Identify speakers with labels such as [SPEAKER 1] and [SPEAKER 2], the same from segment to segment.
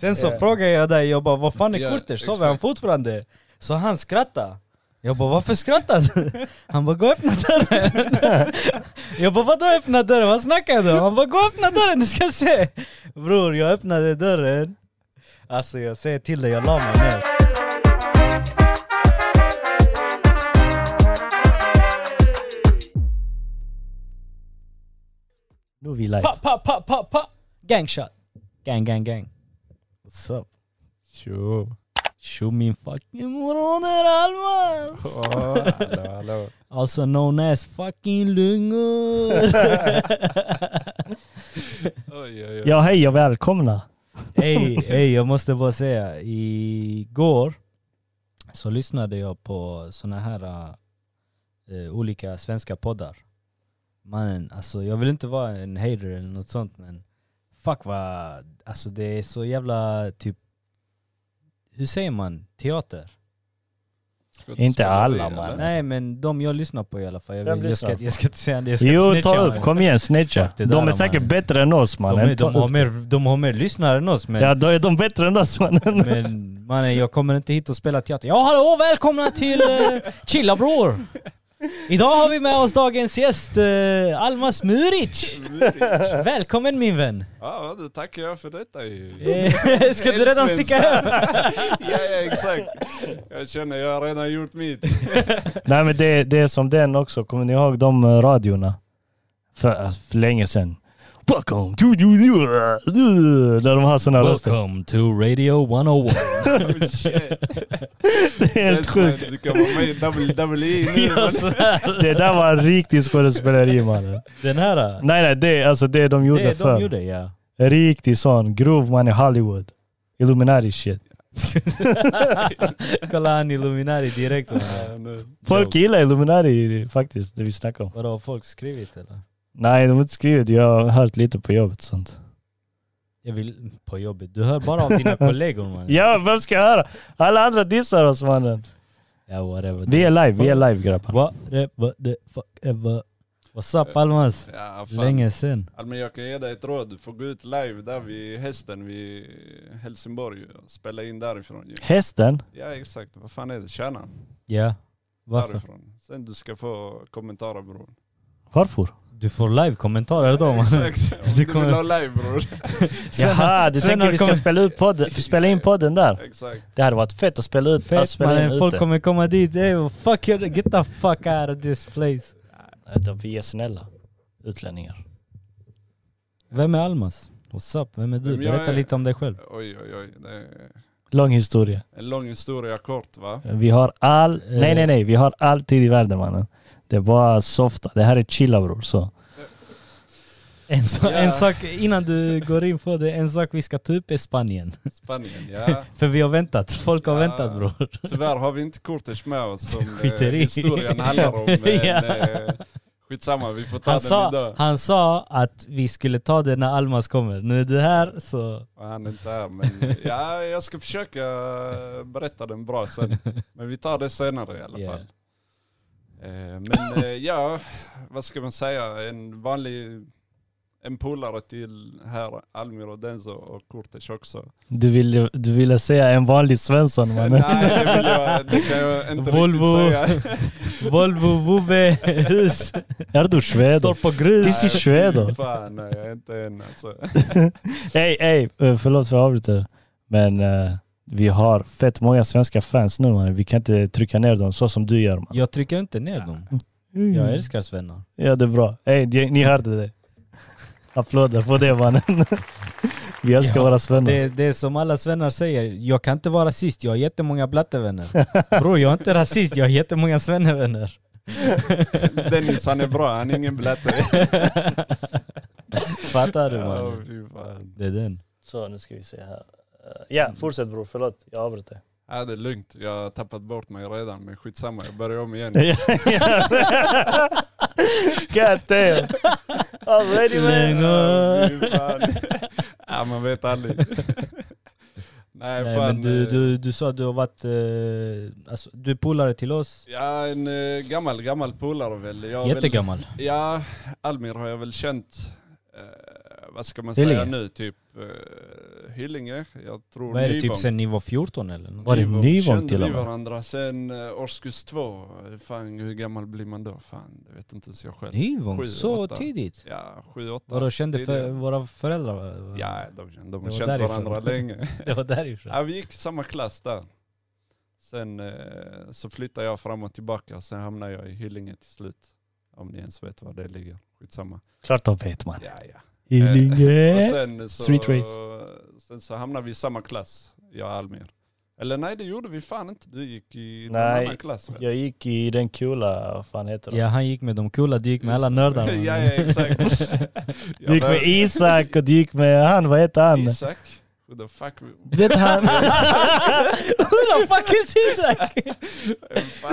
[SPEAKER 1] Sen så
[SPEAKER 2] Ja.
[SPEAKER 1] frågade jag dig, jag bara vad fan
[SPEAKER 3] Ja,
[SPEAKER 1] är Kurters? Sover han
[SPEAKER 3] exakt.
[SPEAKER 1] fortfarande? Så han skrattade. Jag bara varför skrattar du? Han bara gå och öppna dörren. Jag bara vadå öppna dörren? Vad snackar du om? Han bara gå och öppna dörren du ska se. Bror jag öppnade dörren. Alltså jag säger till dig, jag la mig ner. Nu är vi live.
[SPEAKER 2] Pa, pa, pa, pa, pa.
[SPEAKER 1] Gangshot. Gang, gang, gang. What's up?
[SPEAKER 3] Tjo.
[SPEAKER 1] Tjo min fucking broder Almas!
[SPEAKER 2] Oh, hallå, hallå.
[SPEAKER 1] Also known as fucking lungor.
[SPEAKER 3] Oj, oj, oj.
[SPEAKER 2] Ja hej och välkomna.
[SPEAKER 1] Hej, hej, jag måste bara säga. Igår så lyssnade jag på såna här eh, olika svenska poddar. Mannen, alltså jag vill inte vara en hater eller något sånt men fuck vad, alltså det är så jävla typ, hur säger man, teater?
[SPEAKER 3] Ska
[SPEAKER 2] Inte
[SPEAKER 3] spela
[SPEAKER 2] alla,
[SPEAKER 3] det,
[SPEAKER 2] man.
[SPEAKER 3] eller?
[SPEAKER 1] Nej men de jag lyssnar på i alla fall, jag,
[SPEAKER 2] Vem
[SPEAKER 1] vill, jag, ska,
[SPEAKER 2] lyssnar?
[SPEAKER 1] jag ska inte säga det, jag ska
[SPEAKER 2] Jo
[SPEAKER 1] inte
[SPEAKER 2] ta
[SPEAKER 1] snitcha,
[SPEAKER 2] upp,
[SPEAKER 1] men
[SPEAKER 2] kom igen snitcha.
[SPEAKER 1] Fuck det
[SPEAKER 2] De
[SPEAKER 1] där,
[SPEAKER 2] är säkert
[SPEAKER 1] mannen.
[SPEAKER 2] bättre än oss
[SPEAKER 1] De,
[SPEAKER 2] mannen.
[SPEAKER 1] är,
[SPEAKER 2] Ta
[SPEAKER 1] de, har
[SPEAKER 2] upp det.
[SPEAKER 1] mer, de har mer lyssnare än oss men,
[SPEAKER 2] Ja då är de bättre än oss mannen.
[SPEAKER 1] men mannen jag kommer inte hit och spela teater. Ja hallå, välkomna till eh, Chilla bror! Idag har vi med oss dagens gäst, eh, Almas Muric! Välkommen min vän!
[SPEAKER 3] Ja, det tackar jag för detta ju.
[SPEAKER 1] Eh, ska du redan sticka hem?
[SPEAKER 3] Ja, ja, exakt. Jag känner, jag har redan gjort mitt.
[SPEAKER 2] Nej men det, det är som den också, kommer ni ihåg de eh, radiorna? För, alltså, för länge sedan. Welcome to you, you, you. Där de har såna röster.
[SPEAKER 1] to Radio 101.
[SPEAKER 3] Oh, shit.
[SPEAKER 2] Det är helt sjukt.
[SPEAKER 3] Du kan vara med i WWE nu.
[SPEAKER 1] jag svär!
[SPEAKER 2] Det där var riktigt skådespeleri mannen.
[SPEAKER 1] Den här?
[SPEAKER 2] Nej nej, det, är alltså, det de gjorde
[SPEAKER 1] Det
[SPEAKER 2] förr.
[SPEAKER 1] de gjorde ja.
[SPEAKER 2] Riktig sån grov man i Hollywood. Illuminati shit.
[SPEAKER 1] Kolla han Illuminati direkt. man.
[SPEAKER 3] Ja, nu.
[SPEAKER 2] Folk gillar Illuminati faktiskt, det vi snackar om.
[SPEAKER 1] Vadå, har folk skrivit eller?
[SPEAKER 2] Nej, de har inte skrivit. Jag har hört lite på jobbet och sånt.
[SPEAKER 1] Jag vill på jobbet. Du hör bara av dina kollegor man.
[SPEAKER 2] Ja, vem ska jag höra? Alla andra dissar oss mannen.
[SPEAKER 1] Ja, whatever.
[SPEAKER 2] Vi är live, vi är live grabbar.
[SPEAKER 1] Whatever the fuck ever. What's up Almas?
[SPEAKER 3] Ja, fan.
[SPEAKER 1] Länge sen.
[SPEAKER 3] Ja, men jag kan ge dig ett råd, du får gå ut live där vid hästen vid Helsingborg och spela in därifrån ju.
[SPEAKER 2] Hästen?
[SPEAKER 3] Ja exakt, vad fan är det? Kärnan?
[SPEAKER 1] Ja. Varför?
[SPEAKER 3] Därifrån. Sen du ska få kommentarer bror.
[SPEAKER 2] Varför?
[SPEAKER 1] Du får live-kommentarer då man.
[SPEAKER 3] Exakt, om du
[SPEAKER 1] kommer-
[SPEAKER 3] vill ha live bror.
[SPEAKER 2] Jaha, du
[SPEAKER 1] Sven
[SPEAKER 2] tänker
[SPEAKER 1] har
[SPEAKER 2] vi ska
[SPEAKER 1] kommit-
[SPEAKER 2] spela, ut podden, spela in podden där?
[SPEAKER 3] Exakt.
[SPEAKER 2] Det hade varit fett att spela ut att
[SPEAKER 1] Fett
[SPEAKER 2] spela in
[SPEAKER 1] mannen, folk
[SPEAKER 2] ute.
[SPEAKER 1] kommer komma dit. Ey, vad fuck you, get the fuck out of this place.
[SPEAKER 2] Utan Vi är snälla utlänningar.
[SPEAKER 1] Vem är Almas? What's up? Vem är du?
[SPEAKER 3] Vem jag
[SPEAKER 1] Berätta
[SPEAKER 3] är?
[SPEAKER 1] lite om dig själv.
[SPEAKER 3] Oj oj oj, det är
[SPEAKER 2] Lång historia. Eh.
[SPEAKER 3] en lång historia kort va?
[SPEAKER 2] Vi har all... Nej, nej, nej. Vi har all tid i världen mannen. Det är bara softa. Det här är chilla bror. Så.
[SPEAKER 1] En, so-
[SPEAKER 3] Ja.
[SPEAKER 1] en sak innan du går in på det, en sak vi ska ta upp är Spanien.
[SPEAKER 3] Spanien ja.
[SPEAKER 1] För vi har väntat, folk har
[SPEAKER 3] Ja.
[SPEAKER 1] väntat bror.
[SPEAKER 3] Tyvärr har vi inte Kurtis med oss som eh,
[SPEAKER 1] Skiter i.
[SPEAKER 3] historien handlar om. Men,
[SPEAKER 1] Ja.
[SPEAKER 3] eh, skitsamma, vi får ta
[SPEAKER 1] Han
[SPEAKER 3] den idag.
[SPEAKER 1] sa, han sa att vi skulle ta det när Almas kommer. Nu är du här så...
[SPEAKER 3] Och han är inte här men ja, jag ska försöka eh, berätta den bra sen. Men vi tar det senare i alla
[SPEAKER 1] Ja.
[SPEAKER 3] fall. Eh, Men eh, ja, vad ska man säga? En vanlig, en polare till här, Almir och Denzo och Kurtis också.
[SPEAKER 2] Du ville du ville säga en vanlig Svensson
[SPEAKER 3] Eh,
[SPEAKER 2] mannen.
[SPEAKER 3] Nej, det, vill jag, det kan jag inte
[SPEAKER 1] Volvo.
[SPEAKER 3] riktigt säga.
[SPEAKER 1] Volvo, Vove, hus,
[SPEAKER 2] Är du sved?
[SPEAKER 1] står på grus.
[SPEAKER 2] This is Shwedo.
[SPEAKER 3] Fan, nej, jag är inte en alltså.
[SPEAKER 2] Ey, ey, eh, förlåt för att jag avbryter. Men eh, vi har fett många svenska fans nu mannen. Vi kan inte trycka ner dem så som du gör mannen.
[SPEAKER 1] Jag trycker inte ner dem.
[SPEAKER 2] Mm.
[SPEAKER 1] Jag älskar svennar.
[SPEAKER 2] Ja det är bra. Ey, ni, ni hörde det. Applåder på det mannen. Vi älskar
[SPEAKER 1] Ja,
[SPEAKER 2] våra svennar.
[SPEAKER 1] Det, det är som alla svennar säger, jag kan inte vara rasist, jag har jättemånga blattevänner. Bror jag är inte rasist, jag har jättemånga svennevänner.
[SPEAKER 3] Dennis han är bra, han är ingen blatte.
[SPEAKER 1] Fattar du
[SPEAKER 3] Ja,
[SPEAKER 1] mannen?
[SPEAKER 3] fy fan.
[SPEAKER 1] Det är den.
[SPEAKER 2] Så nu ska vi se här. Eh, Ja, fortsätt bror. Förlåt, jag avbröt dig.
[SPEAKER 3] Ja, det är lugnt, jag har tappat bort mig redan men skitsamma, jag börjar om igen.
[SPEAKER 2] God damn. I'm ready man.
[SPEAKER 1] Längre.
[SPEAKER 3] Fy fan. ja, man vet aldrig. Nej,
[SPEAKER 1] Nej,
[SPEAKER 3] fan.
[SPEAKER 1] men du,
[SPEAKER 3] eh,
[SPEAKER 1] du, du sa att du har varit, eh, alltså, du är polare till oss.
[SPEAKER 3] Ja, en eh, gammal, gammal polare väl. Jag har väl-
[SPEAKER 1] Jättegammal.
[SPEAKER 3] Ja, Almir har jag väl känt, eh, vad vad ska man
[SPEAKER 2] Hyllinge?
[SPEAKER 3] säga nu, typ uh, Hyllinge. Jag tror
[SPEAKER 1] Vad är det, typ
[SPEAKER 3] Nyvång.
[SPEAKER 1] sen nivå 14 eller? något?
[SPEAKER 2] Var det
[SPEAKER 3] Nyvång
[SPEAKER 2] Nyvång
[SPEAKER 3] kände
[SPEAKER 2] till och
[SPEAKER 3] vi
[SPEAKER 2] med?
[SPEAKER 3] varandra sen eh, årskurs två. Fan, hur gammal blir man då? Fan, det vet inte ens jag själv.
[SPEAKER 1] Nyvång?
[SPEAKER 3] Sju,
[SPEAKER 1] Så
[SPEAKER 3] åtta.
[SPEAKER 1] tidigt?
[SPEAKER 3] Ja, sju, åtta.
[SPEAKER 1] Vadå, kände för,
[SPEAKER 3] tidigare.
[SPEAKER 1] våra föräldrar?
[SPEAKER 3] Ja, de, de,
[SPEAKER 1] Det var
[SPEAKER 3] de känt
[SPEAKER 1] därifrån.
[SPEAKER 3] varandra länge.
[SPEAKER 1] Det var därifrån.
[SPEAKER 3] Ja, vi gick i samma klass där. Sen eh, så flyttade jag fram och tillbaka och sen hamnade jag i Hyllinge till slut. Om ni ens vet var det ligger. Skitsamma.
[SPEAKER 2] Klart de vet man.
[SPEAKER 3] Ja, ja.
[SPEAKER 2] Eh,
[SPEAKER 3] Eh, Och
[SPEAKER 2] Hyllinge.
[SPEAKER 3] sen, så,
[SPEAKER 2] Street race.
[SPEAKER 3] sen så hamnade vi i samma klass, jag och Almir. Eller nej det gjorde vi fan inte, du gick i någon
[SPEAKER 2] Nej,
[SPEAKER 3] annan klass väl?
[SPEAKER 2] Jag gick i den coola, vad fan heter det?
[SPEAKER 1] Ja, han gick med de coola, du gick med alla
[SPEAKER 3] Just-
[SPEAKER 1] nördarna.
[SPEAKER 3] ja, ja exakt.
[SPEAKER 2] Du gick med Isak och du gick med han, vad heter han?
[SPEAKER 3] Isak? Who the fuck?
[SPEAKER 2] Vet han?
[SPEAKER 1] Who the fuck is Isak?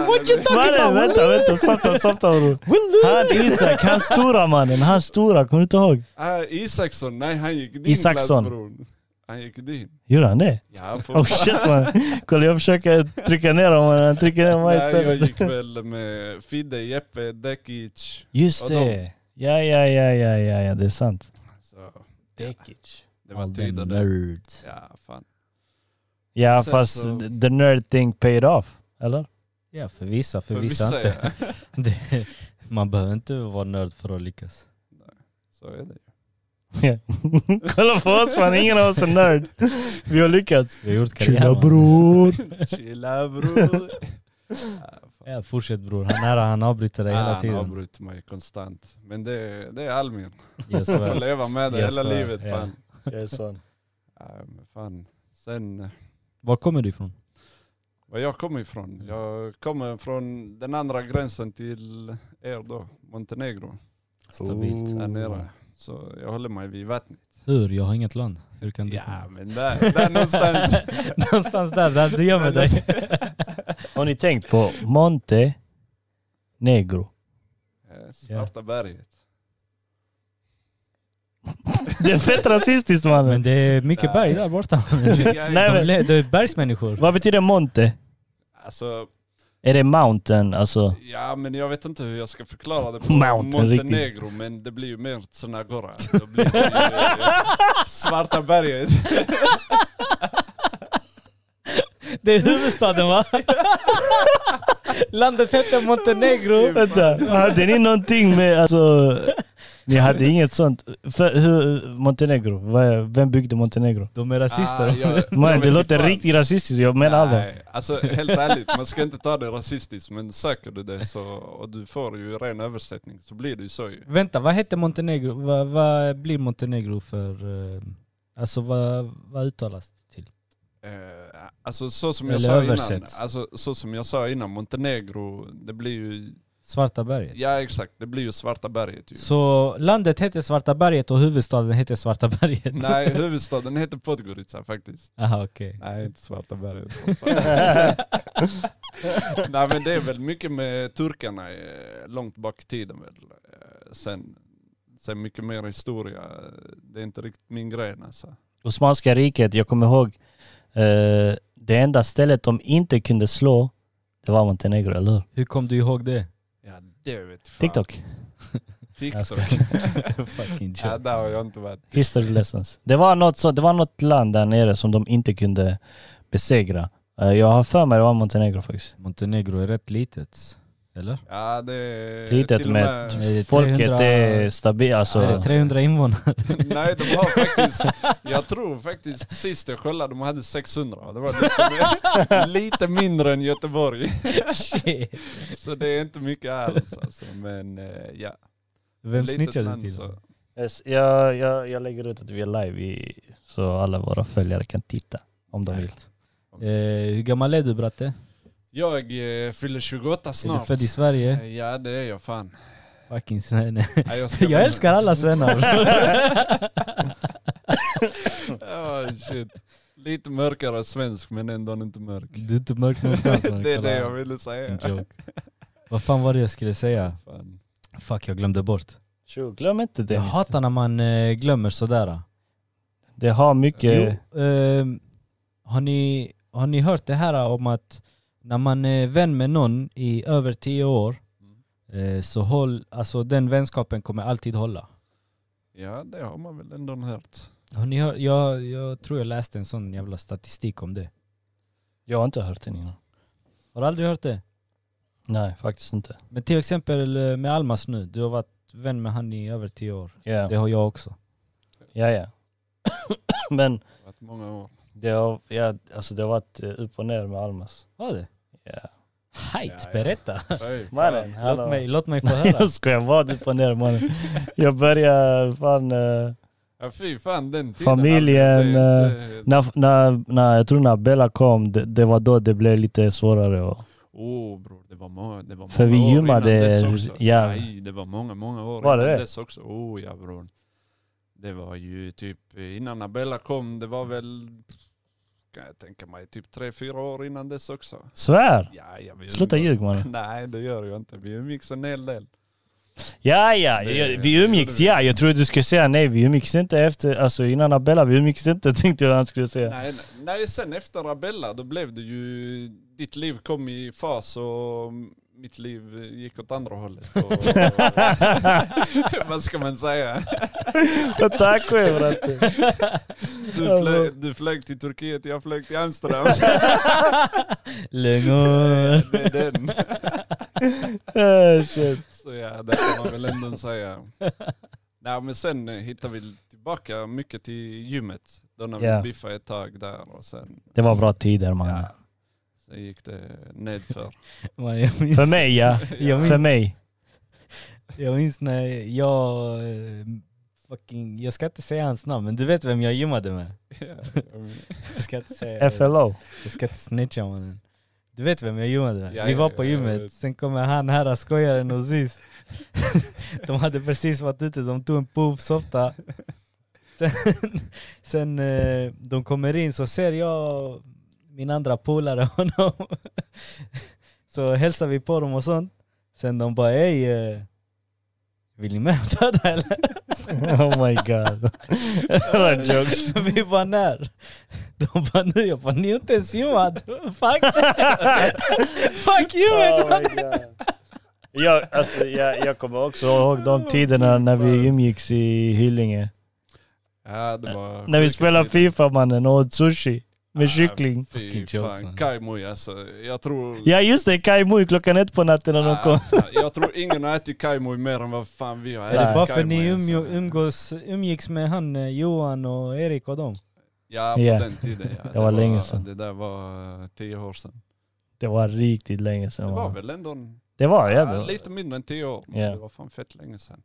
[SPEAKER 3] What you
[SPEAKER 2] Mannen vänta, vänta, softa, softa bror. Han Isak, han stora mannen, han stora, kommer du inte ihåg?
[SPEAKER 3] ah, Isaksson, nej han gick i din
[SPEAKER 2] Isaksson.
[SPEAKER 3] klass bror. Han gick i din.
[SPEAKER 2] Gjorde han det?
[SPEAKER 3] Ja, för
[SPEAKER 2] Oh shit man. Kolla jag försöker trycka ner honom, men han trycker ner mig
[SPEAKER 3] Nej, jag
[SPEAKER 2] istället.
[SPEAKER 3] gick väl med Fidde, Jeppe, Dekic.
[SPEAKER 2] Just
[SPEAKER 3] Och de-
[SPEAKER 2] det. Ja, ja, ja, ja, ja, ja, det är sant.
[SPEAKER 3] Så,
[SPEAKER 2] Dekic.
[SPEAKER 3] Alltså, det var
[SPEAKER 1] All them
[SPEAKER 3] tider det.
[SPEAKER 1] nerds.
[SPEAKER 3] Ja, fan.
[SPEAKER 2] Ja,
[SPEAKER 3] Sen
[SPEAKER 2] fast
[SPEAKER 3] så-
[SPEAKER 2] the nerd thing paid off, eller?
[SPEAKER 1] Ja, för vissa, för, vissa, inte.
[SPEAKER 3] ja.
[SPEAKER 1] Det, man behöver inte vara nörd för att lyckas.
[SPEAKER 3] Så är det.
[SPEAKER 2] Ja. Kolla på oss man, ingen av oss är nörd. Vi har lyckats.
[SPEAKER 1] Vi har gjort karriär.
[SPEAKER 2] Tjena
[SPEAKER 1] man.
[SPEAKER 2] bror.
[SPEAKER 3] Chilla bror.
[SPEAKER 1] Ja, fortsätt bror. Han är han avbryter dig hela
[SPEAKER 3] Han
[SPEAKER 1] tiden.
[SPEAKER 3] avbryter mig konstant. Men det, det är Almir.
[SPEAKER 1] Jag
[SPEAKER 3] Jag får
[SPEAKER 1] svär.
[SPEAKER 3] leva med det
[SPEAKER 1] Jag
[SPEAKER 3] hela
[SPEAKER 1] svär,
[SPEAKER 3] livet
[SPEAKER 1] ja.
[SPEAKER 3] fan.
[SPEAKER 2] Jag är sån.
[SPEAKER 3] Ja, men fan. Sen, eh,
[SPEAKER 1] Var kommer du ifrån?
[SPEAKER 3] var jag kommer ifrån?
[SPEAKER 2] Mm.
[SPEAKER 3] Jag kommer från den andra gränsen till er då, Montenegro.
[SPEAKER 1] Stabilt.
[SPEAKER 3] Där nere. Så jag håller mig vid vattnet.
[SPEAKER 1] Hur? Jag har inget land. Hur kan du?
[SPEAKER 3] Ja men där, där någonstans.
[SPEAKER 1] Någonstans där, där du gömmer dig.
[SPEAKER 2] Har ni tänkt på Monte Negro?
[SPEAKER 3] Eh, Svarta berget.
[SPEAKER 2] Det är fett rasistiskt
[SPEAKER 1] Men
[SPEAKER 2] mannen.
[SPEAKER 1] det är mycket berg där borta.
[SPEAKER 2] Nej,
[SPEAKER 1] De
[SPEAKER 2] men-
[SPEAKER 1] le- det är bergsmänniskor.
[SPEAKER 2] Vad betyder Monte?
[SPEAKER 3] Alltså,
[SPEAKER 2] Är det mountain alltså?
[SPEAKER 3] ja men jag vet inte hur jag ska förklara det på
[SPEAKER 2] Mountain, riktigt.
[SPEAKER 3] Montenegro men det blir ju mer Tsunagora. Då blir det ju, eh, Svarta berget.
[SPEAKER 1] Det är huvudstaden va? Landet heter Montenegro.
[SPEAKER 2] Vänta, hade ni någonting med alltså... Ni hade inget sånt? För, hur, Montenegro, vad- vem byggde Montenegro?
[SPEAKER 1] De är rasister.
[SPEAKER 3] Ah, jag- jag
[SPEAKER 2] Man,
[SPEAKER 3] vet
[SPEAKER 2] det
[SPEAKER 3] inte
[SPEAKER 2] låter
[SPEAKER 3] fan.
[SPEAKER 2] riktigt rasistiskt, jag menar allvar.
[SPEAKER 3] Nej, alltså helt ärligt, man ska inte ta det rasistiskt men söker du det så, och du får ju ren översättning så blir det ju så ju.
[SPEAKER 1] Vänta, vad heter Montenegro? Vad, vad blir Montenegro för... eh, Alltså vad, vad uttalas det till?
[SPEAKER 3] Eh, alltså så som jag
[SPEAKER 1] Eller
[SPEAKER 3] sa
[SPEAKER 1] översätts.
[SPEAKER 3] innan, alltså, så som jag sa innan, Montenegro, det blir ju,
[SPEAKER 1] Svarta berget.
[SPEAKER 3] ja exakt, det blir ju Svarta berget ju.
[SPEAKER 1] Så landet heter Svarta berget och huvudstaden heter Svarta berget?
[SPEAKER 3] Nej, huvudstaden heter Podgorica faktiskt.
[SPEAKER 1] Aha, okej.
[SPEAKER 3] Nej, inte Svarta berget. Nej men det är väl mycket med turkarna eh, långt bak i tiden väl. Eh, Sen, sen mycket mer historia, eh, det är inte riktigt min grej alltså.
[SPEAKER 2] Osmanska riket, jag kommer ihåg eh, det enda stället de inte kunde slå, det var Montenegro, eller hur?
[SPEAKER 1] Hur kom du ihåg det?
[SPEAKER 3] Ja det vet fan.
[SPEAKER 2] TikTok.
[SPEAKER 3] TikTok.
[SPEAKER 1] Fucking joke.
[SPEAKER 3] ja, där har jag inte varit.
[SPEAKER 2] History lessons. Det var, något så, det var något land där nere som de inte kunde besegra. Eh, Jag har för mig det var Montenegro faktiskt.
[SPEAKER 1] Montenegro är rätt litet, eller?
[SPEAKER 3] Ja det
[SPEAKER 1] Eh,
[SPEAKER 3] är
[SPEAKER 2] Litet
[SPEAKER 3] till och
[SPEAKER 2] med
[SPEAKER 1] Nej, det är
[SPEAKER 2] folket
[SPEAKER 1] 300
[SPEAKER 2] är stabilt. Alltså.
[SPEAKER 1] Är det 300 invånare?
[SPEAKER 3] Nej de har faktiskt, jag tror faktiskt sist jag kollade de hade 600. Det var lite, mer, lite mindre än Göteborg.
[SPEAKER 1] Shit.
[SPEAKER 3] Så det är inte mycket alls alltså. Men eh, ja.
[SPEAKER 1] Vem
[SPEAKER 3] Litet
[SPEAKER 1] snitchade du
[SPEAKER 3] land,
[SPEAKER 1] till?
[SPEAKER 3] så-
[SPEAKER 2] Yes, jag, jag, jag lägger ut att vi är live i, så alla våra följare kan titta om de vill.
[SPEAKER 1] Eh, hur gammal är du bratte?
[SPEAKER 3] Jag eh, fyller 28 snart.
[SPEAKER 1] Är du född i Sverige?
[SPEAKER 3] Eh, Ja det är jag fan.
[SPEAKER 1] Fucking svenne.
[SPEAKER 3] Ja, jag, ska
[SPEAKER 1] Jag älskar alla svennar.
[SPEAKER 3] Oh, shit. Lite mörkare svensk men ändå inte mörk.
[SPEAKER 1] Du är inte mörk någonstans. man.
[SPEAKER 3] Det är
[SPEAKER 1] Kolla.
[SPEAKER 3] det jag ville säga.
[SPEAKER 1] En joke. Vad fan var det jag skulle säga?
[SPEAKER 3] Fan.
[SPEAKER 1] Fuck, jag glömde bort.
[SPEAKER 2] Tjo, glöm inte det.
[SPEAKER 1] Jag hatar när man eh, glömmer sådär.
[SPEAKER 2] Det har mycket...
[SPEAKER 1] Jo, ehm, har, ni, har ni hört det här om att när man är vän med någon i över
[SPEAKER 3] Mm.
[SPEAKER 1] tio år eh, så håll, alltså den vänskapen kommer alltid hålla.
[SPEAKER 3] Ja, det har man väl ändå hört.
[SPEAKER 1] Har ni hört, jag, jag tror jag läste en sån jävla statistik om det.
[SPEAKER 2] Jag har inte hört den innan.
[SPEAKER 1] Har du aldrig hört det?
[SPEAKER 2] Nej, faktiskt inte.
[SPEAKER 1] Men till exempel eh, med Almas nu, du har varit vän med han i över tio år.
[SPEAKER 2] Ja,
[SPEAKER 1] Det har jag också.
[SPEAKER 2] ja. ja. Men
[SPEAKER 3] Det har varit många år.
[SPEAKER 2] det har, ja, alltså det har varit eh, upp och ner med Almas.
[SPEAKER 1] Har det?
[SPEAKER 2] Ja.
[SPEAKER 1] Hejt,
[SPEAKER 3] Ja, ja.
[SPEAKER 1] berätta!
[SPEAKER 3] Oj,
[SPEAKER 2] Mannen,
[SPEAKER 1] Låt
[SPEAKER 2] hallå.
[SPEAKER 1] mig, låt mig få
[SPEAKER 2] Nej
[SPEAKER 1] höra.
[SPEAKER 2] jag skojar, vad upp och ner mannen. Jag börjar fan... eh,
[SPEAKER 3] Ja fy fan den tiden.
[SPEAKER 2] Familjen, eh,
[SPEAKER 3] Det är inte-
[SPEAKER 2] när, när, när, jag tror när Bella kom, det, det var då det blev lite svårare. att-
[SPEAKER 3] Åh bror, det var många, det var många
[SPEAKER 2] För vi
[SPEAKER 3] år
[SPEAKER 2] gymmade
[SPEAKER 3] innan dess också.
[SPEAKER 2] jävla-
[SPEAKER 3] Nej, det var många, många år
[SPEAKER 2] Var det
[SPEAKER 3] innan
[SPEAKER 2] det?
[SPEAKER 3] dess också. Oh ja bror. Det var ju typ, innan Abella kom, det var väl, kan jag tänka mig, typ tre, fyra år innan dess också.
[SPEAKER 2] Svär!
[SPEAKER 3] Ja, jag vill
[SPEAKER 2] Sluta ljug mannen.
[SPEAKER 3] Nej, det gör jag inte. Vi umgicks en hel del.
[SPEAKER 2] Ja, ja,
[SPEAKER 3] Det-
[SPEAKER 2] ja,
[SPEAKER 3] det
[SPEAKER 2] vi umgicks.
[SPEAKER 3] gjorde vi.
[SPEAKER 2] Ja, jag trodde du skulle säga nej. Vi umgicks inte efter, alltså innan Abella, vi umgicks inte tänkte jag att han skulle säga.
[SPEAKER 3] Nej, nej, nej, sen efter Abella, då blev det ju, ditt liv kom i fas och mitt liv gick åt andra hållet. Och, vad ska man säga?
[SPEAKER 2] Tack själv bratte.
[SPEAKER 3] Du flög, du flög till Turkiet, jag flög till Amsterdam.
[SPEAKER 1] Lungor!
[SPEAKER 3] Det är den.
[SPEAKER 2] Eh, shit.
[SPEAKER 3] Så ja, det kan man väl ändå säga. Nej men sen eh, hittade vi tillbaka mycket till gymmet. Då när vi
[SPEAKER 2] Ja.
[SPEAKER 3] biffade ett tag där och sen,
[SPEAKER 2] Det var bra tider mannen.
[SPEAKER 3] ja, sen gick det nedför.
[SPEAKER 1] Man, jag, minns,
[SPEAKER 2] För mig ja.
[SPEAKER 1] Jag minns-
[SPEAKER 2] För mig.
[SPEAKER 1] jag minns när jag... eh, Fucking, jag ska inte säga hans namn, men du vet vem jag gymmade med?
[SPEAKER 3] Ja,
[SPEAKER 1] Jag ska inte säga...
[SPEAKER 2] FLO.
[SPEAKER 1] Jag ska inte snitcha mannen. Du vet vem jag gymmade med?
[SPEAKER 3] Ja,
[SPEAKER 1] Vi
[SPEAKER 3] ja,
[SPEAKER 1] var
[SPEAKER 3] ja,
[SPEAKER 1] på
[SPEAKER 3] jag
[SPEAKER 1] gymmet,
[SPEAKER 3] vet.
[SPEAKER 1] sen kommer han här skojaren och Ziz. de hade precis varit ute, de tog en puff, softa. Sen, sen eh, de kommer in så ser jag min andra polare honom. så hälsar vi på dem och sånt. Sen de bara ey, eh, vill ni med och döda eller?
[SPEAKER 2] Oh my god. Det var jokes.
[SPEAKER 1] vi bara när? De bara nu, jag bara ni är inte ens gymmad. Fuck det. Fuck you! vet du.
[SPEAKER 2] Oh my God. jag, alltså, jag, jag kommer också ihåg de tiderna när vi umgicks i Hyllinge.
[SPEAKER 3] ja det var
[SPEAKER 2] När vi
[SPEAKER 3] sjuka
[SPEAKER 2] spelade
[SPEAKER 3] tider.
[SPEAKER 2] Fifa mannen och åt sushi med
[SPEAKER 3] Ah,
[SPEAKER 2] kyckling.
[SPEAKER 1] Fucking
[SPEAKER 3] Fy
[SPEAKER 1] jokes,
[SPEAKER 3] fan,
[SPEAKER 1] man.
[SPEAKER 3] Kaimui alltså. Jag tror...
[SPEAKER 2] Ja just det, Kai Mui klockan ett på natten när de
[SPEAKER 3] Ah,
[SPEAKER 2] kom.
[SPEAKER 3] fan, jag tror ingen har ätit Kaimui mer än vad fan vi har
[SPEAKER 1] Är det
[SPEAKER 2] Nej.
[SPEAKER 1] bara för ni
[SPEAKER 3] Kaimui,
[SPEAKER 1] umgå-
[SPEAKER 3] alltså.
[SPEAKER 1] umgås, umgicks med han eh, Johan och Erik och dem?
[SPEAKER 3] Ja, på
[SPEAKER 2] Ja.
[SPEAKER 3] den tiden ja.
[SPEAKER 2] var länge sedan.
[SPEAKER 3] Det där var eh, tio år sedan.
[SPEAKER 2] Det var riktigt länge
[SPEAKER 3] Det
[SPEAKER 2] sedan.
[SPEAKER 3] var
[SPEAKER 2] mannen.
[SPEAKER 3] väl ändå en,
[SPEAKER 2] Det var, ja,
[SPEAKER 3] ja,
[SPEAKER 2] det, var,
[SPEAKER 3] lite mindre än tio år. Men
[SPEAKER 2] Ja.
[SPEAKER 3] Det var fan fett länge sedan.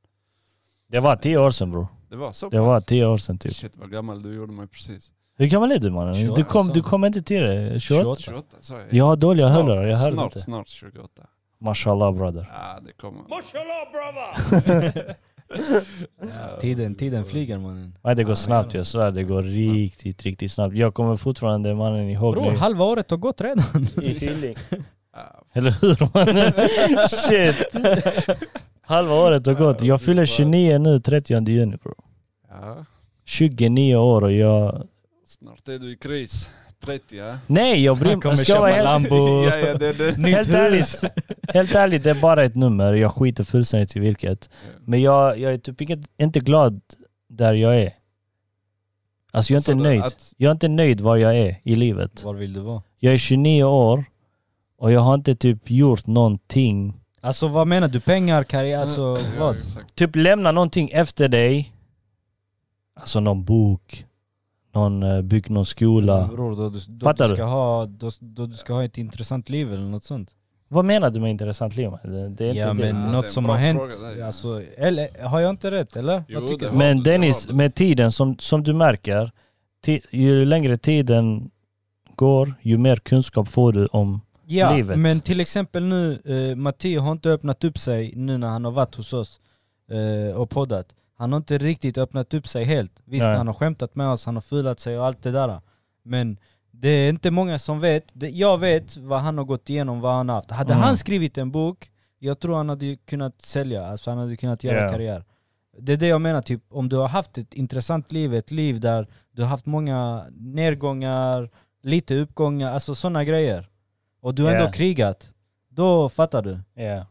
[SPEAKER 2] det var tio år sedan bror.
[SPEAKER 3] Det var så
[SPEAKER 2] Det var
[SPEAKER 3] pass.
[SPEAKER 2] tio år sedan typ.
[SPEAKER 3] Shit vad gammal du gjorde mig precis.
[SPEAKER 2] Hur gammal är du mannen? Du
[SPEAKER 1] 28
[SPEAKER 2] kom,
[SPEAKER 1] sa
[SPEAKER 2] du
[SPEAKER 1] han.
[SPEAKER 2] kom inte till det? 28?
[SPEAKER 3] 28 sa jag.
[SPEAKER 2] Jag har dåliga
[SPEAKER 3] alltså. Snart-
[SPEAKER 2] hörlurar, jag hörde
[SPEAKER 3] snart,
[SPEAKER 2] inte.
[SPEAKER 3] Snart 28.
[SPEAKER 2] Mashallah brother.
[SPEAKER 3] Ja det kommer.
[SPEAKER 1] Ja, tiden, tiden flyger mannen.
[SPEAKER 2] Nej det går
[SPEAKER 1] Ja,
[SPEAKER 2] snabbt,
[SPEAKER 1] jävlar.
[SPEAKER 2] jag svär. Det går riktigt, riktigt snabbt. Jag kommer fortfarande mannen ihåg
[SPEAKER 1] Bror,
[SPEAKER 2] nu.
[SPEAKER 1] halva året har gått redan.
[SPEAKER 2] I Hylling.
[SPEAKER 3] Ja,
[SPEAKER 2] Eller hur mannen? Shit! Halva året har gått. Jag fyller 29 nu 30 juni bro.
[SPEAKER 3] ja,
[SPEAKER 2] 29 år och jag...
[SPEAKER 3] snart är du i kris. 30 ja.
[SPEAKER 2] Nej jag bryr mig
[SPEAKER 1] kommer
[SPEAKER 2] ska jag
[SPEAKER 1] köpa
[SPEAKER 2] vara helt,
[SPEAKER 1] Lambo,
[SPEAKER 3] ja, ja, det, det.
[SPEAKER 1] nytt
[SPEAKER 2] Helt
[SPEAKER 1] hus.
[SPEAKER 2] ärligt. helt ärligt, det är bara ett nummer. Jag skiter fullständigt i vilket. Men jag, jag är typ inte, inte glad där jag är. Alltså jag är
[SPEAKER 3] Så
[SPEAKER 2] inte
[SPEAKER 3] det-
[SPEAKER 2] nöjd.
[SPEAKER 3] att-
[SPEAKER 2] Jag är inte nöjd var jag är i livet.
[SPEAKER 1] Var vill du vara?
[SPEAKER 2] Jag är 29 år och jag har inte typ gjort någonting.
[SPEAKER 1] Alltså vad menar du? Pengar, karriär, alltså
[SPEAKER 3] Ja,
[SPEAKER 1] vad?
[SPEAKER 3] exakt.
[SPEAKER 2] Typ lämna någonting efter dig. Alltså någon bok, någon eh, bygg någon skola.
[SPEAKER 1] Bror, då, du- då,
[SPEAKER 2] Fattar
[SPEAKER 1] du
[SPEAKER 2] du?
[SPEAKER 1] ska ha, då, då du ska ha ett intressant liv eller något sånt. Vad
[SPEAKER 2] Vad menar du med intressant liv? Det, det är inte
[SPEAKER 1] ja men
[SPEAKER 2] det.
[SPEAKER 3] Ja, det är
[SPEAKER 1] något
[SPEAKER 3] en
[SPEAKER 1] som
[SPEAKER 3] bra
[SPEAKER 1] har hänt,
[SPEAKER 3] fråga, det är-
[SPEAKER 1] alltså, eller har jag inte rätt eller?
[SPEAKER 3] Jo,
[SPEAKER 1] Vad tycker
[SPEAKER 3] det
[SPEAKER 1] du?
[SPEAKER 3] har-
[SPEAKER 2] Men
[SPEAKER 3] det
[SPEAKER 2] Dennis,
[SPEAKER 3] har du.
[SPEAKER 2] med tiden som, som du märker, ti, ju längre tiden går, ju mer kunskap får du om...
[SPEAKER 1] Ja,
[SPEAKER 2] livet.
[SPEAKER 1] men till exempel nu, eh, Matteo har inte öppnat upp sig nu när han har varit hos oss eh, och poddat. Han har inte riktigt öppnat upp sig helt. Visst,
[SPEAKER 2] Nej.
[SPEAKER 1] han har skämtat med oss, han har fulat sig och allt det där. Men det är inte många som vet. Det- Jag vet vad han har gått igenom, vad han har haft. Hade
[SPEAKER 2] Mm.
[SPEAKER 1] han skrivit en bok, jag tror han hade ju kunnat sälja, alltså han hade kunnat göra
[SPEAKER 2] Ja.
[SPEAKER 1] karriär. Det är det jag menar, typ om du har haft ett intressant liv, ett liv där du har haft många nedgångar, lite uppgångar, alltså sådana grejer. Och du har
[SPEAKER 2] Ja.
[SPEAKER 1] ändå krigat. Då fattar du.
[SPEAKER 2] Ja.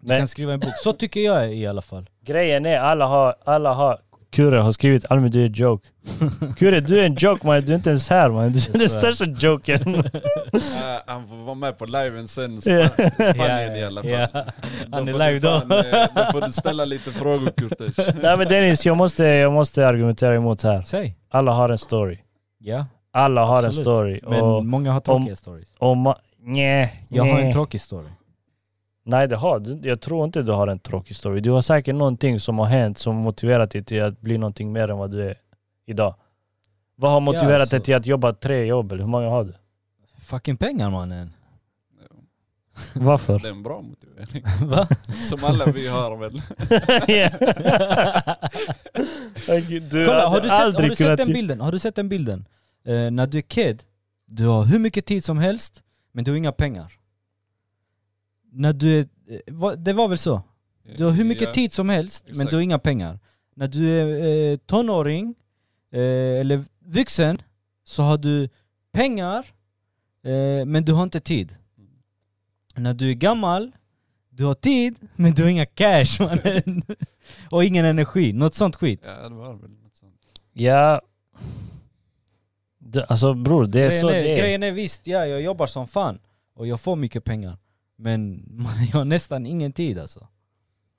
[SPEAKER 1] Du
[SPEAKER 2] Men-
[SPEAKER 1] kan skriva en bok. Så tycker jag i alla fall.
[SPEAKER 2] Grejen är alla har, alla har Kure har skrivit Almi du är en joke. Kure du är en joke man, du är inte ens här man. Du är den största joken.
[SPEAKER 3] Eh, han får vara med på liven sen, Sp
[SPEAKER 2] Ja.
[SPEAKER 3] Spanien i alla fall.
[SPEAKER 1] Ja. Han är
[SPEAKER 3] får du
[SPEAKER 1] live då.
[SPEAKER 3] fan, eh, Då får du ställa lite frågor Kurtis.
[SPEAKER 2] Nej men Dennis, jag måste, jag måste argumentera emot här.
[SPEAKER 1] Säg.
[SPEAKER 2] Alla har en story.
[SPEAKER 1] Ja,
[SPEAKER 2] Alla har en
[SPEAKER 1] Absolut.
[SPEAKER 2] story.
[SPEAKER 1] men
[SPEAKER 2] Och,
[SPEAKER 1] många har tråkiga stories.
[SPEAKER 2] och ma- nej,
[SPEAKER 1] Jag har en
[SPEAKER 2] nej.
[SPEAKER 1] tråkig story.
[SPEAKER 2] Nej det har du Jag tror inte du har en tråkig story. Du har säkert någonting som har hänt som motiverat dig till att bli någonting mer än vad du är idag. Vad har motiverat dig
[SPEAKER 1] alltså.
[SPEAKER 2] till att jobba tre jobb eller hur många har du?
[SPEAKER 1] Fucking pengar mannen.
[SPEAKER 2] Varför?
[SPEAKER 3] Det är en bra motivering.
[SPEAKER 1] Va?
[SPEAKER 3] Som alla vi har väl.
[SPEAKER 2] Ja. du
[SPEAKER 1] Kolla, har
[SPEAKER 2] hade
[SPEAKER 1] du sett, har du sett
[SPEAKER 2] kunnat- typ-
[SPEAKER 1] den bilden? Har du sett den bilden? Eh, när du är kid, du har hur mycket tid som helst, men du har inga pengar. När du är, eh, va, det var väl så? Du har hur mycket
[SPEAKER 3] Ja.
[SPEAKER 1] tid som helst, men
[SPEAKER 3] Exakt.
[SPEAKER 1] du har inga pengar. När du är eh, tonåring, eh, eller vuxen, så har du pengar, eh, men du har inte tid. När du är gammal, du har tid, men du har inga cash mannen. Och ingen energi, något sånt skit.
[SPEAKER 3] Ja det var väl något sånt.
[SPEAKER 2] Ja. Det, alltså bror, det är
[SPEAKER 1] grejen,
[SPEAKER 2] så
[SPEAKER 1] är,
[SPEAKER 2] det är.
[SPEAKER 1] grejen är visst, ja jag jobbar som fan och jag får mycket pengar. Men man, jag har nästan ingen tid alltså.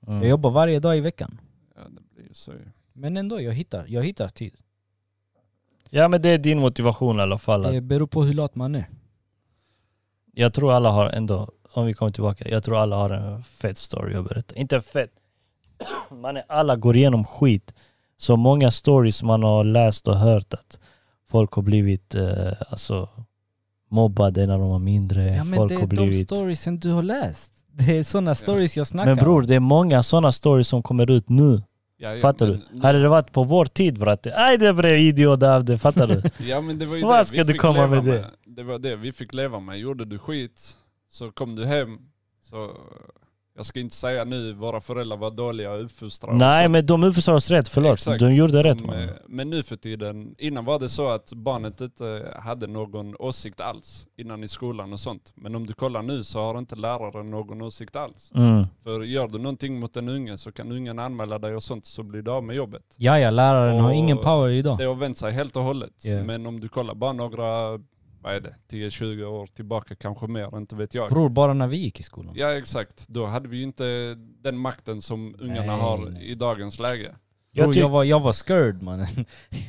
[SPEAKER 1] Jag
[SPEAKER 2] Mm.
[SPEAKER 1] jobbar varje dag i veckan.
[SPEAKER 3] Ja det blir ju så ju.
[SPEAKER 1] Men ändå, jag hittar, jag hittar tid.
[SPEAKER 2] Ja men det är din motivation i alla fall. att-
[SPEAKER 1] Det beror på hur lat man är.
[SPEAKER 2] Jag tror alla har ändå, om vi kommer tillbaka, jag tror alla har en fett story att berätta. Inte fett. Man är, alla går igenom skit. Så många stories man har läst och hört att folk har blivit eh, alltså, mobbade när de var mindre.
[SPEAKER 1] Ja men
[SPEAKER 2] folk
[SPEAKER 1] det
[SPEAKER 2] har
[SPEAKER 1] är de
[SPEAKER 2] blivit...
[SPEAKER 1] storiesen du har läst. Det är sådana stories jag snackar
[SPEAKER 2] Men bror, det är många sådana stories som kommer ut nu.
[SPEAKER 3] Ja, ja,
[SPEAKER 2] Fattar
[SPEAKER 3] men-
[SPEAKER 2] du? Hade det varit på vår tid bratte, aj det bre idiot av det, fattar du?
[SPEAKER 3] Ja men det var ju
[SPEAKER 2] Vad
[SPEAKER 3] det
[SPEAKER 2] ska
[SPEAKER 3] vi
[SPEAKER 2] du
[SPEAKER 3] fick
[SPEAKER 2] komma
[SPEAKER 3] leva
[SPEAKER 2] med det?
[SPEAKER 3] Det var det vi fick leva med. Gjorde du skit så kom du hem. Så jag ska inte säga nu våra föräldrar var dåliga och uppfostrade.
[SPEAKER 2] Nej
[SPEAKER 3] och så.
[SPEAKER 2] men de uppfostrar oss rätt, förlåt.
[SPEAKER 3] Exakt. eh,
[SPEAKER 2] De gjorde rätt man.
[SPEAKER 3] men, Mm. men nu för tiden, innan var det så att barnet inte hade någon åsikt alls innan i skolan och sånt. Men om du kollar nu så har inte läraren någon åsikt alls.
[SPEAKER 2] Mm.
[SPEAKER 3] För gör du någonting mot en unge så kan ungen anmäla dig och sånt så blir du av med jobbet.
[SPEAKER 1] Ja ja, läraren har
[SPEAKER 3] Och-
[SPEAKER 1] ingen power idag.
[SPEAKER 3] Det har vänt sig helt och hållet.
[SPEAKER 1] Ja.
[SPEAKER 3] Men om du kollar bara några, vad är det, 10-20 år tillbaka kanske mer, inte vet jag.
[SPEAKER 1] Bror, bara när vi gick i skolan.
[SPEAKER 3] Ja exakt, då hade vi ju inte den makten som ungarna
[SPEAKER 1] Nej,
[SPEAKER 3] har
[SPEAKER 1] nej.
[SPEAKER 3] i dagens läge.
[SPEAKER 2] Jag
[SPEAKER 1] Bror,
[SPEAKER 2] tyck-
[SPEAKER 1] jag, var, jag var scared mannen.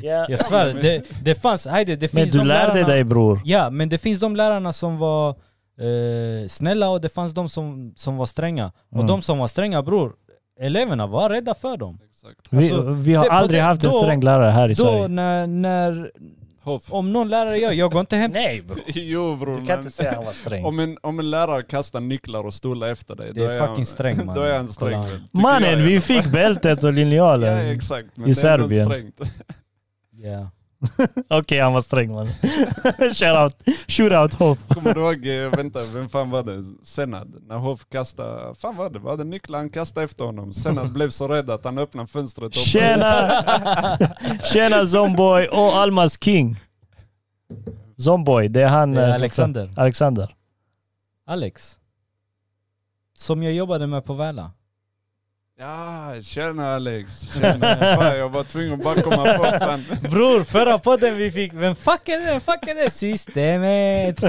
[SPEAKER 2] Ja.
[SPEAKER 1] Jag svär,
[SPEAKER 3] men-
[SPEAKER 1] det, det fanns, hejde, det
[SPEAKER 2] Men
[SPEAKER 1] finns
[SPEAKER 2] du
[SPEAKER 1] de
[SPEAKER 2] lärde
[SPEAKER 1] lärarna-
[SPEAKER 2] dig bror.
[SPEAKER 1] Ja, men det finns de lärarna som var eh, snälla och det fanns de som, som var stränga.
[SPEAKER 2] Mm.
[SPEAKER 1] Och de som var stränga bror, eleverna var rädda för dem.
[SPEAKER 3] Exakt.
[SPEAKER 2] Vi,
[SPEAKER 1] Alltså,
[SPEAKER 2] vi har
[SPEAKER 1] det- på
[SPEAKER 2] aldrig
[SPEAKER 1] det-
[SPEAKER 2] haft en
[SPEAKER 1] då-
[SPEAKER 2] sträng lärare här i
[SPEAKER 1] Då
[SPEAKER 2] Sverige.
[SPEAKER 1] när, när,
[SPEAKER 3] Hoff.
[SPEAKER 1] om någon lärare gör, jag går inte hem.
[SPEAKER 2] Nej bror.
[SPEAKER 3] Jo bror,
[SPEAKER 2] Du kan
[SPEAKER 3] men-
[SPEAKER 2] inte säga att han var sträng.
[SPEAKER 3] om, en, om en lärare kastar nycklar och stolar efter dig,
[SPEAKER 1] Det
[SPEAKER 3] då
[SPEAKER 1] är fucking
[SPEAKER 3] han-
[SPEAKER 1] strängt man.
[SPEAKER 3] Då är han sträng.
[SPEAKER 1] Kolla
[SPEAKER 3] väl,
[SPEAKER 1] här.
[SPEAKER 3] tycker jag.
[SPEAKER 2] Mannen, vi fick bältet och
[SPEAKER 3] Ja
[SPEAKER 2] linjalen.
[SPEAKER 3] exakt, men
[SPEAKER 2] i
[SPEAKER 3] det är ändå
[SPEAKER 2] Serbien.
[SPEAKER 3] strängt.
[SPEAKER 1] Ja.
[SPEAKER 2] Okej, han var sträng man. Shoutout, shootout Hoff.
[SPEAKER 3] Kommer du ihåg, eh, vänta, vem fan var det? Senad, när Hoff kastade, fan var det, var det nycklar han kastade efter honom? Senad blev så rädd att han öppnade fönstret och
[SPEAKER 2] Tjena! Tjena Zomboy och Almas King. Zomboy, det är han...
[SPEAKER 1] Det är
[SPEAKER 2] eh,
[SPEAKER 1] Alexander.
[SPEAKER 2] Alexander.
[SPEAKER 1] Alex. Som jag jobbade med på Väla.
[SPEAKER 3] Ja, tjena Alex. Tjena. Fan, jag var tvungen att bara komma på fan.
[SPEAKER 1] Bror, förra podden vi fick, vem fuck är det? Vem fuck är det? Systemet!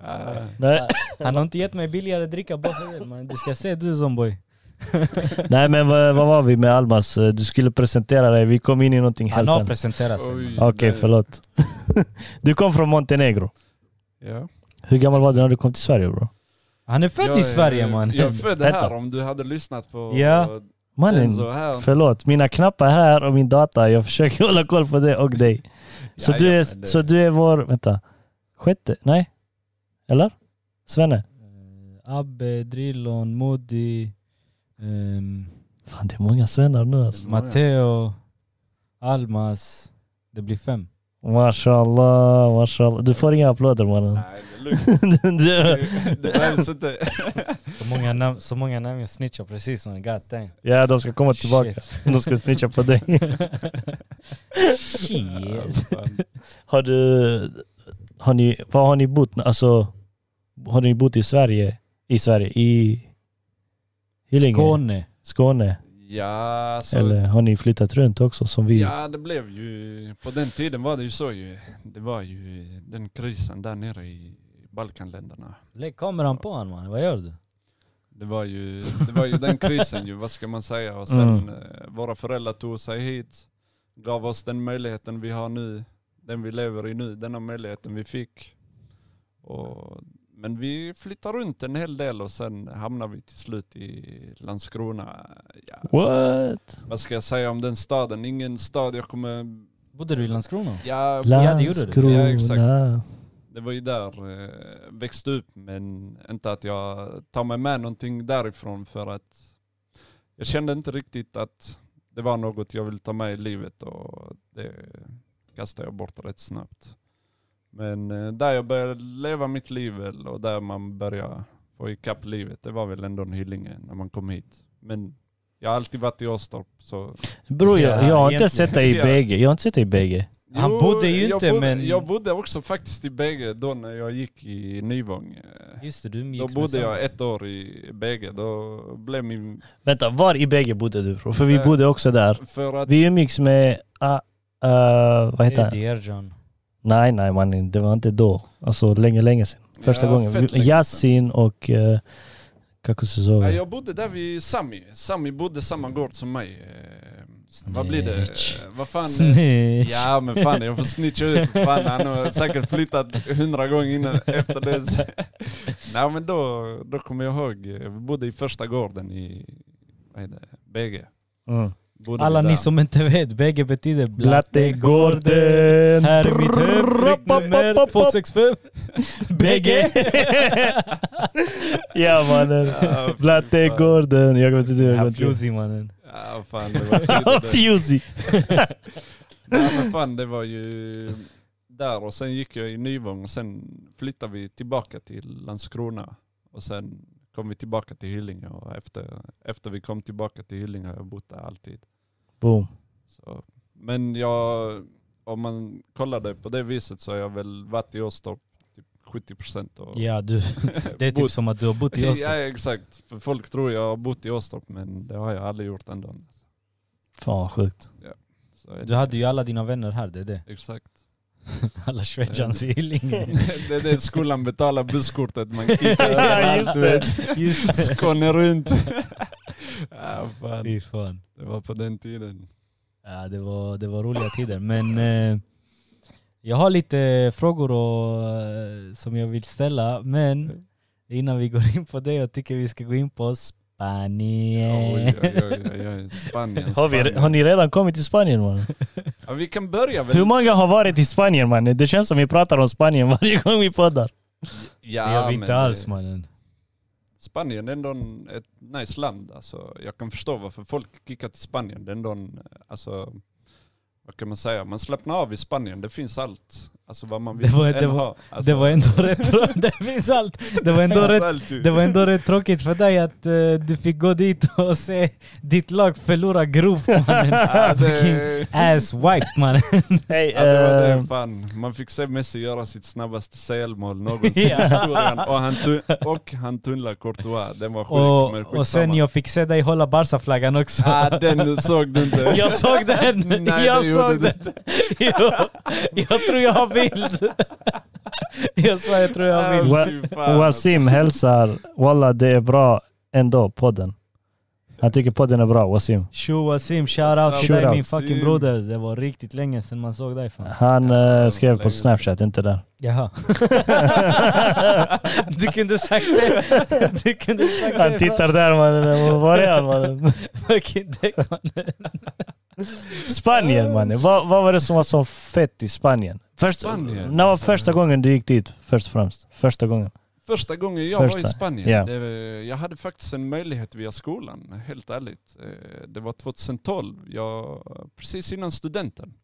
[SPEAKER 3] Ah,
[SPEAKER 2] Nej,
[SPEAKER 1] Han har inte gett mig billigare dricka bara för det. Man. Du ska se du som boy.
[SPEAKER 2] nej men vad, vad var vi med Almas? Du skulle presentera dig, vi kom in i någonting
[SPEAKER 1] Han
[SPEAKER 2] helt
[SPEAKER 1] har
[SPEAKER 2] annat.
[SPEAKER 1] presenterat sig.
[SPEAKER 3] oj,
[SPEAKER 2] Okej,
[SPEAKER 3] nej.
[SPEAKER 2] förlåt. Du kom från Montenegro.
[SPEAKER 3] Ja.
[SPEAKER 2] Hur gammal var du när du kom till Sverige bro?
[SPEAKER 1] Han är född
[SPEAKER 3] Jag
[SPEAKER 1] i
[SPEAKER 3] är-
[SPEAKER 1] Sverige man.
[SPEAKER 3] Jag är född
[SPEAKER 2] Vänta.
[SPEAKER 3] här om du hade lyssnat på
[SPEAKER 1] Ja.
[SPEAKER 2] Mannen,
[SPEAKER 3] Enzo här.
[SPEAKER 2] förlåt. Mina knappar här och min data. Jag försöker hålla koll på det och dig. Så,
[SPEAKER 3] Ja,
[SPEAKER 2] du,
[SPEAKER 3] ja,
[SPEAKER 2] är,
[SPEAKER 3] men det-
[SPEAKER 2] så du är vår, vänta, sjätte? Nej? Eller? Svenne?
[SPEAKER 1] Eh, Abbe, Drillon, Modi, ehm,
[SPEAKER 2] Fan det är många svennar nu alltså.
[SPEAKER 1] Matteo, Almas. Det blir fem.
[SPEAKER 2] Mashallah, mashallah. Du får inga applåder mannen.
[SPEAKER 3] Nej, det är lugnt.
[SPEAKER 2] Du-
[SPEAKER 3] Det- Det behövs inte.
[SPEAKER 1] Så många namn, så många namn jag snitchar precis man. God damn.
[SPEAKER 2] ja de ska komma tillbaka. De ska snitcha på dig.
[SPEAKER 1] Shit.
[SPEAKER 3] Fan.
[SPEAKER 2] Har du, har ni, var har ni bott? Alltså, har ni bott i Sverige? I Sverige? I Hyllinge?
[SPEAKER 1] Skåne.
[SPEAKER 2] Skåne?
[SPEAKER 3] Ja, så,
[SPEAKER 2] Eller har ni flyttat runt också som vi?
[SPEAKER 3] ja, det blev ju... På den tiden var det ju så ju. Det var ju den krisen där nere i Balkanländerna.
[SPEAKER 1] Lägg kameran på honom mannen, vad gör du?
[SPEAKER 3] Det var ju, det var ju den krisen ju, vad ska man säga. Och sen
[SPEAKER 2] Mm.
[SPEAKER 3] eh, våra föräldrar tog sig hit, gav oss den möjligheten vi har nu, den vi lever i nu, denna möjligheten vi fick. Och, men vi flyttar runt en hel del och sen hamnar vi till slut i Landskrona. Ja,
[SPEAKER 2] What?
[SPEAKER 3] vad ska jag säga om den staden? Ingen stad jag kommer...
[SPEAKER 1] Bodde du i Landskrona?
[SPEAKER 3] Ja,
[SPEAKER 1] Ja, det gjorde du.
[SPEAKER 2] Landskrona.
[SPEAKER 3] Ja, exakt. det var ju där eh, växte upp men inte att jag tar mig med någonting därifrån för att jag kände inte riktigt att det var något jag ville ta med i livet och det kastade jag bort rätt snabbt. Men eh, där jag började leva mitt liv väl och där man började få ikapp livet, det var väl ändå en Hyllinge när man kom hit. Men jag har alltid varit i Åstorp så...
[SPEAKER 2] Bror jag, jag har
[SPEAKER 1] egentligen.
[SPEAKER 2] inte sett dig i
[SPEAKER 3] Ja.
[SPEAKER 2] bägge. Jag har inte sett dig i bägge.
[SPEAKER 1] Han bodde ju
[SPEAKER 3] jag
[SPEAKER 1] inte,
[SPEAKER 3] bodde,
[SPEAKER 1] men-
[SPEAKER 3] Jag bodde också faktiskt i bägge då när jag gick i Nyvång. eh,
[SPEAKER 1] Just det, du umgicks
[SPEAKER 3] Då
[SPEAKER 1] med
[SPEAKER 3] bodde
[SPEAKER 1] samma-
[SPEAKER 3] jag ett år i bägge, då blev min...
[SPEAKER 2] Vänta, var i bägge bodde du bror? För vi
[SPEAKER 3] Eh.
[SPEAKER 2] bodde också där.
[SPEAKER 3] För att...
[SPEAKER 2] Vi umgicks med... ah, eh, vad heter han?
[SPEAKER 1] Eddie Erjan.
[SPEAKER 2] Nej nej mannen, det var inte då. Alltså länge länge sedan. Första
[SPEAKER 3] Ja,
[SPEAKER 2] gången.
[SPEAKER 3] fett
[SPEAKER 2] Vi-
[SPEAKER 3] länge sedan.
[SPEAKER 2] Yasin och uh, Kaku
[SPEAKER 3] Nej,
[SPEAKER 2] Sezovi.
[SPEAKER 3] jag bodde där vid Sami. Sami bodde samma gård som mig. Eh, Vad blir det?
[SPEAKER 1] Snitch.
[SPEAKER 3] Eh, Vad fan? eh,
[SPEAKER 1] Snitch.
[SPEAKER 3] Ja men fan jag får snitcha ut. Fan, han har säkert flyttat hundra gånger innan efter det. Nej men då, då kommer jag ihåg, eh, vi bodde i första gården i, vad är det, bägge.
[SPEAKER 2] Mm.
[SPEAKER 3] Bodde vi
[SPEAKER 1] Alla
[SPEAKER 3] där.
[SPEAKER 1] ni som inte vet, bägge betyder
[SPEAKER 2] Blattegården.
[SPEAKER 1] Här är mitt huvudnummer 265. Bägge.
[SPEAKER 2] ja mannen.
[SPEAKER 3] Ja,
[SPEAKER 2] Blattegården. Jag vet inte hur jag
[SPEAKER 1] Ja,
[SPEAKER 2] går till.
[SPEAKER 1] Fjusi mannen.
[SPEAKER 3] Ja fan det var tidigt det.
[SPEAKER 2] Fjusi.
[SPEAKER 3] Nej men fan det var ju där och sen gick jag i Nyvång och sen flyttade vi tillbaka till Landskrona. Och sen kom vi tillbaka till Hyllinge och efter, efter vi kom tillbaka till Hyllinge har jag bott där alltid.
[SPEAKER 2] Boom.
[SPEAKER 3] Så. Men jag, om man kollar det på det viset så har jag väl varit i Åstorp typ 70 procent.
[SPEAKER 1] Ja du, det är typ
[SPEAKER 3] Bott.
[SPEAKER 1] som att du har bott i
[SPEAKER 3] Ja
[SPEAKER 1] Åstorp.
[SPEAKER 3] exakt, för folk tror jag har bott i Åstorp men det har jag aldrig gjort ändå.
[SPEAKER 2] Fan vad sjukt.
[SPEAKER 3] Så är
[SPEAKER 1] Du
[SPEAKER 3] det-
[SPEAKER 1] hade ju alla dina vänner här, det är det.
[SPEAKER 3] Exakt.
[SPEAKER 1] Alla schweizans i Hyllinge.
[SPEAKER 3] det är det skolan betalar busskortet man
[SPEAKER 2] Ja, just det.
[SPEAKER 1] Just det.
[SPEAKER 3] Skåne runt. ja, fan.
[SPEAKER 1] Fy fan.
[SPEAKER 3] Det var på den tiden.
[SPEAKER 1] Ja, det, var, det var roliga tider. Men eh, jag har lite frågor och, eh, som jag vill ställa. Men innan vi går in på det, jag tycker vi ska gå in på Spanien.
[SPEAKER 3] Oj, oj, oj, oj, oj. Spanien,
[SPEAKER 2] Har, vi,
[SPEAKER 3] Spanien.
[SPEAKER 2] har ni redan kommit till Spanien mannen?
[SPEAKER 3] Ja, vi kan börja
[SPEAKER 2] Hur
[SPEAKER 3] väl?
[SPEAKER 2] många har varit i Spanien mannen? Det känns som vi pratar om Spanien varje gång vi poddar.
[SPEAKER 1] det gör vi
[SPEAKER 3] men
[SPEAKER 1] inte alls
[SPEAKER 3] det-
[SPEAKER 1] mannen.
[SPEAKER 3] Spanien är ändå en- ett nice land. Alltså, jag kan förstå varför folk kickar till Spanien. Det är ändå en, alltså, vad kan man säga? Man slappnar av i Spanien. Det finns allt. Alltså vad man
[SPEAKER 1] Det
[SPEAKER 3] vill
[SPEAKER 1] var- det
[SPEAKER 3] än
[SPEAKER 1] var-
[SPEAKER 3] ha. Alltså,
[SPEAKER 1] det var ändå rätt tråkigt. Det finns allt. Det var ändå
[SPEAKER 3] finns
[SPEAKER 1] rätt
[SPEAKER 3] allt ju.
[SPEAKER 1] det var ändå rätt tråkigt för dig att eh, du fick gå dit och se ditt lag förlora grovt mannen.
[SPEAKER 3] Ja,
[SPEAKER 1] Fucking
[SPEAKER 3] det-
[SPEAKER 1] ass wiped mannen.
[SPEAKER 2] Hey,
[SPEAKER 3] Ja, det var
[SPEAKER 2] eh,
[SPEAKER 3] det, fan. Man fick se Messi göra sitt snabbaste CL-mål någonsin i
[SPEAKER 2] Ja.
[SPEAKER 3] historien. Och han, tu- och han tunnlar Courtois. Den var sjuk, men
[SPEAKER 1] Och,
[SPEAKER 3] skitsamma.
[SPEAKER 1] och sen jag fick se dig hålla Barca-flaggan också.
[SPEAKER 3] Ah, den såg du inte.
[SPEAKER 1] Jag såg den!
[SPEAKER 3] Nej,
[SPEAKER 1] jag
[SPEAKER 3] det gjorde
[SPEAKER 1] såg
[SPEAKER 3] du
[SPEAKER 1] den! Jo, jag tror jag har bild. Jag svär, jag tror jag har bild.
[SPEAKER 2] Wa-
[SPEAKER 3] Ah, fy fan.
[SPEAKER 2] Wasim hälsar, walla det är bra ändå podden. Han tycker podden är bra, Wasim.
[SPEAKER 1] Tjo Wasim, shoutout till dig
[SPEAKER 2] Shoutout.
[SPEAKER 1] min fucking
[SPEAKER 3] Wasim.
[SPEAKER 1] broder. Det var riktigt länge sedan man såg dig fan.
[SPEAKER 2] Han
[SPEAKER 3] Ja,
[SPEAKER 2] eh, skrev på
[SPEAKER 3] länge sedan.
[SPEAKER 2] Snapchat, inte där.
[SPEAKER 1] Jaha. du kunde sagt det. Du kunde sagt det.
[SPEAKER 2] Han tittar där mannen, var är han mannen?
[SPEAKER 1] Fucking däck mannen.
[SPEAKER 2] Spanien mannen, vad, vad var det som var så fett i Spanien? Först,
[SPEAKER 3] Spanien,
[SPEAKER 2] när var
[SPEAKER 3] alltså.
[SPEAKER 2] första gången du gick dit? Först och främst. Första gången.
[SPEAKER 3] Första gången jag var
[SPEAKER 2] Första,
[SPEAKER 3] i Spanien,
[SPEAKER 2] ja.
[SPEAKER 3] det, jag hade faktiskt en möjlighet via skolan, helt ärligt. Eh, Det var 2012, jag, precis innan studenten.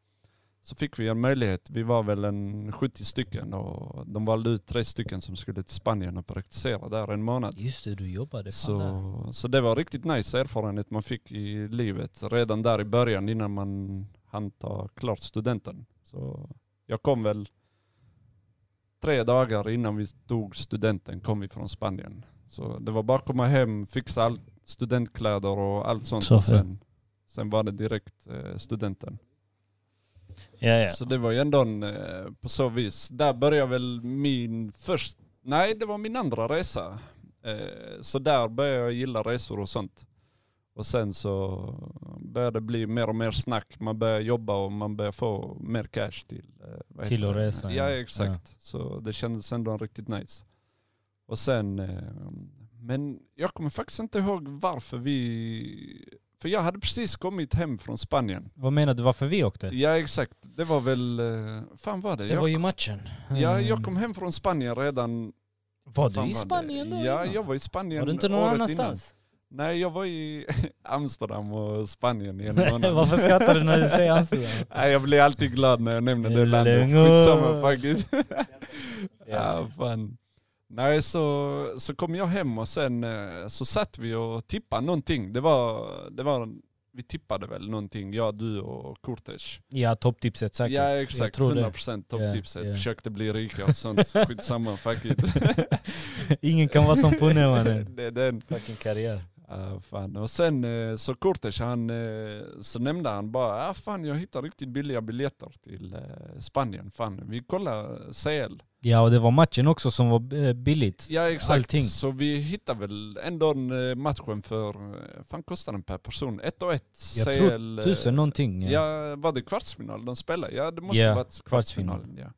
[SPEAKER 3] Så fick vi en möjlighet, vi var väl en 70 stycken och de valde ut tre stycken som skulle till Spanien och praktisera där en månad.
[SPEAKER 1] Just det, du jobbade
[SPEAKER 3] Så, så det var riktigt nice erfarenhet man fick i livet redan där i början innan man hann ta klart studenten. Så jag kom väl tre dagar innan vi tog studenten kom vi från Spanien. Så det var bara att komma hem, fixa allt, studentkläder och allt sånt.
[SPEAKER 2] Så
[SPEAKER 3] och
[SPEAKER 2] fel.
[SPEAKER 3] sen, sen var det direkt eh, studenten.
[SPEAKER 2] Ja, ja.
[SPEAKER 3] Så det var ju ändå en, eh, på så vis. Där började väl min först, nej det var min andra resa. Eh, Så där började jag gilla resor och sånt. Och sen så började det bli mer och mer snack. Man börjar jobba och man börjar få mer cash till. eh, vad
[SPEAKER 1] Till
[SPEAKER 3] heter
[SPEAKER 1] att
[SPEAKER 3] det?
[SPEAKER 1] resa,
[SPEAKER 3] Ja,
[SPEAKER 1] ja.
[SPEAKER 3] exakt. Så det kändes ändå riktigt nice. Och sen, eh, men jag kommer faktiskt inte ihåg varför vi, för jag hade precis kommit hem från Spanien.
[SPEAKER 1] Vad menar du, varför vi åkte?
[SPEAKER 3] Ja exakt, det var väl, eh, fan var det?
[SPEAKER 1] Det
[SPEAKER 3] jag,
[SPEAKER 1] var ju matchen.
[SPEAKER 3] ja,
[SPEAKER 1] Eh,
[SPEAKER 3] jag kom hem från Spanien redan.
[SPEAKER 1] Var
[SPEAKER 3] fan
[SPEAKER 1] du i Spanien
[SPEAKER 3] det?
[SPEAKER 1] då?
[SPEAKER 3] Ja,
[SPEAKER 1] innan?
[SPEAKER 3] jag var i Spanien
[SPEAKER 1] Var du inte någon
[SPEAKER 3] året
[SPEAKER 1] annanstans?
[SPEAKER 3] Innan. Nej, jag var i Amsterdam och Spanien i en månad.
[SPEAKER 1] Varför skrattar du när du säger Amsterdam?
[SPEAKER 3] Nej, jag blir alltid glad när jag nämner det landet.
[SPEAKER 1] Lugn och-
[SPEAKER 3] Skitsamma faktiskt. ja, fan. Nej, så, så kom jag hem och sen eh, så satt vi och tippade någonting. Det var, det var, vi tippade väl någonting, jag, du och Kurtes.
[SPEAKER 1] Ja, topptipset säkert.
[SPEAKER 3] Ja exakt,
[SPEAKER 1] tror det.
[SPEAKER 3] 100% topptipset.
[SPEAKER 1] Ja, ja.
[SPEAKER 3] Försökte bli rika och sånt, skitsamma, fuck it.
[SPEAKER 1] Ingen kan vara som Pune mannen.
[SPEAKER 3] det är den.
[SPEAKER 1] Fucking karriär.
[SPEAKER 3] Ja, fan. Och sen eh, så Kurtes, han, eh, så nämnde han bara, ah, fan jag hittar riktigt billiga biljetter till eh, Spanien. Fan, vi kollar eh, CL.
[SPEAKER 1] Ja, och det var matchen också som var eh, billigt.
[SPEAKER 3] Ja exakt,
[SPEAKER 1] Allting.
[SPEAKER 3] så vi hittar väl ändå en, eh, matchen för, eh, fan kostar den per person? Ett och ett
[SPEAKER 1] Jag
[SPEAKER 3] CL.
[SPEAKER 1] tror
[SPEAKER 3] eh,
[SPEAKER 1] Tusen någonting. eh.
[SPEAKER 3] Ja, var det kvartsfinal de spelade? Ja, det måste
[SPEAKER 1] Ja,
[SPEAKER 3] ha varit
[SPEAKER 1] kvartsfinal.
[SPEAKER 3] kvartsfinalen. Ja.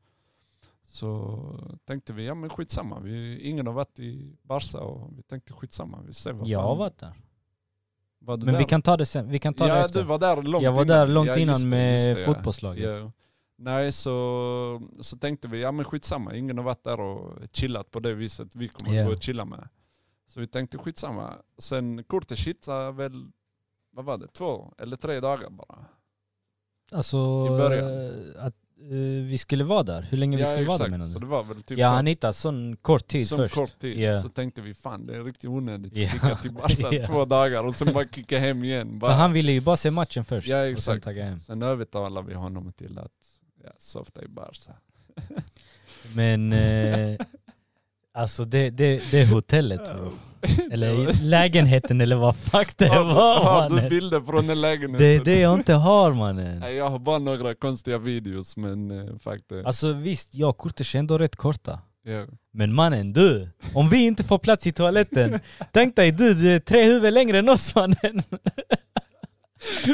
[SPEAKER 3] Så tänkte vi, ja men skitsamma. Vi, ingen har varit i Barca och vi tänkte skitsamma. Vi ser vad
[SPEAKER 1] Jag
[SPEAKER 3] fan.
[SPEAKER 1] har varit där.
[SPEAKER 3] Var du
[SPEAKER 1] Men
[SPEAKER 3] där?
[SPEAKER 1] vi kan ta det sen. Vi kan ta
[SPEAKER 3] ja,
[SPEAKER 1] det efter.
[SPEAKER 3] du var där långt
[SPEAKER 1] jag var
[SPEAKER 3] innan.
[SPEAKER 1] där långt
[SPEAKER 3] Ja,
[SPEAKER 1] innan
[SPEAKER 3] just det,
[SPEAKER 1] med
[SPEAKER 3] just det, ja.
[SPEAKER 1] fotbollslaget.
[SPEAKER 3] Ja. Nej, så, så tänkte vi, ja men skitsamma. Ingen har varit där och chillat på det viset vi kommer
[SPEAKER 1] Ja.
[SPEAKER 3] att gå och chilla med. Så vi tänkte skitsamma. Sen Kurtes hittade väl, vad var det, två eller tre dagar bara.
[SPEAKER 1] Alltså,
[SPEAKER 3] I början.
[SPEAKER 1] eh, att eh, vi skulle vara där. Hur länge vi skulle vara där menar
[SPEAKER 3] Så
[SPEAKER 1] du?
[SPEAKER 3] det var väl typ
[SPEAKER 1] ja,
[SPEAKER 3] så.
[SPEAKER 1] han hittade sån kort tid
[SPEAKER 3] som
[SPEAKER 1] först.
[SPEAKER 3] kort tid.
[SPEAKER 1] Ja.
[SPEAKER 3] Så tänkte vi fan det är riktigt onödigt att
[SPEAKER 1] Ja.
[SPEAKER 3] skicka till Barca
[SPEAKER 1] Ja.
[SPEAKER 3] två dagar och sen bara kicka hem igen.
[SPEAKER 1] För
[SPEAKER 3] Bara.
[SPEAKER 1] han ville ju bara se matchen först.
[SPEAKER 3] Ja,
[SPEAKER 1] Och sen
[SPEAKER 3] exakt.
[SPEAKER 1] tagga hem.
[SPEAKER 3] Sen övertalar vi honom till att ja, softa i Barca.
[SPEAKER 1] Men eh, alltså det, det, det hotellet bro. Eller lägenheten eller vad fuck det
[SPEAKER 3] Har du-
[SPEAKER 1] var
[SPEAKER 3] Har du
[SPEAKER 1] mannen.
[SPEAKER 3] bilder från den lägenheten?
[SPEAKER 1] Det är det jag inte har mannen.
[SPEAKER 3] Nej, jag har bara några konstiga videos men eh, faktiskt.
[SPEAKER 1] Alltså visst, jag och Kurtis är ändå rätt korta.
[SPEAKER 3] Ja.
[SPEAKER 1] Men mannen du, om vi inte får plats i toaletten, tänk dig du, du är tre huvud längre än oss mannen.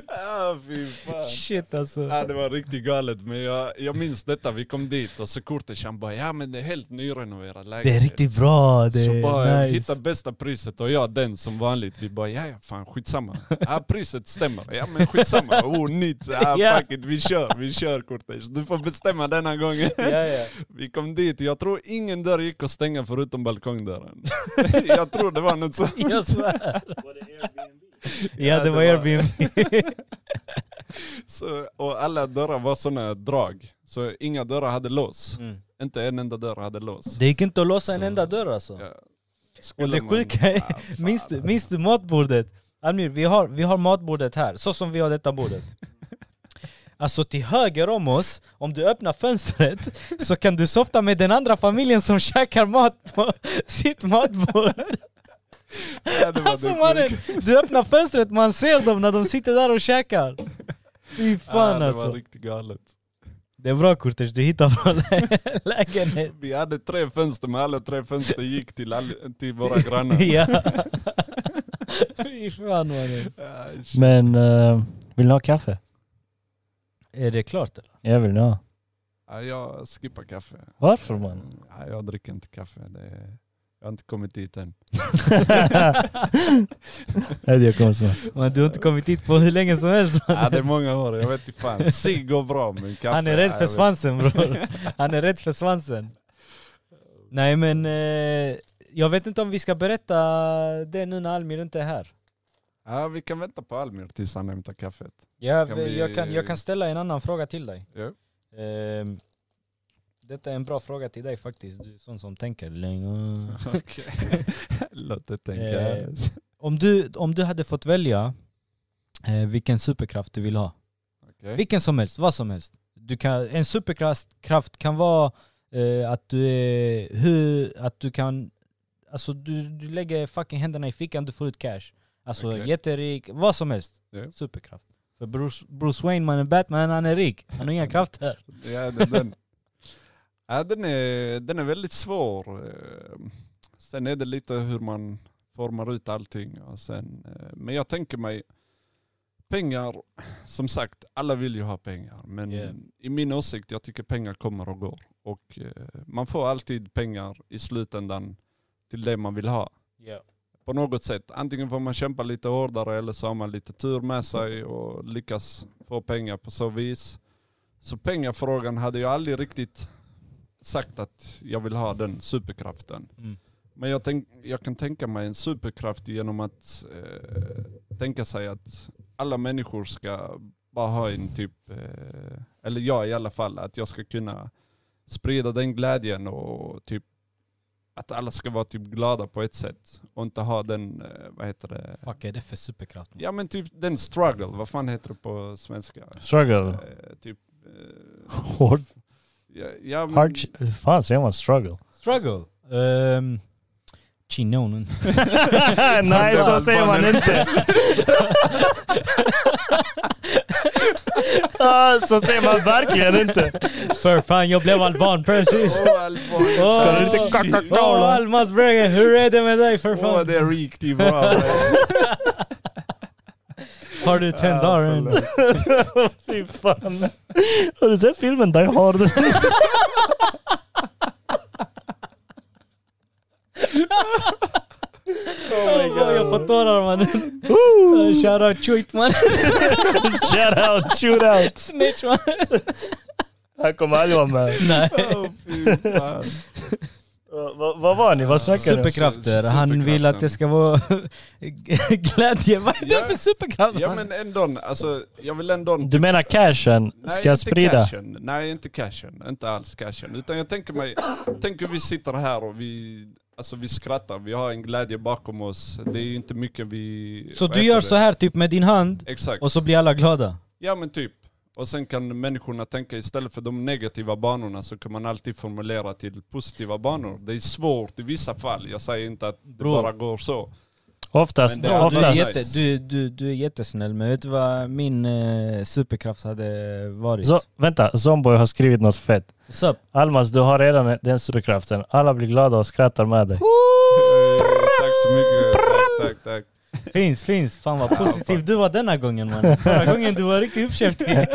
[SPEAKER 3] Ah, fy fan.
[SPEAKER 1] Shit alltså.
[SPEAKER 3] Ja, det var riktigt galet men jag, jag minns detta, vi kom dit och så Kurtis han bara ja men det är helt nyrenoverad lägenhet.
[SPEAKER 1] Det är riktigt bra, det
[SPEAKER 3] så bara
[SPEAKER 1] är
[SPEAKER 3] hitta
[SPEAKER 1] nice.
[SPEAKER 3] bästa priset och jag den som vanligt. Vi bara ja ja fan skitsamma. Ja priset stämmer. Ja men skitsamma. Oh nytt. Ja
[SPEAKER 1] Ja.
[SPEAKER 3] fuck it. Vi kör. Vi kör Kurtis. Du får bestämma denna gången.
[SPEAKER 1] Ja, ja.
[SPEAKER 3] Vi kom dit. Jag tror ingen dörr gick att stänga förutom balkongdörren. jag tror det var något så.
[SPEAKER 1] Jag svär. Ja det var Airbnb.
[SPEAKER 3] så och alla dörrar var sådana drag. Så inga dörrar hade lås.
[SPEAKER 1] Mm.
[SPEAKER 3] Inte en enda dörr hade lås.
[SPEAKER 1] Det gick inte att låsa en
[SPEAKER 3] Så-
[SPEAKER 1] enda dörr alltså.
[SPEAKER 3] Ja.
[SPEAKER 1] Och
[SPEAKER 3] Skulle
[SPEAKER 1] det
[SPEAKER 3] man-
[SPEAKER 1] sjuka är,
[SPEAKER 3] Ah, fan.
[SPEAKER 1] minns du, minns du matbordet? Amir, vi har, vi har matbordet här, så som vi har detta bordet. Alltså till höger om oss, om du öppnar fönstret så kan du softa med den andra familjen som käkar mat på sitt matbord.
[SPEAKER 3] Ja, det var
[SPEAKER 1] Alltså
[SPEAKER 3] det
[SPEAKER 1] mannen,
[SPEAKER 3] sjuka.
[SPEAKER 1] du öppnar fönstret, man ser dem när de sitter där och käkar. Fy
[SPEAKER 3] Ah,
[SPEAKER 1] fan
[SPEAKER 3] det
[SPEAKER 1] alltså.
[SPEAKER 3] var riktigt galet.
[SPEAKER 1] Det är bra Kurtis, du hittar bra lä- lägenhet.
[SPEAKER 3] Vi hade tre fönster, men alla tre fönster gick till, all, till våra grannar.
[SPEAKER 1] Ja. Fy fan mannen.
[SPEAKER 3] Ah, shit.
[SPEAKER 2] Men eh, vill ni ha kaffe?
[SPEAKER 1] Är det klart eller?
[SPEAKER 2] Jag vill ni ha.
[SPEAKER 3] Ja, jag skippar kaffe.
[SPEAKER 2] Varför man?
[SPEAKER 3] Ja, jag dricker inte kaffe. Det är... Jag har inte kommit dit än.
[SPEAKER 2] Nej, det kommer snart.
[SPEAKER 1] Men du har inte kommit hit på hur länge som helst.
[SPEAKER 3] Ja, det är många år, jag vet inte fan. Sig går bra men kaffe...
[SPEAKER 1] Han är
[SPEAKER 3] ja,
[SPEAKER 1] rädd för
[SPEAKER 3] jag
[SPEAKER 1] svansen bror. Han är rädd för svansen. Nej men, eh, jag vet inte om vi ska berätta det nu när Almir inte är här.
[SPEAKER 3] vet. Ja, vi kan vänta på Almir tills han hämtar kaffet.
[SPEAKER 1] Jag
[SPEAKER 3] Kan vi-
[SPEAKER 1] jag, kan, jag kan ställa en annan fråga till dig.
[SPEAKER 3] Ja.
[SPEAKER 1] Ehm, detta är en bra fråga till dig faktiskt, du är sån som tänker länge.
[SPEAKER 3] Okej. Låt det tänka.
[SPEAKER 1] Eh. Om du, om du hade fått välja eh, vilken superkraft du vill ha,
[SPEAKER 3] Okej.
[SPEAKER 1] Vilken som helst, vad som helst. Du kan, en superkraft kraft kan vara eh, att du är hur, att du kan, alltså du, du lägger fucking händerna i fickan, du får ut cash. Alltså
[SPEAKER 3] Okej.
[SPEAKER 1] jätterik, vad som helst.
[SPEAKER 3] Ja.
[SPEAKER 1] Superkraft. För Bruce, Bruce Wayne, mannen Batman, han är rik. Han har inga krafter.
[SPEAKER 3] Ja, den, den. ja, den, är, den är väldigt svår. Eh, Sen är det lite hur man formar ut allting. Och sen, eh, men jag tänker mig, pengar, som sagt, alla vill ju ha pengar. Men
[SPEAKER 1] Ja.
[SPEAKER 3] i min åsikt, jag tycker pengar kommer och går. Och eh, man får alltid pengar i slutändan till det man vill ha. På något sätt, antingen får man kämpa lite hårdare eller så har man lite tur med sig och lyckas få pengar på så vis. Så pengafrågan hade jag aldrig riktigt sagt att jag vill ha den superkraften.
[SPEAKER 1] Mm.
[SPEAKER 3] Men jag, tänk, jag kan tänka mig en superkraft genom att eh, tänka sig att alla människor ska bara ha en typ, eh, eller jag i alla fall, att jag ska kunna sprida den glädjen och typ att alla ska vara typ glada på ett sätt och inte ha den, eh, vad heter det,
[SPEAKER 1] Fuck är det för superkraft? man?
[SPEAKER 3] ja men typ den struggle, vad fan heter det på svenska?
[SPEAKER 2] Struggle.
[SPEAKER 3] Eh, typ, eh,
[SPEAKER 2] Hård.
[SPEAKER 3] ja, ja, men-
[SPEAKER 2] Hard. Hur fan säger man struggle?
[SPEAKER 1] Struggle. Um, Chinonen.
[SPEAKER 2] Nej, så säger man inte. Ah, så säger man verkligen inte.
[SPEAKER 1] För fan, jag blev alban precis.
[SPEAKER 3] Åh, allvarligt.
[SPEAKER 1] Åh.
[SPEAKER 2] Ska du lite kacka
[SPEAKER 1] Åh Almas Brege, hur är det med dig för fan?
[SPEAKER 3] Åh, det är riktigt bra.
[SPEAKER 1] Har du tänt Darin?
[SPEAKER 3] förlåt.
[SPEAKER 2] Fy fan. Har du sett filmen Die Hard?
[SPEAKER 3] Oh my god.
[SPEAKER 1] Jag får tårar mannen. Shoutout Chuit mannen.
[SPEAKER 2] Shout out, shoot out.
[SPEAKER 1] Snitch mannen.
[SPEAKER 2] Han kommer aldrig vara med.
[SPEAKER 1] Nej.
[SPEAKER 3] Åh, fy fan.
[SPEAKER 2] Vad vad var ni? Vad snackade ni?
[SPEAKER 1] Superkrafter. Han vill att det ska vara glädje. Vad är det
[SPEAKER 3] Ja.
[SPEAKER 1] för superkraft?
[SPEAKER 3] Ja
[SPEAKER 1] mannen?
[SPEAKER 3] men ändå, alltså jag vill ändå...
[SPEAKER 2] Du menar cashen
[SPEAKER 3] Nej,
[SPEAKER 2] ska
[SPEAKER 3] inte
[SPEAKER 2] sprida?
[SPEAKER 3] Cashen. Nej, inte cashen. Inte alls cashen. Utan jag tänker mig, tänk hur vi sitter här och vi, alltså vi skrattar. Vi har en glädje bakom oss. Det är ju inte mycket vi...
[SPEAKER 1] Så
[SPEAKER 3] vad
[SPEAKER 1] du
[SPEAKER 3] heter
[SPEAKER 1] gör
[SPEAKER 3] det?
[SPEAKER 1] så här typ med din hand
[SPEAKER 3] Exakt.
[SPEAKER 1] och så blir alla glada?
[SPEAKER 3] Ja men typ. Och sen kan människorna tänka istället för de negativa banorna så kan man alltid formulera till positiva banor. Det är svårt i vissa fall. Jag säger inte att det
[SPEAKER 1] Bror.
[SPEAKER 3] bara går så.
[SPEAKER 2] Oftast.
[SPEAKER 3] Men det-
[SPEAKER 1] Du är,
[SPEAKER 2] oftast.
[SPEAKER 1] jätte, du, du, du är jättesnäll men vet du vad min eh, superkraft hade varit?
[SPEAKER 2] Så, vänta, Zomboy har skrivit något fett.
[SPEAKER 1] What's up?
[SPEAKER 2] Almas, du har redan den superkraften. Alla blir glada och skrattar med dig.
[SPEAKER 3] Eh, Tack så mycket. Tack, tack, tack.
[SPEAKER 1] Finns, finns. Fan vad positiv du var denna gången mannen. Förra gången du var riktigt uppkäftig.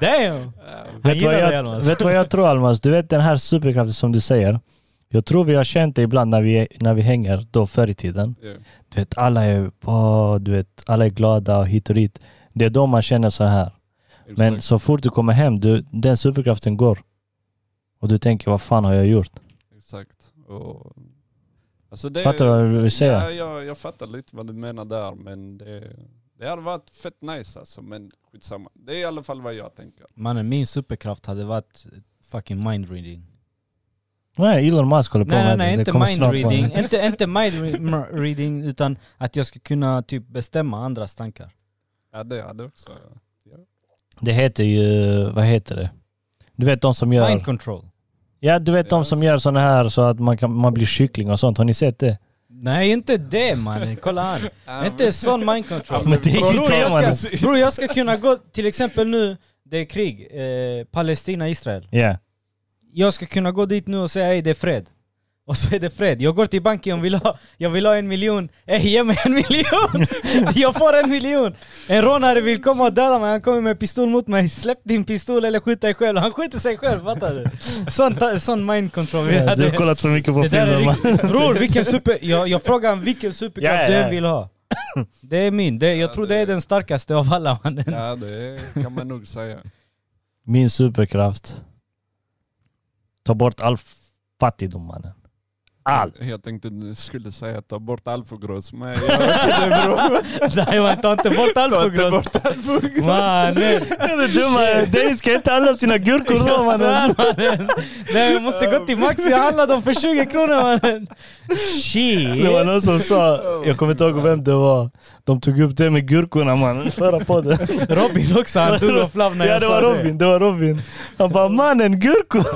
[SPEAKER 1] Damn! Han
[SPEAKER 2] Vet du,
[SPEAKER 1] gillar
[SPEAKER 2] vad
[SPEAKER 1] dig
[SPEAKER 2] jag,
[SPEAKER 1] Almas.
[SPEAKER 2] vet du vad jag tror Almas? Du vet den här superkraften som du säger. Jag tror vi har känt det ibland när vi, är- när vi hänger då förr i tiden.
[SPEAKER 3] Ja.
[SPEAKER 2] Du vet, alla är, åh, du vet, alla är glada och hit och dit. Det är då man känner så här. Men
[SPEAKER 3] Exakt.
[SPEAKER 2] så fort du kommer hem, du, den superkraften går. Och du tänker, vad fan har jag gjort?
[SPEAKER 3] Exakt. Och, alltså det,
[SPEAKER 2] Fattar du vad jag vill säga?
[SPEAKER 3] Ja, jag, jag fattar lite vad du menar där, men det, det hade varit fett nice alltså, men skitsamma. Det är i alla fall vad jag tänker.
[SPEAKER 1] Mannen min superkraft hade varit fucking mind reading.
[SPEAKER 2] Nej, Elon Musk håller på
[SPEAKER 1] Nej nej
[SPEAKER 2] med
[SPEAKER 1] nej,
[SPEAKER 2] det.
[SPEAKER 1] inte
[SPEAKER 2] det. kommer
[SPEAKER 1] mind
[SPEAKER 2] snart vara-
[SPEAKER 1] reading. Inte, inte mind re- m- reading utan att jag ska kunna typ bestämma andras tankar.
[SPEAKER 3] Ja, det hade också.
[SPEAKER 2] Det heter ju, vad heter det? Du vet de som gör...
[SPEAKER 1] Mind control.
[SPEAKER 2] Ja, du vet de
[SPEAKER 3] Ja.
[SPEAKER 2] som gör såna här så att man, kan, man blir kyckling och sånt. Har ni sett det?
[SPEAKER 1] Nej inte det mannen, kolla han. Inte sån mind control.
[SPEAKER 2] Ja, men det är ju
[SPEAKER 1] Bror
[SPEAKER 2] det
[SPEAKER 1] jag,
[SPEAKER 2] man...
[SPEAKER 1] ska, bror jag ska kunna gå, till exempel nu, det är krig, eh, Palestina-Israel.
[SPEAKER 2] Ja.
[SPEAKER 1] Jag ska kunna gå dit nu och säga ey det är fred. Och så är det fred. Jag går till banken och vill ha, jag vill ha en miljon. Ey ge mig en miljon! Jag får en miljon! En rånare vill komma och döda mig, han kommer med pistol mot mig. Släpp din pistol eller skjut dig själv. Han skjuter sig själv, fattar du? Sån, ta- sån mind control vi
[SPEAKER 2] Ja, Du har
[SPEAKER 1] hade.
[SPEAKER 2] kollat för mycket på
[SPEAKER 1] Det där är
[SPEAKER 2] filmer. man.
[SPEAKER 1] riktigt, bror vilken super... Jag, jag frågar vilken superkraft
[SPEAKER 2] Ja, ja,
[SPEAKER 1] du
[SPEAKER 2] ja.
[SPEAKER 1] än vill ha. Det är min, det, jag
[SPEAKER 3] Ja,
[SPEAKER 1] tror
[SPEAKER 3] det-
[SPEAKER 1] det är den starkaste av alla mannen.
[SPEAKER 3] Ja, det kan man nog säga.
[SPEAKER 2] Min superkraft. Ta bort all fattigdom mannen. All.
[SPEAKER 3] Jag tänkte du skulle säga ta bort alfogros, men jag vet inte bror.
[SPEAKER 1] Nej man tar inte bort allt
[SPEAKER 3] Ta
[SPEAKER 1] på
[SPEAKER 3] inte
[SPEAKER 1] grund.
[SPEAKER 3] bort alfogros.
[SPEAKER 1] Mannen!
[SPEAKER 2] Är du dum? Dennis ska inte handla sina gurkor då
[SPEAKER 1] Jag
[SPEAKER 2] mannen.
[SPEAKER 1] svär mannen! Nej jag måste gå till Maxi och handla dem för 20 kronor mannen!
[SPEAKER 2] Det var
[SPEAKER 1] Shit!
[SPEAKER 2] någon som sa,
[SPEAKER 1] Oh.
[SPEAKER 2] jag kommer inte ihåg vem det var. De tog upp det med gurkorna mannen, förra podden.
[SPEAKER 1] Robin också, han dog av flav när
[SPEAKER 2] Ja
[SPEAKER 1] jag
[SPEAKER 2] det
[SPEAKER 1] sa
[SPEAKER 2] var Robin, det var Robin. Han bara mannen gurkor.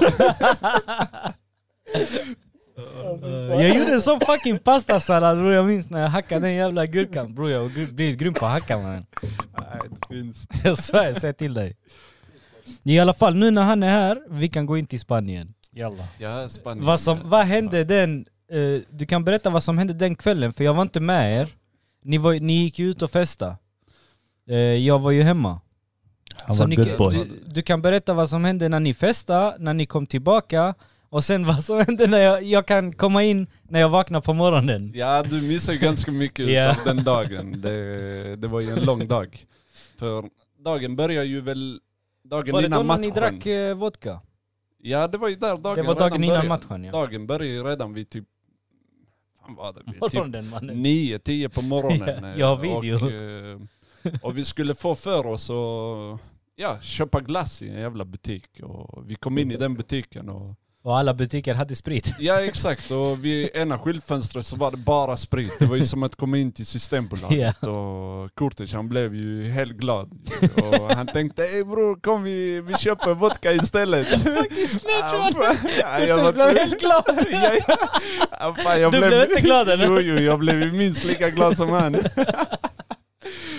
[SPEAKER 1] Jag gjorde en sån fucking pastasallad bror, jag minns när jag hackade den jävla gurkan bror. Jag har gr- blivit grym på att hacka mannen.
[SPEAKER 3] Nej, det finns.
[SPEAKER 1] Jag svär, jag säger till dig. I alla fall, nu när han är här, vi kan gå in till Spanien.
[SPEAKER 2] Jalla.
[SPEAKER 3] Ja, Spanien.
[SPEAKER 1] Vad, som, vad hände den... eh, du kan berätta vad som hände den kvällen, för jag var inte med er. Ni, var, ni gick ju ut och festa. Eh, jag var ju hemma.
[SPEAKER 2] Han
[SPEAKER 1] Så
[SPEAKER 2] var
[SPEAKER 1] ni,
[SPEAKER 2] good boy.
[SPEAKER 1] Du, du kan berätta vad som hände när ni festade, när ni kom tillbaka, och sen vad som hände när jag, jag kan komma in när jag vaknar på morgonen.
[SPEAKER 3] Ja, du missar ju ganska mycket
[SPEAKER 1] Ja.
[SPEAKER 3] utav den dagen. Det, det var ju en lång dag. För dagen börjar ju väl dagen
[SPEAKER 1] Var det då
[SPEAKER 3] innan
[SPEAKER 1] när
[SPEAKER 3] matchen.
[SPEAKER 1] ni drack eh, vodka?
[SPEAKER 3] Ja, det var ju där dagen
[SPEAKER 1] det var
[SPEAKER 3] redan
[SPEAKER 1] dagen innan
[SPEAKER 3] började.
[SPEAKER 1] matchen ja.
[SPEAKER 3] Dagen börjar ju redan vid typ... Fan var det? Vid typ
[SPEAKER 1] Morgonen mannen.
[SPEAKER 3] nio, tio på morgonen.
[SPEAKER 1] Ja,
[SPEAKER 3] eh,
[SPEAKER 1] jag har video.
[SPEAKER 3] Och, eh, och vi skulle få för oss att ja, köpa glass i en jävla butik. Och vi kom in i den butiken och...
[SPEAKER 1] Och alla butiker hade sprit.
[SPEAKER 3] Ja exakt, och vid ena skyltfönstret så var det bara sprit. Det var ju som att komma in till Systembolaget. Och Kurtis han blev ju helt glad. Och han tänkte ey bror kom vi, vi köper vodka istället.
[SPEAKER 1] Fucking snitch
[SPEAKER 3] Ja,
[SPEAKER 1] mannen!
[SPEAKER 3] Ah, fan, ja, jag var
[SPEAKER 1] Jag blev helt glad!
[SPEAKER 3] Ja, ja. Ja, fan, jag
[SPEAKER 1] Du blev inte glad, eller?
[SPEAKER 3] Jo, jo, jag blev ju minst lika glad som han.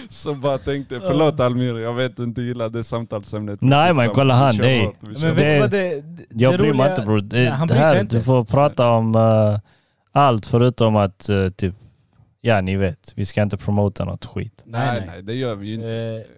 [SPEAKER 3] Så bara tänkte, förlåt Almir, jag vet du inte gillar det samtalsämnet.
[SPEAKER 2] Nej, men
[SPEAKER 3] Skitsamma,
[SPEAKER 2] kolla
[SPEAKER 3] vi
[SPEAKER 2] han,
[SPEAKER 3] kör
[SPEAKER 2] nej.
[SPEAKER 3] hårt, vi kör
[SPEAKER 1] Men
[SPEAKER 3] hårt.
[SPEAKER 1] vet du
[SPEAKER 2] Det-
[SPEAKER 1] vad det, det
[SPEAKER 2] Jag bryr mig
[SPEAKER 1] roliga-
[SPEAKER 2] inte bror. Det,
[SPEAKER 1] Nej, han
[SPEAKER 2] det
[SPEAKER 1] bryr sig
[SPEAKER 2] här,
[SPEAKER 1] inte.
[SPEAKER 2] du får prata om eh, allt förutom att eh, typ, ja ni vet, vi ska inte promota något skit.
[SPEAKER 1] Nej,
[SPEAKER 3] Nej,
[SPEAKER 1] nej.
[SPEAKER 3] nej, det gör vi ju inte.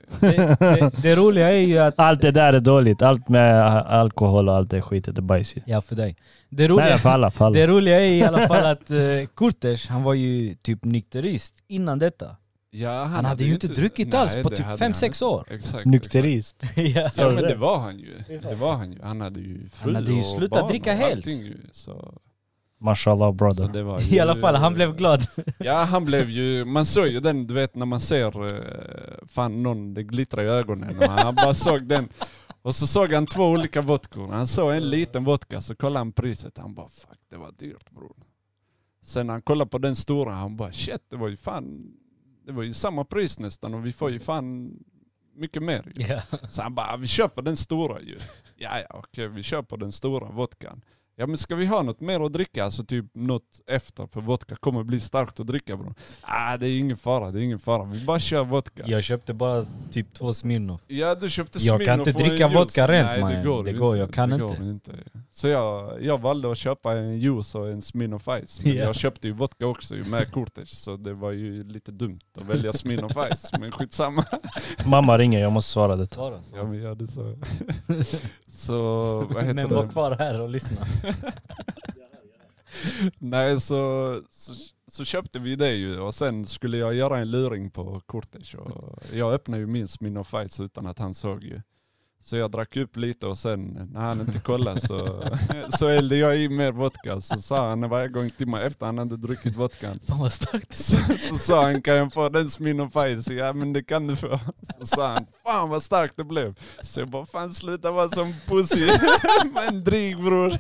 [SPEAKER 1] Eh, det, det, det roliga är ju att...
[SPEAKER 2] Allt det där är dåligt. Allt med eh, alkohol och allt det skitet är bajs ju.
[SPEAKER 1] Ja, för dig. Det
[SPEAKER 2] Nej,
[SPEAKER 1] roliga,
[SPEAKER 2] för alla, för alla.
[SPEAKER 1] det roliga är i alla fall att eh, Kurtes, han var ju typ nykterist innan detta.
[SPEAKER 3] Ja,
[SPEAKER 1] Han hade ju inte druckit
[SPEAKER 3] nej,
[SPEAKER 1] alls på
[SPEAKER 3] det
[SPEAKER 1] typ
[SPEAKER 3] hade
[SPEAKER 1] fem
[SPEAKER 3] han
[SPEAKER 1] sex
[SPEAKER 3] inte.
[SPEAKER 1] år.
[SPEAKER 3] Exakt. exakt.
[SPEAKER 2] Nykterist.
[SPEAKER 1] ja.
[SPEAKER 3] Ja men det var han ju. Det var han ju. Han hade ju fru
[SPEAKER 1] Han hade ju
[SPEAKER 3] och
[SPEAKER 1] slutat
[SPEAKER 3] barn
[SPEAKER 1] dricka
[SPEAKER 3] och
[SPEAKER 1] helt.
[SPEAKER 3] allting ju, Så,
[SPEAKER 2] Mashallah
[SPEAKER 3] så
[SPEAKER 2] brother.
[SPEAKER 3] det var ju,
[SPEAKER 1] I alla fall, han blev glad.
[SPEAKER 3] Ja han blev ju, man såg ju den du vet när man ser, eh, fan någon, det glittrar i ögonen och han bara såg den. Och så såg han två olika vodkor. Han såg en liten vodka så kollade han priset. Han bara fuck det var dyrt bror. Sen när han kollade på den stora han bara shit det var ju fan, det var ju samma pris nästan och vi får ju fan mycket mer ju.
[SPEAKER 1] ja.
[SPEAKER 3] Så han bara, "Ah, vi köper den stora ju. Ja, ja, okej, vi köper den stora vodkan. Ja men ska vi ha något mer att dricka? Alltså typ något efter, för vodka kommer bli starkt att dricka bror. Ah, det är ingen fara, det är ingen fara. Vi bara kör vodka. Ja,
[SPEAKER 1] Jag köpte bara typ två Smirnoff.
[SPEAKER 3] du köpte
[SPEAKER 1] Jag kan
[SPEAKER 3] Smirnoff
[SPEAKER 1] inte
[SPEAKER 3] och en
[SPEAKER 1] dricka
[SPEAKER 3] juice.
[SPEAKER 1] vodka rent,
[SPEAKER 3] Nej,
[SPEAKER 1] mannen.
[SPEAKER 3] det går,
[SPEAKER 1] Det
[SPEAKER 3] ju
[SPEAKER 1] går, jag kan
[SPEAKER 3] det
[SPEAKER 1] inte.
[SPEAKER 3] Går inte. Så jag, jag valde att köpa en juice och en Smirnoff Ice. Men
[SPEAKER 1] Ja.
[SPEAKER 3] jag köpte ju vodka också ju med kortet, så det var ju lite dumt att välja Smirnoff Ice. Men skitsamma.
[SPEAKER 2] Mamma ringer, jag måste svara detta.
[SPEAKER 3] Ja men jag hade så. så vad heter
[SPEAKER 1] Men
[SPEAKER 3] det?
[SPEAKER 1] var kvar här och lyssna.
[SPEAKER 3] Nej, så, så, så köpte vi det ju och sen skulle jag göra en luring på Kurtis. Och jag öppnade ju min Smin of Fights utan att han såg ju. Så jag drack upp lite och sen när han inte kollade så, så hällde jag i mer vodka. Så sa han varje gång till mig efter han hade druckit vodkan.
[SPEAKER 1] Fan vad starkt.
[SPEAKER 3] Så, så sa han kan jag få den Smin of Fights? Ja men det kan du få. Så sa han fan vad starkt det blev. Så jag bara fan sluta vara som pussy. Men drick bror.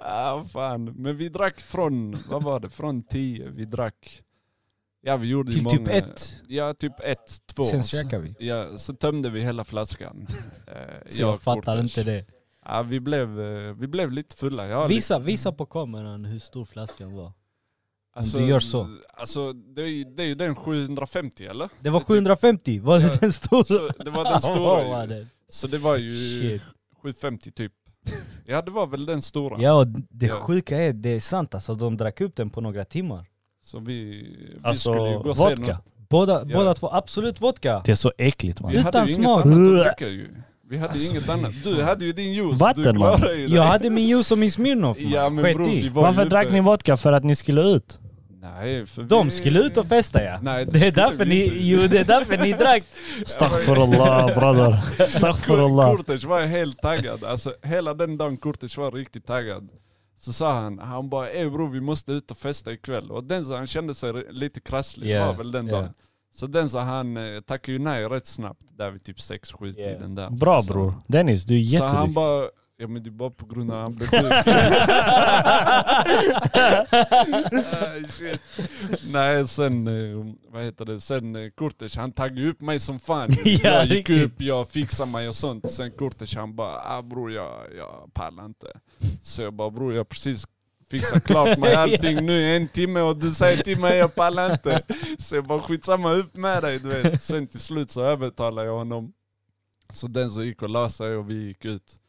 [SPEAKER 3] Ah, fan. Men vi drack från, vad var det, från tio, vi drack. Ja vi gjorde ju
[SPEAKER 1] Till
[SPEAKER 3] många.
[SPEAKER 1] typ ett.
[SPEAKER 3] Ja typ ett, två.
[SPEAKER 1] Sen käkar vi.
[SPEAKER 3] Ja, så tömde vi hela flaskan. Eh,
[SPEAKER 1] Så jag
[SPEAKER 3] och
[SPEAKER 1] fattar
[SPEAKER 3] Kurtis.
[SPEAKER 1] inte det.
[SPEAKER 3] Ja, vi, blev, eh, vi blev lite fulla. Jag har
[SPEAKER 1] Visa, visa på kameran hur stor flaskan var.
[SPEAKER 3] Om
[SPEAKER 1] du gör så.
[SPEAKER 3] Alltså det är, ju- det är ju den 750 eller?
[SPEAKER 1] Det var 750, var
[SPEAKER 3] Ja.
[SPEAKER 1] det den stora?
[SPEAKER 3] Så det var den
[SPEAKER 1] Ja,
[SPEAKER 3] stora
[SPEAKER 1] var
[SPEAKER 3] ju.
[SPEAKER 1] det.
[SPEAKER 3] Så det var ju
[SPEAKER 1] Shit.
[SPEAKER 3] 750 typ. Ja det var väl den stora.
[SPEAKER 1] Ja och det
[SPEAKER 3] Ja.
[SPEAKER 1] sjuka är, det är sant alltså, de drack upp den på några timmar.
[SPEAKER 3] Så vi, vi
[SPEAKER 2] Alltså,
[SPEAKER 3] skulle ju gå sen
[SPEAKER 2] vodka.
[SPEAKER 3] och-
[SPEAKER 1] Båda,
[SPEAKER 3] Ja.
[SPEAKER 1] båda två, absolut vodka!
[SPEAKER 2] Det är så äckligt man.
[SPEAKER 3] Vi hade
[SPEAKER 1] Utan
[SPEAKER 3] ju
[SPEAKER 1] smak.
[SPEAKER 3] inget annat att dricka ju. Vi hade
[SPEAKER 1] Alltså,
[SPEAKER 3] ju inget annat. Du hade ju din juice, du
[SPEAKER 2] Vatten, man.
[SPEAKER 3] klarade ju det.
[SPEAKER 1] Jag hade min juice och min Smirnoff man.
[SPEAKER 3] Ja men
[SPEAKER 1] Skit
[SPEAKER 3] bror,
[SPEAKER 1] i.
[SPEAKER 3] vi var
[SPEAKER 2] Varför
[SPEAKER 3] ju
[SPEAKER 2] drack
[SPEAKER 3] ute-
[SPEAKER 2] ni vodka? För att ni skulle ut?
[SPEAKER 3] Nej, för
[SPEAKER 1] De
[SPEAKER 3] vi-
[SPEAKER 1] skulle ut och festa ja!
[SPEAKER 3] Nej, det
[SPEAKER 1] det, är
[SPEAKER 3] skulle
[SPEAKER 1] därför
[SPEAKER 3] vi
[SPEAKER 1] ni,
[SPEAKER 3] inte.
[SPEAKER 1] jo, det är därför ni drack!
[SPEAKER 2] Astaghfirullah brother. Astaghfirullah.
[SPEAKER 3] Kurtis var helt taggad. Alltså hela den dagen Kurtis var riktigt taggad. Så sa han, han bara ey bror vi måste ut och festa ikväll. Och den så han kände sig lite krasslig,
[SPEAKER 1] Yeah,
[SPEAKER 3] var väl den
[SPEAKER 1] yeah.
[SPEAKER 3] dagen. Så den så han eh, tackade ju nej rätt snabbt, där vid typ 6-7
[SPEAKER 1] Yeah.
[SPEAKER 3] tiden där.
[SPEAKER 2] Bra
[SPEAKER 3] så,
[SPEAKER 2] bror. Dennis, du är
[SPEAKER 3] Så han
[SPEAKER 2] jätteduktig.
[SPEAKER 3] bara, Ja men det är bara på grund av att han blev sjuk. Ah, shit. Nej sen, eh, vad heter det, sen eh, Kurtis han taggade upp mig som fan.
[SPEAKER 2] Ja,
[SPEAKER 3] jag gick
[SPEAKER 2] riktigt.
[SPEAKER 3] upp, jag fixade mig och sånt. Sen Kurtis han bara, ah, bror jag, jag pallar inte. Så jag bara bror jag har precis fixat klart med allting nu i en timme och du säger till mig jag pallar inte. Så jag bara skitsamma upp med dig du vet. Sen till slut så övertalade jag honom. Så den så gick och la sig och vi gick ut.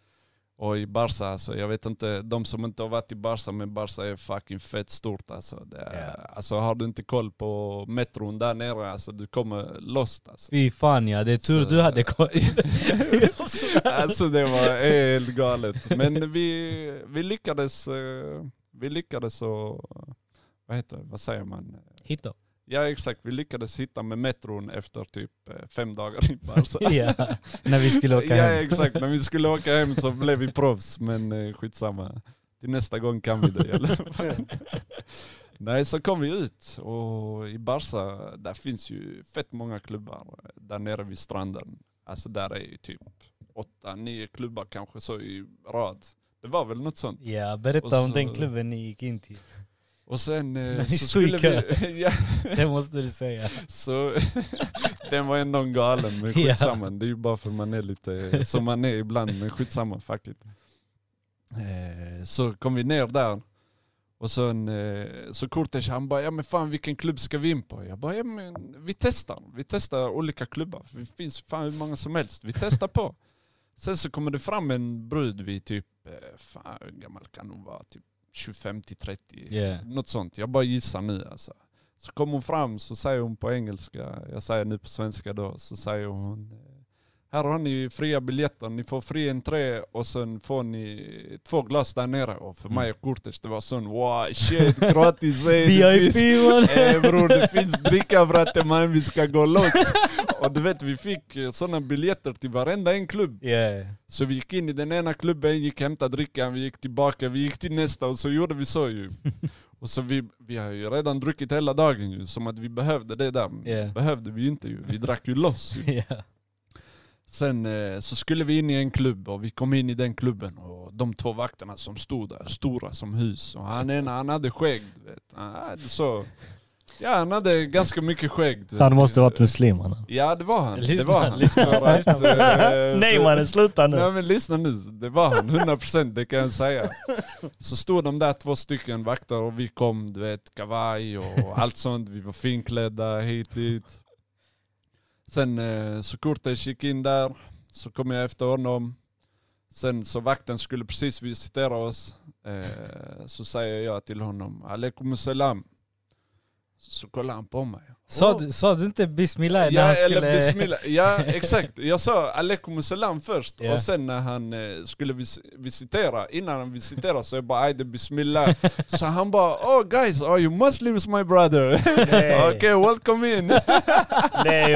[SPEAKER 3] Och i Barca alltså, jag vet inte, de som inte har varit i Barca, men Barca är fucking fett stort alltså. Det är, alltså har du inte koll på metron där nere, alltså du kommer lost alltså.
[SPEAKER 1] Fy fan ja, det är tur
[SPEAKER 3] Så-
[SPEAKER 1] du hade koll.
[SPEAKER 3] alltså det var helt galet. Men vi, vi lyckades, eh, vi lyckades och, vad heter det, vad säger man?
[SPEAKER 1] Hitta.
[SPEAKER 3] Ja exakt, vi lyckades hitta med metron efter typ eh, fem dagar i Barca.
[SPEAKER 1] ja, när vi skulle åka
[SPEAKER 3] ja,
[SPEAKER 1] hem.
[SPEAKER 3] exakt. När vi skulle åka hem så blev vi proffs, men eh, skitsamma. Till nästa gång kan vi det i alla fall. Nej, så kom vi ut och i Barca, där finns ju fett många klubbar där nere vid stranden. Alltså där är ju typ åtta, nio klubbar kanske så i rad. Det var väl något sånt.
[SPEAKER 1] Ja, berätta
[SPEAKER 3] Och så-
[SPEAKER 1] om den klubben ni gick in till.
[SPEAKER 3] Och sen eh,
[SPEAKER 1] Ni
[SPEAKER 3] så
[SPEAKER 1] stod i
[SPEAKER 3] skulle vi... ja,
[SPEAKER 1] Det måste du säga.
[SPEAKER 3] Så den var ändå en galen, men
[SPEAKER 1] Ja.
[SPEAKER 3] skitsamma. Det är ju bara för man är lite som man är ibland, men skitsamma, fuck it. Eh, Så kom vi ner där. Och sen eh, så Kurtis han bara, ja men fan vilken klubb ska vi in på? Jag bara, ja men vi testar. Vi testar olika klubbar. Det finns fan hur många som helst. Vi testar på. Sen så kommer det fram en brud vid typ, eh, fan hur gammal kan hon vara? Typ 25 till 30.
[SPEAKER 1] Yeah.
[SPEAKER 3] Något sånt, jag bara gissar nu alltså. Så kom hon fram så säger hon på engelska, jag säger nu på svenska då, så säger hon eh, Här har ni fria biljetter, ni får fri entré och sen får ni två glas där nere. Och för mig och Kurtis det var sån wow shit gratis! eh, det finns-
[SPEAKER 1] VIP mannen!
[SPEAKER 3] Eh bror det finns dricka bratte man, vi ska gå loss! Och du vet vi fick sådana biljetter till varenda en klubb.
[SPEAKER 1] Yeah.
[SPEAKER 3] Så vi gick in i den ena klubben, gick hämta drickan, vi gick tillbaka, vi gick till nästa och så gjorde vi så ju. Och så vi, vi har ju redan druckit hela dagen ju, som att vi behövde det där. Men
[SPEAKER 1] Yeah.
[SPEAKER 3] Behövde vi ju inte ju, vi drack ju loss ju.
[SPEAKER 1] Ja.
[SPEAKER 3] Sen eh, så skulle vi in i en klubb och vi kom in i den klubben och de två vakterna som stod där, stora som hus. Och han ena, han hade skägg du vet. Han hade så... Ja han hade ganska mycket skägg. du vet.
[SPEAKER 2] Han måste varit muslim mannen.
[SPEAKER 3] Ja det var han. det
[SPEAKER 1] Lyssna,
[SPEAKER 3] var han.
[SPEAKER 1] lyssna,
[SPEAKER 3] För att,
[SPEAKER 1] lyssna.
[SPEAKER 3] eh,
[SPEAKER 2] Nej
[SPEAKER 3] för-
[SPEAKER 2] mannen sluta nu.
[SPEAKER 3] Nej men lyssna nu, det var han 100% det kan jag säga. Så stod de där två stycken vakter och vi kom, du vet kavaj och allt sånt. Vi var finklädda hit dit. Sen eh, så Kurtis gick in där, så kom jag efter honom. Sen så vakten skulle precis visitera oss, eh, så säger jag till honom Aleikum salam. Så kollar han på mig.
[SPEAKER 1] Sa,
[SPEAKER 3] Åh.
[SPEAKER 1] du, sa du inte bismillah när
[SPEAKER 3] Oh. Ja,
[SPEAKER 1] han
[SPEAKER 3] eller
[SPEAKER 1] skulle...
[SPEAKER 3] bismillah. Ja, exakt. Jag sa alaikum salam först
[SPEAKER 1] Ja.
[SPEAKER 3] och sen när han eh, skulle vis- visitera, innan han visiterade så jag bara ajde bismillah. så han bara oh guys, are you muslims my brother? Okej, okay, welcome in.
[SPEAKER 2] Nej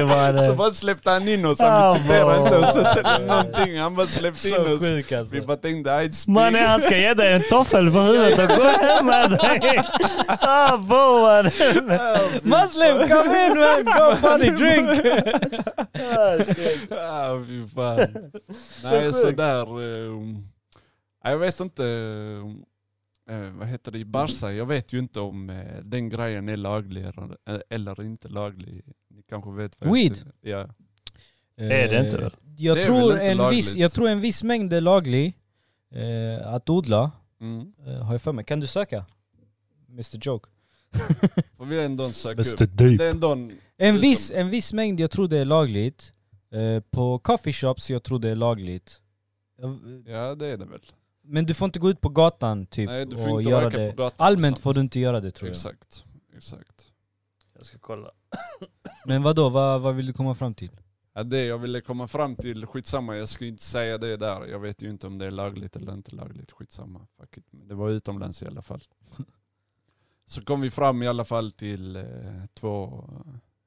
[SPEAKER 3] så
[SPEAKER 2] mannen.
[SPEAKER 3] bara släppte han in oss,
[SPEAKER 2] Ah,
[SPEAKER 3] han visiterade inte och så
[SPEAKER 1] vad-
[SPEAKER 3] sen någonting, han bara släppte in
[SPEAKER 1] Oh, Så
[SPEAKER 3] oss.
[SPEAKER 1] sjuk
[SPEAKER 3] Vi
[SPEAKER 1] alltså.
[SPEAKER 3] bara tänkte ajde
[SPEAKER 2] Mannen han ska ge dig en toffel på huvudet och gå hem med dig. Ah bo mannen.
[SPEAKER 1] Muslim kom in man, go funny drink!
[SPEAKER 3] Ah, fy fan. Nej, så där... eh, jag vet inte... eh, vad heter det? I Barca, jag vet ju inte om eh, den grejen är laglig eller, eh, eller inte laglig. Ni kanske vet vad jag
[SPEAKER 1] Weed?
[SPEAKER 3] säger. Ja.
[SPEAKER 2] Det är det inte väl?
[SPEAKER 1] Eh, Jag,
[SPEAKER 3] Det är
[SPEAKER 1] tror
[SPEAKER 3] väl inte
[SPEAKER 1] en viss,
[SPEAKER 3] lagligt?
[SPEAKER 1] jag tror en viss mängd är laglig eh, att odla,
[SPEAKER 3] Mm.
[SPEAKER 1] eh, har jag för mig. Kan du söka? Mr Joke.
[SPEAKER 3] Får vi ändå söka upp?
[SPEAKER 2] dyp.
[SPEAKER 3] Det är ändå en...
[SPEAKER 1] En
[SPEAKER 3] Utom-
[SPEAKER 1] viss, en viss mängd, jag tror det är lagligt. Eh, på coffee shops, jag tror det är lagligt. Jag-
[SPEAKER 3] Ja, det är det väl.
[SPEAKER 1] Men du får inte gå ut på gatan typ
[SPEAKER 3] Nej, du får
[SPEAKER 1] och
[SPEAKER 3] inte
[SPEAKER 1] göra
[SPEAKER 3] röka
[SPEAKER 1] det.
[SPEAKER 3] på gatan. och
[SPEAKER 1] Allmänt
[SPEAKER 3] sånt.
[SPEAKER 1] får du inte göra det tror jag.
[SPEAKER 3] Exakt. Exakt.
[SPEAKER 2] Jag ska kolla.
[SPEAKER 1] Men vadå, vad, vad vill du komma fram till?
[SPEAKER 3] Ja, det jag ville komma fram till, skitsamma, jag ska inte säga det där. Jag vet ju inte om det är lagligt eller inte lagligt, skitsamma. Fuck it. Men det var utomlands i alla fall. Så kom vi fram i alla fall till eh, två,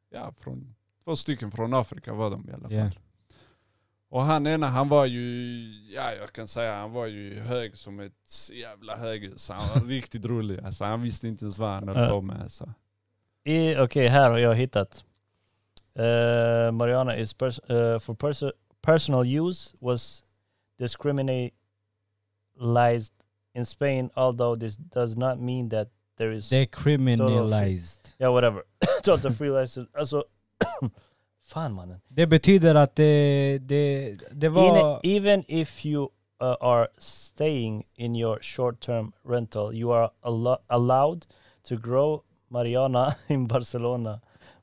[SPEAKER 3] ja, från, två stycken från Afrika var de i alla fall.
[SPEAKER 1] Ja.
[SPEAKER 3] Och han ena han var ju, ja jag kan säga han var ju hög som ett jävla höghus. Han var riktigt rolig alltså, han visste inte ens vad han höll
[SPEAKER 2] Ja.
[SPEAKER 3] på med alltså.
[SPEAKER 2] I- Okej, här har jag hittat. Eh, Mariana is pers- eh, for perso- personal use was discriminate criminalized in Spain, although this does not mean that there is
[SPEAKER 1] They're criminalized.
[SPEAKER 2] yeah whatever. Total free license. Alltså, fan mannen.
[SPEAKER 1] Det betyder att det, det, det
[SPEAKER 2] Even,
[SPEAKER 1] var...
[SPEAKER 2] even if you uh, are staying in your short-term rental, you are allo- allowed to grow Mariana in Barcelona,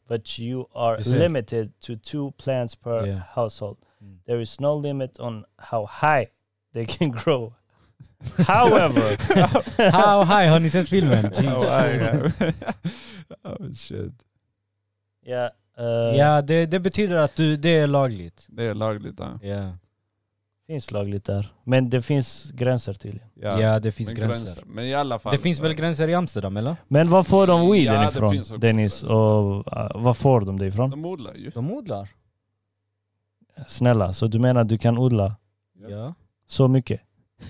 [SPEAKER 2] but you are
[SPEAKER 1] You said.
[SPEAKER 2] limited to two plants per
[SPEAKER 1] Yeah.
[SPEAKER 2] household.
[SPEAKER 1] Mm.
[SPEAKER 2] There is no limit on how high they can grow. However,
[SPEAKER 1] How high? Har ni sett filmen?
[SPEAKER 3] Oh, I am. oh shit.
[SPEAKER 2] yeah, uh,
[SPEAKER 1] Ja, det, det betyder att du, det är lagligt.
[SPEAKER 3] Det är lagligt ja.
[SPEAKER 1] Ja,
[SPEAKER 2] finns lagligt där. Men det finns gränser tydligen.
[SPEAKER 1] ja. det finns
[SPEAKER 3] men
[SPEAKER 1] gränser.
[SPEAKER 3] Men i alla fall. eh,
[SPEAKER 1] Det finns väl gränser i Amsterdam eller?
[SPEAKER 2] Men var får de weeden
[SPEAKER 3] Ja, det
[SPEAKER 2] ifrån,
[SPEAKER 3] finns också
[SPEAKER 2] Dennis?
[SPEAKER 3] gränser.
[SPEAKER 2] Och uh, var får de det ifrån?
[SPEAKER 3] De odlar ju.
[SPEAKER 1] De odlar.
[SPEAKER 2] Snälla, så du menar att du kan odla
[SPEAKER 3] Ja.
[SPEAKER 1] Ja.
[SPEAKER 2] så mycket?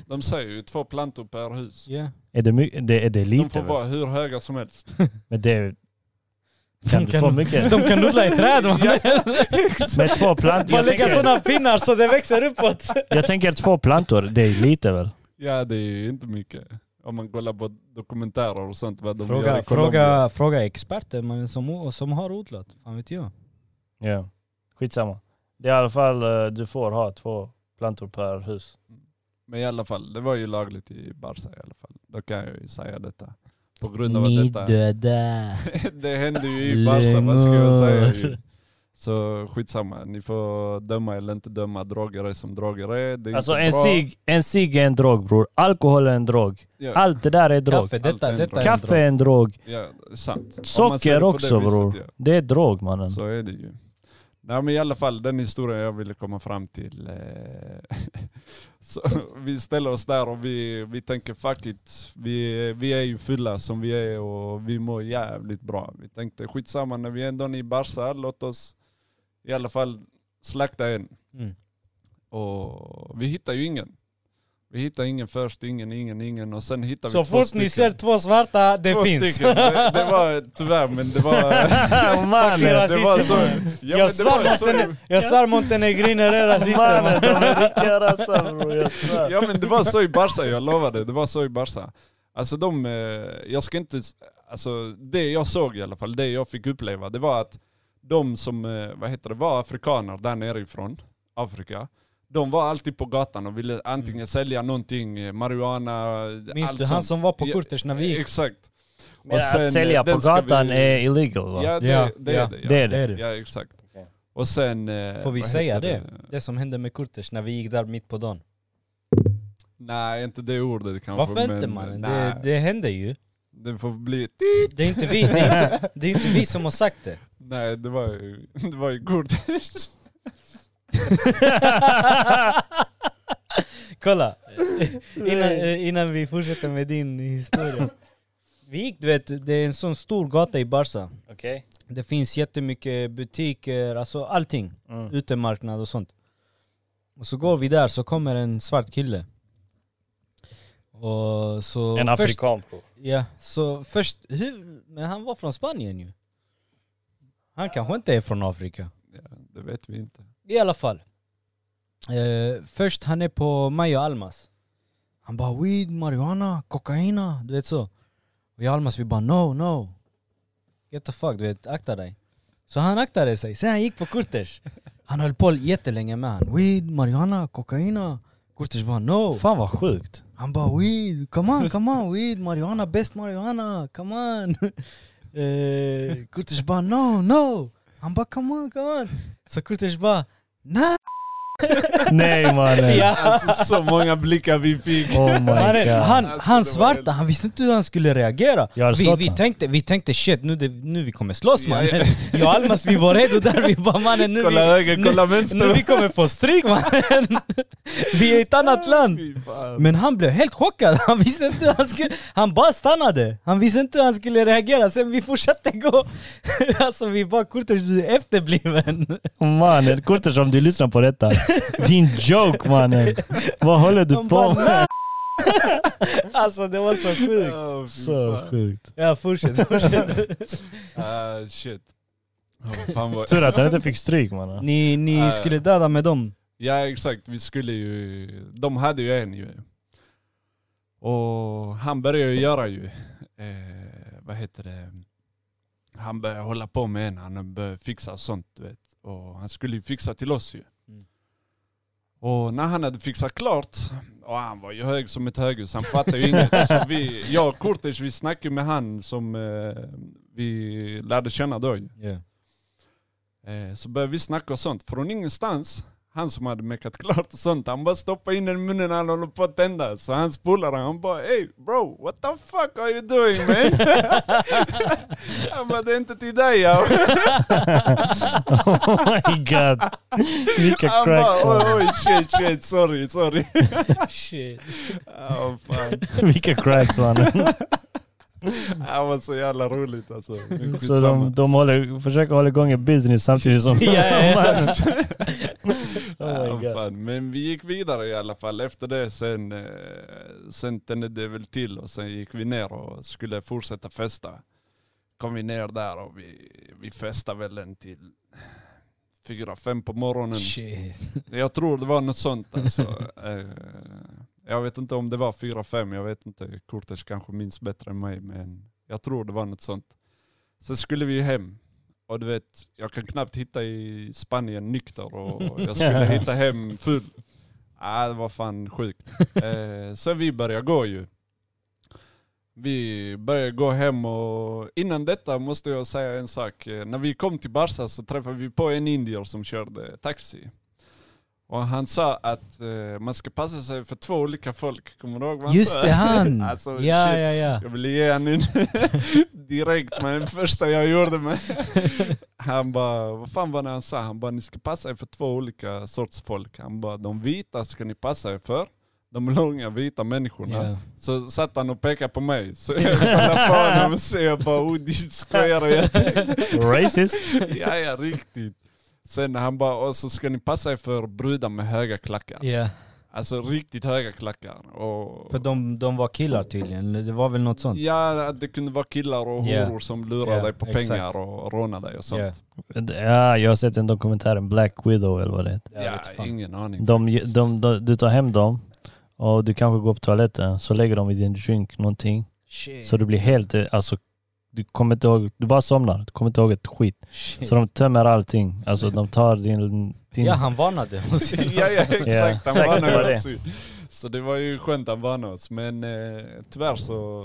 [SPEAKER 3] De säger ju två plantor per hus.
[SPEAKER 1] ja.
[SPEAKER 2] Är det, my- det, är
[SPEAKER 3] De
[SPEAKER 2] det lite?
[SPEAKER 3] får
[SPEAKER 2] väl?
[SPEAKER 3] vara hur höga som helst.
[SPEAKER 2] Men det är, kan du få mycket?
[SPEAKER 1] de kan odla i träd man.
[SPEAKER 2] med två plantor?
[SPEAKER 1] Man
[SPEAKER 2] Jag
[SPEAKER 1] lägger
[SPEAKER 2] tänker,
[SPEAKER 1] sådana pinnar så det växer uppåt.
[SPEAKER 2] jag tänker två plantor, det är lite väl?
[SPEAKER 3] Ja det är ju inte mycket. Om man kollar på dokumentärer och sånt vad de gör
[SPEAKER 1] Fråga,
[SPEAKER 3] i Colombia.
[SPEAKER 1] fråga, fråga experter man, som, o- som har odlat. Fan vet jag.
[SPEAKER 2] Ja, skitsamma. Det är i alla fall, eh, du får ha två plantor per hus.
[SPEAKER 3] Men i alla fall, det var ju lagligt i Barca i alla fall. Då kan jag ju säga detta. På grund av att
[SPEAKER 1] Ni
[SPEAKER 3] detta...
[SPEAKER 1] döda.
[SPEAKER 3] det hände ju i Barca, vad ska jag säga? ju? Så skitsamma, ni får döma eller inte döma. Droger är som droger är. Det är
[SPEAKER 2] Alltså
[SPEAKER 3] inte
[SPEAKER 2] en
[SPEAKER 3] bra.
[SPEAKER 2] cig, en cig är en drog bror. Alkohol är en drog.
[SPEAKER 3] Ja,
[SPEAKER 2] Allt det där är drog.
[SPEAKER 1] Kaffe, detta,
[SPEAKER 3] Allt är en
[SPEAKER 1] detta är en
[SPEAKER 2] Kaffe
[SPEAKER 1] drog.
[SPEAKER 2] är en drog.
[SPEAKER 3] ja, sant. Om man ser det på
[SPEAKER 2] Socker
[SPEAKER 3] det
[SPEAKER 2] också
[SPEAKER 3] viset,
[SPEAKER 2] bror. Det är drog mannen.
[SPEAKER 3] Ja, så är det ju. Nej men i alla fall, den historien jag ville komma fram till. Eh, så, vi ställer oss där och vi, vi tänker fuck it. Vi, vi är ju fulla som vi är och vi mår jävligt bra. Vi tänkte skitsamma när vi ändå är i Barca, låt oss i alla fall slakta en.
[SPEAKER 1] Mm.
[SPEAKER 3] Och vi hittar ju ingen. Vi hittar ingen först, ingen, ingen, ingen och sen hittar
[SPEAKER 1] Så
[SPEAKER 3] vi två
[SPEAKER 1] fort
[SPEAKER 3] stycken.
[SPEAKER 1] ni ser två svarta, det
[SPEAKER 3] två
[SPEAKER 1] finns.
[SPEAKER 3] Stycken. Det, det var tyvärr men det var...
[SPEAKER 2] mannen!
[SPEAKER 1] Fucking
[SPEAKER 3] det var så...
[SPEAKER 1] rasister.
[SPEAKER 3] Ja, men
[SPEAKER 1] jag,
[SPEAKER 3] det
[SPEAKER 1] svär
[SPEAKER 3] var så
[SPEAKER 1] Monten- jag svär montenegriner är rasister.
[SPEAKER 2] Mannen, de
[SPEAKER 1] man.
[SPEAKER 2] är riktiga rassar bror, jag svär.
[SPEAKER 3] Ja men det var så i Barca, jag lovade. Det var så i Barca. Alltså de, eh, jag ska inte, s- alltså det jag såg i alla fall, det jag fick uppleva, det var att de som, eh, vad heter det, var afrikaner där nerifrån, Afrika, de var alltid på gatan och ville antingen sälja någonting, eh, marijuana,
[SPEAKER 1] Mm. Minns
[SPEAKER 3] allt
[SPEAKER 1] du han
[SPEAKER 3] sånt.
[SPEAKER 1] som var på
[SPEAKER 3] Ja, eh,
[SPEAKER 1] Kurters när vi gick?
[SPEAKER 3] Exakt.
[SPEAKER 2] Men
[SPEAKER 3] sen,
[SPEAKER 2] att sälja
[SPEAKER 3] eh,
[SPEAKER 2] på
[SPEAKER 3] den ska
[SPEAKER 2] gatan
[SPEAKER 3] vi-
[SPEAKER 2] är illegal va?
[SPEAKER 3] Ja det,
[SPEAKER 1] Ja,
[SPEAKER 3] det
[SPEAKER 1] ja.
[SPEAKER 3] är det. Ja.
[SPEAKER 2] Det är
[SPEAKER 1] Det
[SPEAKER 2] det.
[SPEAKER 1] är det.
[SPEAKER 3] Ja exakt.
[SPEAKER 2] Okej.
[SPEAKER 3] Och sen... eh,
[SPEAKER 1] Får vi
[SPEAKER 3] vad
[SPEAKER 1] säga
[SPEAKER 3] heter
[SPEAKER 1] det? Det som hände med Kurters när vi gick där mitt på dagen.
[SPEAKER 3] Nej inte det ordet kanske.
[SPEAKER 1] Varför inte
[SPEAKER 3] men- eh,
[SPEAKER 1] mannen?
[SPEAKER 3] Nej,
[SPEAKER 1] Det, det hände ju.
[SPEAKER 3] det får bli...
[SPEAKER 1] Det är inte vi, det är inte, det är inte vi som har sagt det.
[SPEAKER 3] Nej, det var ju, det var ju Gurdjieff.
[SPEAKER 1] Kolla, innan, eh, innan vi fortsätter med din historia. Vi gick, du vet, det är en sån stor gata i Barca. Det finns jättemycket butiker, alltså allting.
[SPEAKER 2] Mm.
[SPEAKER 1] utemarknad och sånt. Och så går vi där så kommer en svart kille. Och så
[SPEAKER 2] En
[SPEAKER 1] först,
[SPEAKER 2] afrikan bror.
[SPEAKER 1] ja, så först, hur, men han var från Spanien ju. Han kanske inte är från Afrika.
[SPEAKER 3] Ja, det vet vi inte.
[SPEAKER 1] I alla fall. Eh, först han är på Mayo Almas. Han bara weed, marijuana, kokaina, du vet så. Vi Almas vi bara no, no. Get the fuck, du vet, akta dig. Så han aktade sig, sen han gick på Kurters. Han höll på jättelänge med han. Weed, marijuana, kokaina. Kurters bara no.
[SPEAKER 2] Fan vad sjukt.
[SPEAKER 1] Han bara weed, come on, come on, weed, marijuana, bäst marijuana, come on. Eh, Kurtis bara no, no. Han bara come on, come on. Så Kurtis bara nej.
[SPEAKER 2] Nej mannen.
[SPEAKER 3] Alltså så många blickar vi fick.
[SPEAKER 2] Oh
[SPEAKER 1] Han,
[SPEAKER 2] my
[SPEAKER 1] är-
[SPEAKER 2] god.
[SPEAKER 1] han, han
[SPEAKER 3] Alltså, det var helt-
[SPEAKER 1] svarta, han visste inte hur han skulle reagera.
[SPEAKER 2] Jag hade
[SPEAKER 1] Vi,
[SPEAKER 2] slått
[SPEAKER 1] vi,
[SPEAKER 2] han.
[SPEAKER 1] tänkte, vi tänkte shit, nu, det, nu vi kommer slåss
[SPEAKER 3] Ja,
[SPEAKER 1] mannen.
[SPEAKER 3] ja.
[SPEAKER 1] Jag och Almas vi var redo där, vi bara mannen nu
[SPEAKER 3] Kolla
[SPEAKER 1] vi,
[SPEAKER 3] höger, kolla
[SPEAKER 1] nu vi
[SPEAKER 3] vänster.
[SPEAKER 1] kommer få stryk mannen. Vi är i ett annat land.
[SPEAKER 3] Fy fan.
[SPEAKER 1] Men han blev helt chockad, han visste inte hur han skulle... Han bara stannade, han visste inte hur han skulle reagera, sen vi fortsatte gå. Alltså vi bara Kurtis du är efterbliven.
[SPEAKER 2] Mannen, Kurtis om du lyssnar på detta. Din joke mannen. Vad håller du
[SPEAKER 1] Han
[SPEAKER 2] på
[SPEAKER 1] bara,
[SPEAKER 2] med?
[SPEAKER 1] Alltså det var så sjukt.
[SPEAKER 3] Åh, fy
[SPEAKER 2] Så
[SPEAKER 3] fan.
[SPEAKER 2] sjukt.
[SPEAKER 1] Ja fortsätt, fortsätt.
[SPEAKER 3] Ah, shit. Oh, fan vad...
[SPEAKER 2] Tur att han inte fick stryk mannen.
[SPEAKER 1] Ni, ni
[SPEAKER 3] Ja.
[SPEAKER 1] skulle döda med dem.
[SPEAKER 3] Ja exakt, vi skulle ju... De hade ju en ju. Och han började ju göra ju, eh, vad heter det, han började hålla på med en, han började fixa och sånt du vet. Och han skulle ju fixa till oss ju.
[SPEAKER 1] Mm.
[SPEAKER 3] Och när han hade fixat klart, och han var ju hög som ett höghus, han fattade ju inget. Så vi, jag och Kurtis vi snackade ju med han som eh, vi lärde känna då ju.
[SPEAKER 1] Ja.
[SPEAKER 3] Eh, Så började vi snacka och sånt. Från ingenstans, han som hade mekat klart och sånt, han bara stoppade in den i munnen han håller på att tända. Så hans polare, han bara Hey bro, what the fuck are you doing man? han bara det är inte till dig ja.
[SPEAKER 2] oh my god. Vilka
[SPEAKER 3] Han bara
[SPEAKER 2] cracks.
[SPEAKER 3] oj
[SPEAKER 2] man.
[SPEAKER 3] oj shit shit sorry sorry.
[SPEAKER 1] Shit.
[SPEAKER 3] oh, fan.
[SPEAKER 2] Vilka cracks man.
[SPEAKER 3] Det var så jävla roligt alltså. Men
[SPEAKER 2] Så de,
[SPEAKER 3] skitsamma.
[SPEAKER 2] de håller, försöker hålla igång en business samtidigt som...
[SPEAKER 1] Ja, exakt.
[SPEAKER 2] oh
[SPEAKER 3] Ja,
[SPEAKER 2] my god.
[SPEAKER 3] fan. Men vi gick vidare i alla fall. Efter det sen, eh, sen tände det väl till och sen gick vi ner och skulle fortsätta festa. Kom vi ner där och vi, vi festade väl en till fyra, fem på morgonen.
[SPEAKER 1] Shit.
[SPEAKER 3] Jag tror det var något sånt alltså. Eh, jag vet inte om det var fyra, fem, jag vet inte. Kurtis kanske minns bättre än mig men jag tror det var något sånt. Sen skulle vi hem. Och du vet, jag kan knappt hitta i Spanien nykter och jag skulle hitta hem full. Ah, det var fan sjukt. Eh, sen vi började gå ju. Vi började gå hem och innan detta måste jag säga en sak. Eh, När vi kom till Barca så träffade vi på en indier som körde taxi. Och han sa att eh, man ska passa sig för två olika folk. Kommer du ihåg vad han sa?
[SPEAKER 1] Just det, han!
[SPEAKER 3] Alltså,
[SPEAKER 1] ja,
[SPEAKER 3] shit.
[SPEAKER 1] ja, ja.
[SPEAKER 3] Jag ville ge honom direkt, men det första jag gjorde men Han bara, vad fan var det han sa? Han bara, ni ska passa er för två olika sorts folk. Han bara, de vita ska ni passa er för. De långa vita människorna.
[SPEAKER 1] Ja.
[SPEAKER 3] Så satt han och pekade på mig. Så jag kollade på honom och så jag bara, oh din skojare. Jag tänkte,
[SPEAKER 2] Racist.
[SPEAKER 3] ja ja riktigt. Sen han bara, och så ska ni passa er för brudar med höga klackar.
[SPEAKER 1] Ja,
[SPEAKER 3] Alltså riktigt höga klackar. Och...
[SPEAKER 1] för de, de var killar tydligen, det var väl något sånt?
[SPEAKER 3] Ja, att det kunde vara killar och horor
[SPEAKER 1] Ja.
[SPEAKER 3] som lurar
[SPEAKER 1] Ja,
[SPEAKER 3] dig på
[SPEAKER 1] exakt.
[SPEAKER 3] pengar och rånar dig och sånt.
[SPEAKER 1] Ja.
[SPEAKER 2] Ja, jag har sett en dokumentär, en Black Widow eller vad det heter.
[SPEAKER 1] Jag vet
[SPEAKER 3] Ja,
[SPEAKER 1] fan.
[SPEAKER 3] ingen aning.
[SPEAKER 2] De, de, de, du tar hem dem och du kanske går på toaletten så lägger de i din drink någonting.
[SPEAKER 1] Shit.
[SPEAKER 2] Så du blir helt, eh, alltså du kommer inte ihåg, du bara somnar. Du kommer inte ihåg ett skit.
[SPEAKER 1] Shit.
[SPEAKER 2] Så de tömmer allting. Alltså de tar din... din
[SPEAKER 1] Ja, han varnade.
[SPEAKER 3] ja, ja, exakt. Han
[SPEAKER 2] säkert
[SPEAKER 3] varnade
[SPEAKER 2] var det.
[SPEAKER 3] ju oss. ju. Så det var ju skönt han varnade oss. Men eh, tyvärr så...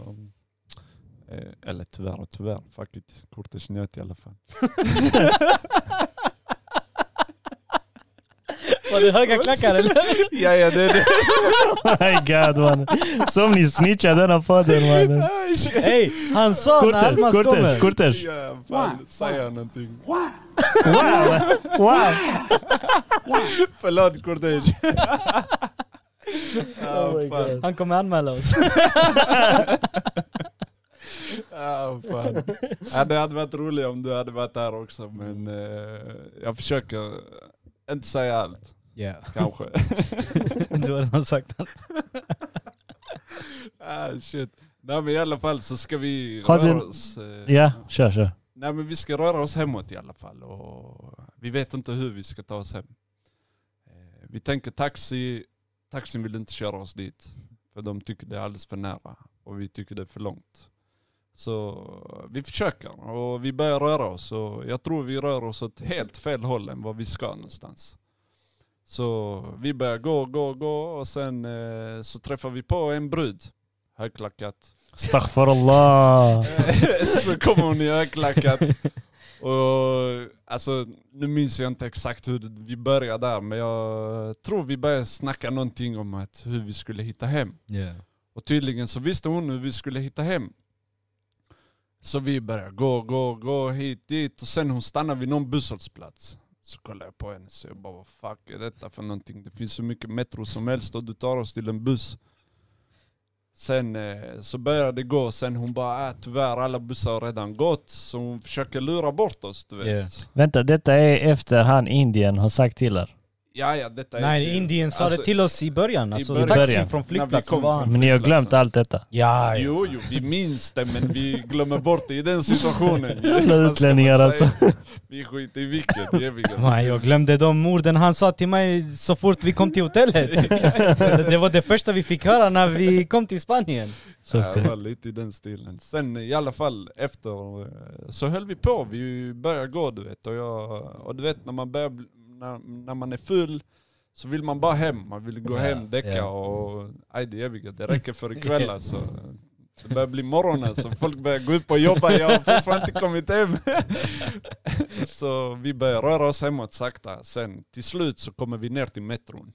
[SPEAKER 3] Eh, eller tyvärr och tyvärr. Fuck it. Kortet snöt i alla fall.
[SPEAKER 1] Var det höga klackar eller?
[SPEAKER 3] ja, ja, det är det.
[SPEAKER 2] My God man. Som ni snitchar denna podden mannen.
[SPEAKER 3] Aj, shit.
[SPEAKER 1] Hej, han sa när
[SPEAKER 2] Kurters,
[SPEAKER 1] Almas
[SPEAKER 2] Kurters,
[SPEAKER 1] kommer.
[SPEAKER 2] Kurters.
[SPEAKER 3] Ja, fan. Säger han någonting?
[SPEAKER 2] Wow! wow.
[SPEAKER 3] Förlåt Kortes. Ja,
[SPEAKER 2] my
[SPEAKER 3] fan.
[SPEAKER 2] God.
[SPEAKER 1] Han kommer anmäla oss.
[SPEAKER 3] Ah, fan. ja, det hade varit roligt om du hade varit där också men eh, jag försöker inte säga allt
[SPEAKER 1] Ja,
[SPEAKER 3] kanske.
[SPEAKER 1] du har redan sagt det.
[SPEAKER 3] ah, shit. Nej men i alla fall så ska vi
[SPEAKER 2] Har
[SPEAKER 3] röra
[SPEAKER 2] du-
[SPEAKER 3] oss. Eh,
[SPEAKER 2] Ja, kör kör.
[SPEAKER 3] Nej men vi ska röra oss hemåt i alla fall och vi vet inte hur vi ska ta oss hem. Eh, vi tänker taxi, taxin vill inte köra oss dit för de tycker det är alldeles för nära och vi tycker det är för långt. Så vi försöker och vi börjar röra oss och jag tror vi rör oss åt helt fel håll än vad vi ska någonstans. Så vi börjar gå, gå, gå och sen eh, så träffar vi på en brud, högklackat,
[SPEAKER 2] Astaghfirullah.
[SPEAKER 3] så kommer hon i högklackat. Och alltså, nu minns jag inte exakt hur det- vi började där, men jag tror vi började snacka någonting om att hur vi skulle hitta hem. Och tydligen så visste hon hur vi skulle hitta hem. Så vi började gå, gå, gå hit, dit och sen hon stannade vid någon busshållplats. Så kollade jag på henne så jag bara vad fuck är detta för någonting? Det finns så mycket metro som helst och du tar oss till en buss. Sen eh, så började det gå, sen hon bara äh, tyvärr alla bussar har redan gått. Så hon försöker lura bort oss du vet.
[SPEAKER 1] Yeah.
[SPEAKER 2] Vänta, detta är efter han Indien har sagt till er.
[SPEAKER 3] Ja, ja, detta är
[SPEAKER 1] Nej,
[SPEAKER 3] ju-
[SPEAKER 1] Indien sa det
[SPEAKER 3] alltså,
[SPEAKER 1] till oss i början.
[SPEAKER 3] i
[SPEAKER 1] Alltså,
[SPEAKER 3] början.
[SPEAKER 2] Början.
[SPEAKER 1] Taxin från
[SPEAKER 3] När vi
[SPEAKER 1] flygplatsen
[SPEAKER 3] kom
[SPEAKER 1] var
[SPEAKER 3] från
[SPEAKER 1] han.
[SPEAKER 2] Men ni har glömt allt detta.
[SPEAKER 1] Ja, ja.
[SPEAKER 3] Jo, jo, vi minns det men vi glömmer bort det i den situationen. Vad ska man
[SPEAKER 2] utlänningar,
[SPEAKER 3] säga?
[SPEAKER 2] alltså.
[SPEAKER 3] Vi skiter i vilket, det är vi glömmer.
[SPEAKER 1] Man, jag glömde de orden han sa till mig så fort vi kom till hotellet. det var det första vi fick höra när vi kom till Spanien.
[SPEAKER 3] Ja, det
[SPEAKER 2] Såklart.
[SPEAKER 3] var lite i den stilen. Sen i alla fall efter eh, så höll vi på, vi började gå du vet. Och, jag, och du vet när man, börjar, bli- när, när man är full så vill man bara hem, man vill gå
[SPEAKER 1] Ja,
[SPEAKER 3] hem, däcka
[SPEAKER 1] ja.
[SPEAKER 3] och aj det eviga, det räcker för ikväll alltså. Det börjar bli morgon alltså, folk börjar gå upp och jobba, jag har fortfarande inte kommit hem. så vi börjar röra oss hemåt sakta, sen till slut så kommer vi ner till metron.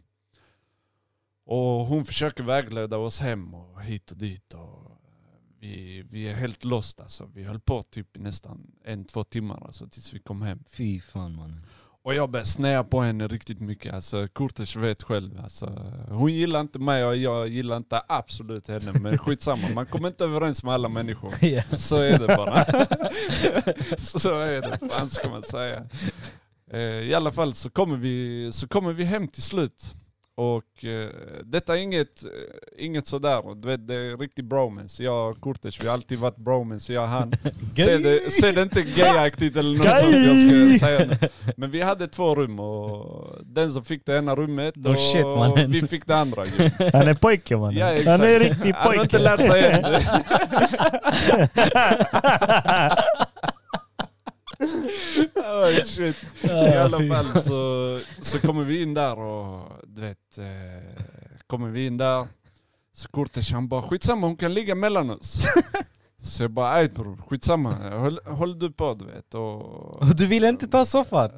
[SPEAKER 3] Och hon försöker vägleda oss hem och hit och dit. Och eh, vi, vi är helt lost alltså. Vi höll på typ i nästan en, två timmar alltså, tills vi kom hem.
[SPEAKER 1] Fy fan mannen.
[SPEAKER 3] Och jag började snäa på henne riktigt mycket. Alltså, Kurtis vet själv. Alltså, hon gillar inte mig och jag gillar inte absolut henne. Men skitsamma, man kommer inte överens med alla människor. Så är det bara. så är det, fan ska man säga. Eh, I alla fall så kommer vi, så kommer vi hem till slut. Och eh, detta är inget, eh, inget sådär, du vet, det är riktigt bromance. Jag och Kurtis, vi har alltid varit bromance, jag och han. Säg det, säg det inte gayaktigt eller något sånt jag ska säga nu. Men vi hade två rum och den som fick det ena rummet
[SPEAKER 1] No
[SPEAKER 3] och
[SPEAKER 1] shit, mannen.
[SPEAKER 3] vi fick det andra. ju.
[SPEAKER 2] Han är pojke mannen.
[SPEAKER 3] Ja, exakt.
[SPEAKER 2] Han är en riktig
[SPEAKER 3] Han har inte
[SPEAKER 2] pojke.
[SPEAKER 3] lärt sig än. Oh, shit. I alla fall så, så kommer vi in där och du vet, eh, kommer vi in där. Så Kurtis han bara, skitsamma hon kan ligga mellan oss. Så jag bara, aj bror, skitsamma. Håll, håll du på du vet. Och,
[SPEAKER 1] Och du ville inte ta soffan?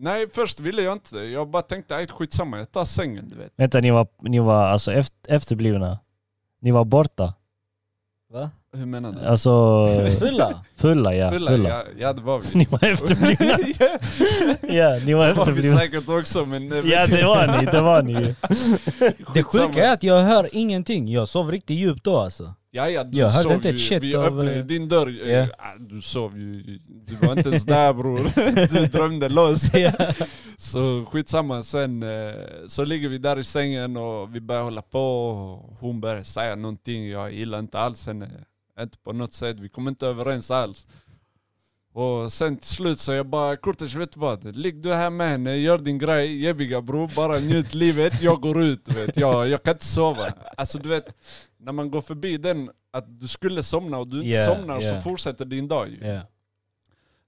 [SPEAKER 3] nej först ville jag inte Jag bara tänkte, aj skitsamma jag tar sängen du vet.
[SPEAKER 2] Vänta, ni var, ni var alltså efter, efterblivna. Ni var borta.
[SPEAKER 1] Va?
[SPEAKER 3] Hur menar du?
[SPEAKER 2] Alltså
[SPEAKER 1] Fulla?
[SPEAKER 2] fulla ja. Fulla.
[SPEAKER 3] Fulla? Ja, ja det var
[SPEAKER 2] Så
[SPEAKER 3] vi.
[SPEAKER 2] ni var efterblivna.
[SPEAKER 3] ja,
[SPEAKER 2] Ja, ni var
[SPEAKER 3] det var vi
[SPEAKER 2] efterblivna.
[SPEAKER 3] säkert också men... eh,
[SPEAKER 2] Ja det var ni, det var ni ju.
[SPEAKER 1] Det
[SPEAKER 3] Skitsamma.
[SPEAKER 1] sjuka är att jag hör ingenting. Jag sov riktigt djupt då alltså.
[SPEAKER 3] Ja, ja, du
[SPEAKER 1] Jag hörde
[SPEAKER 3] sov
[SPEAKER 1] inte
[SPEAKER 3] ju,
[SPEAKER 1] ett shit
[SPEAKER 3] vi
[SPEAKER 1] av,
[SPEAKER 3] öppnade
[SPEAKER 1] eh,
[SPEAKER 3] din dörr,
[SPEAKER 1] ja.
[SPEAKER 3] yeah. du sov ju, du var inte ens där bror, du drömde loss. Så skitsamma, sen eh, så ligger vi där i sängen och vi börjar hålla på, och hon börjar säga någonting, jag gillar inte alls henne, inte på något sätt, vi kommer inte överens alls. Och sen till slut så jag bara, Kurtis vet du vad? Ligg du här med henne, gör din grej, jebbiga bror, bara njut livet, jag går ut vet jag, jag kan inte sova. Alltså du vet, när man går förbi den, att du skulle somna och du inte
[SPEAKER 1] Yeah,
[SPEAKER 3] somnar
[SPEAKER 1] yeah.
[SPEAKER 3] så fortsätter din dag ju.
[SPEAKER 1] Ja.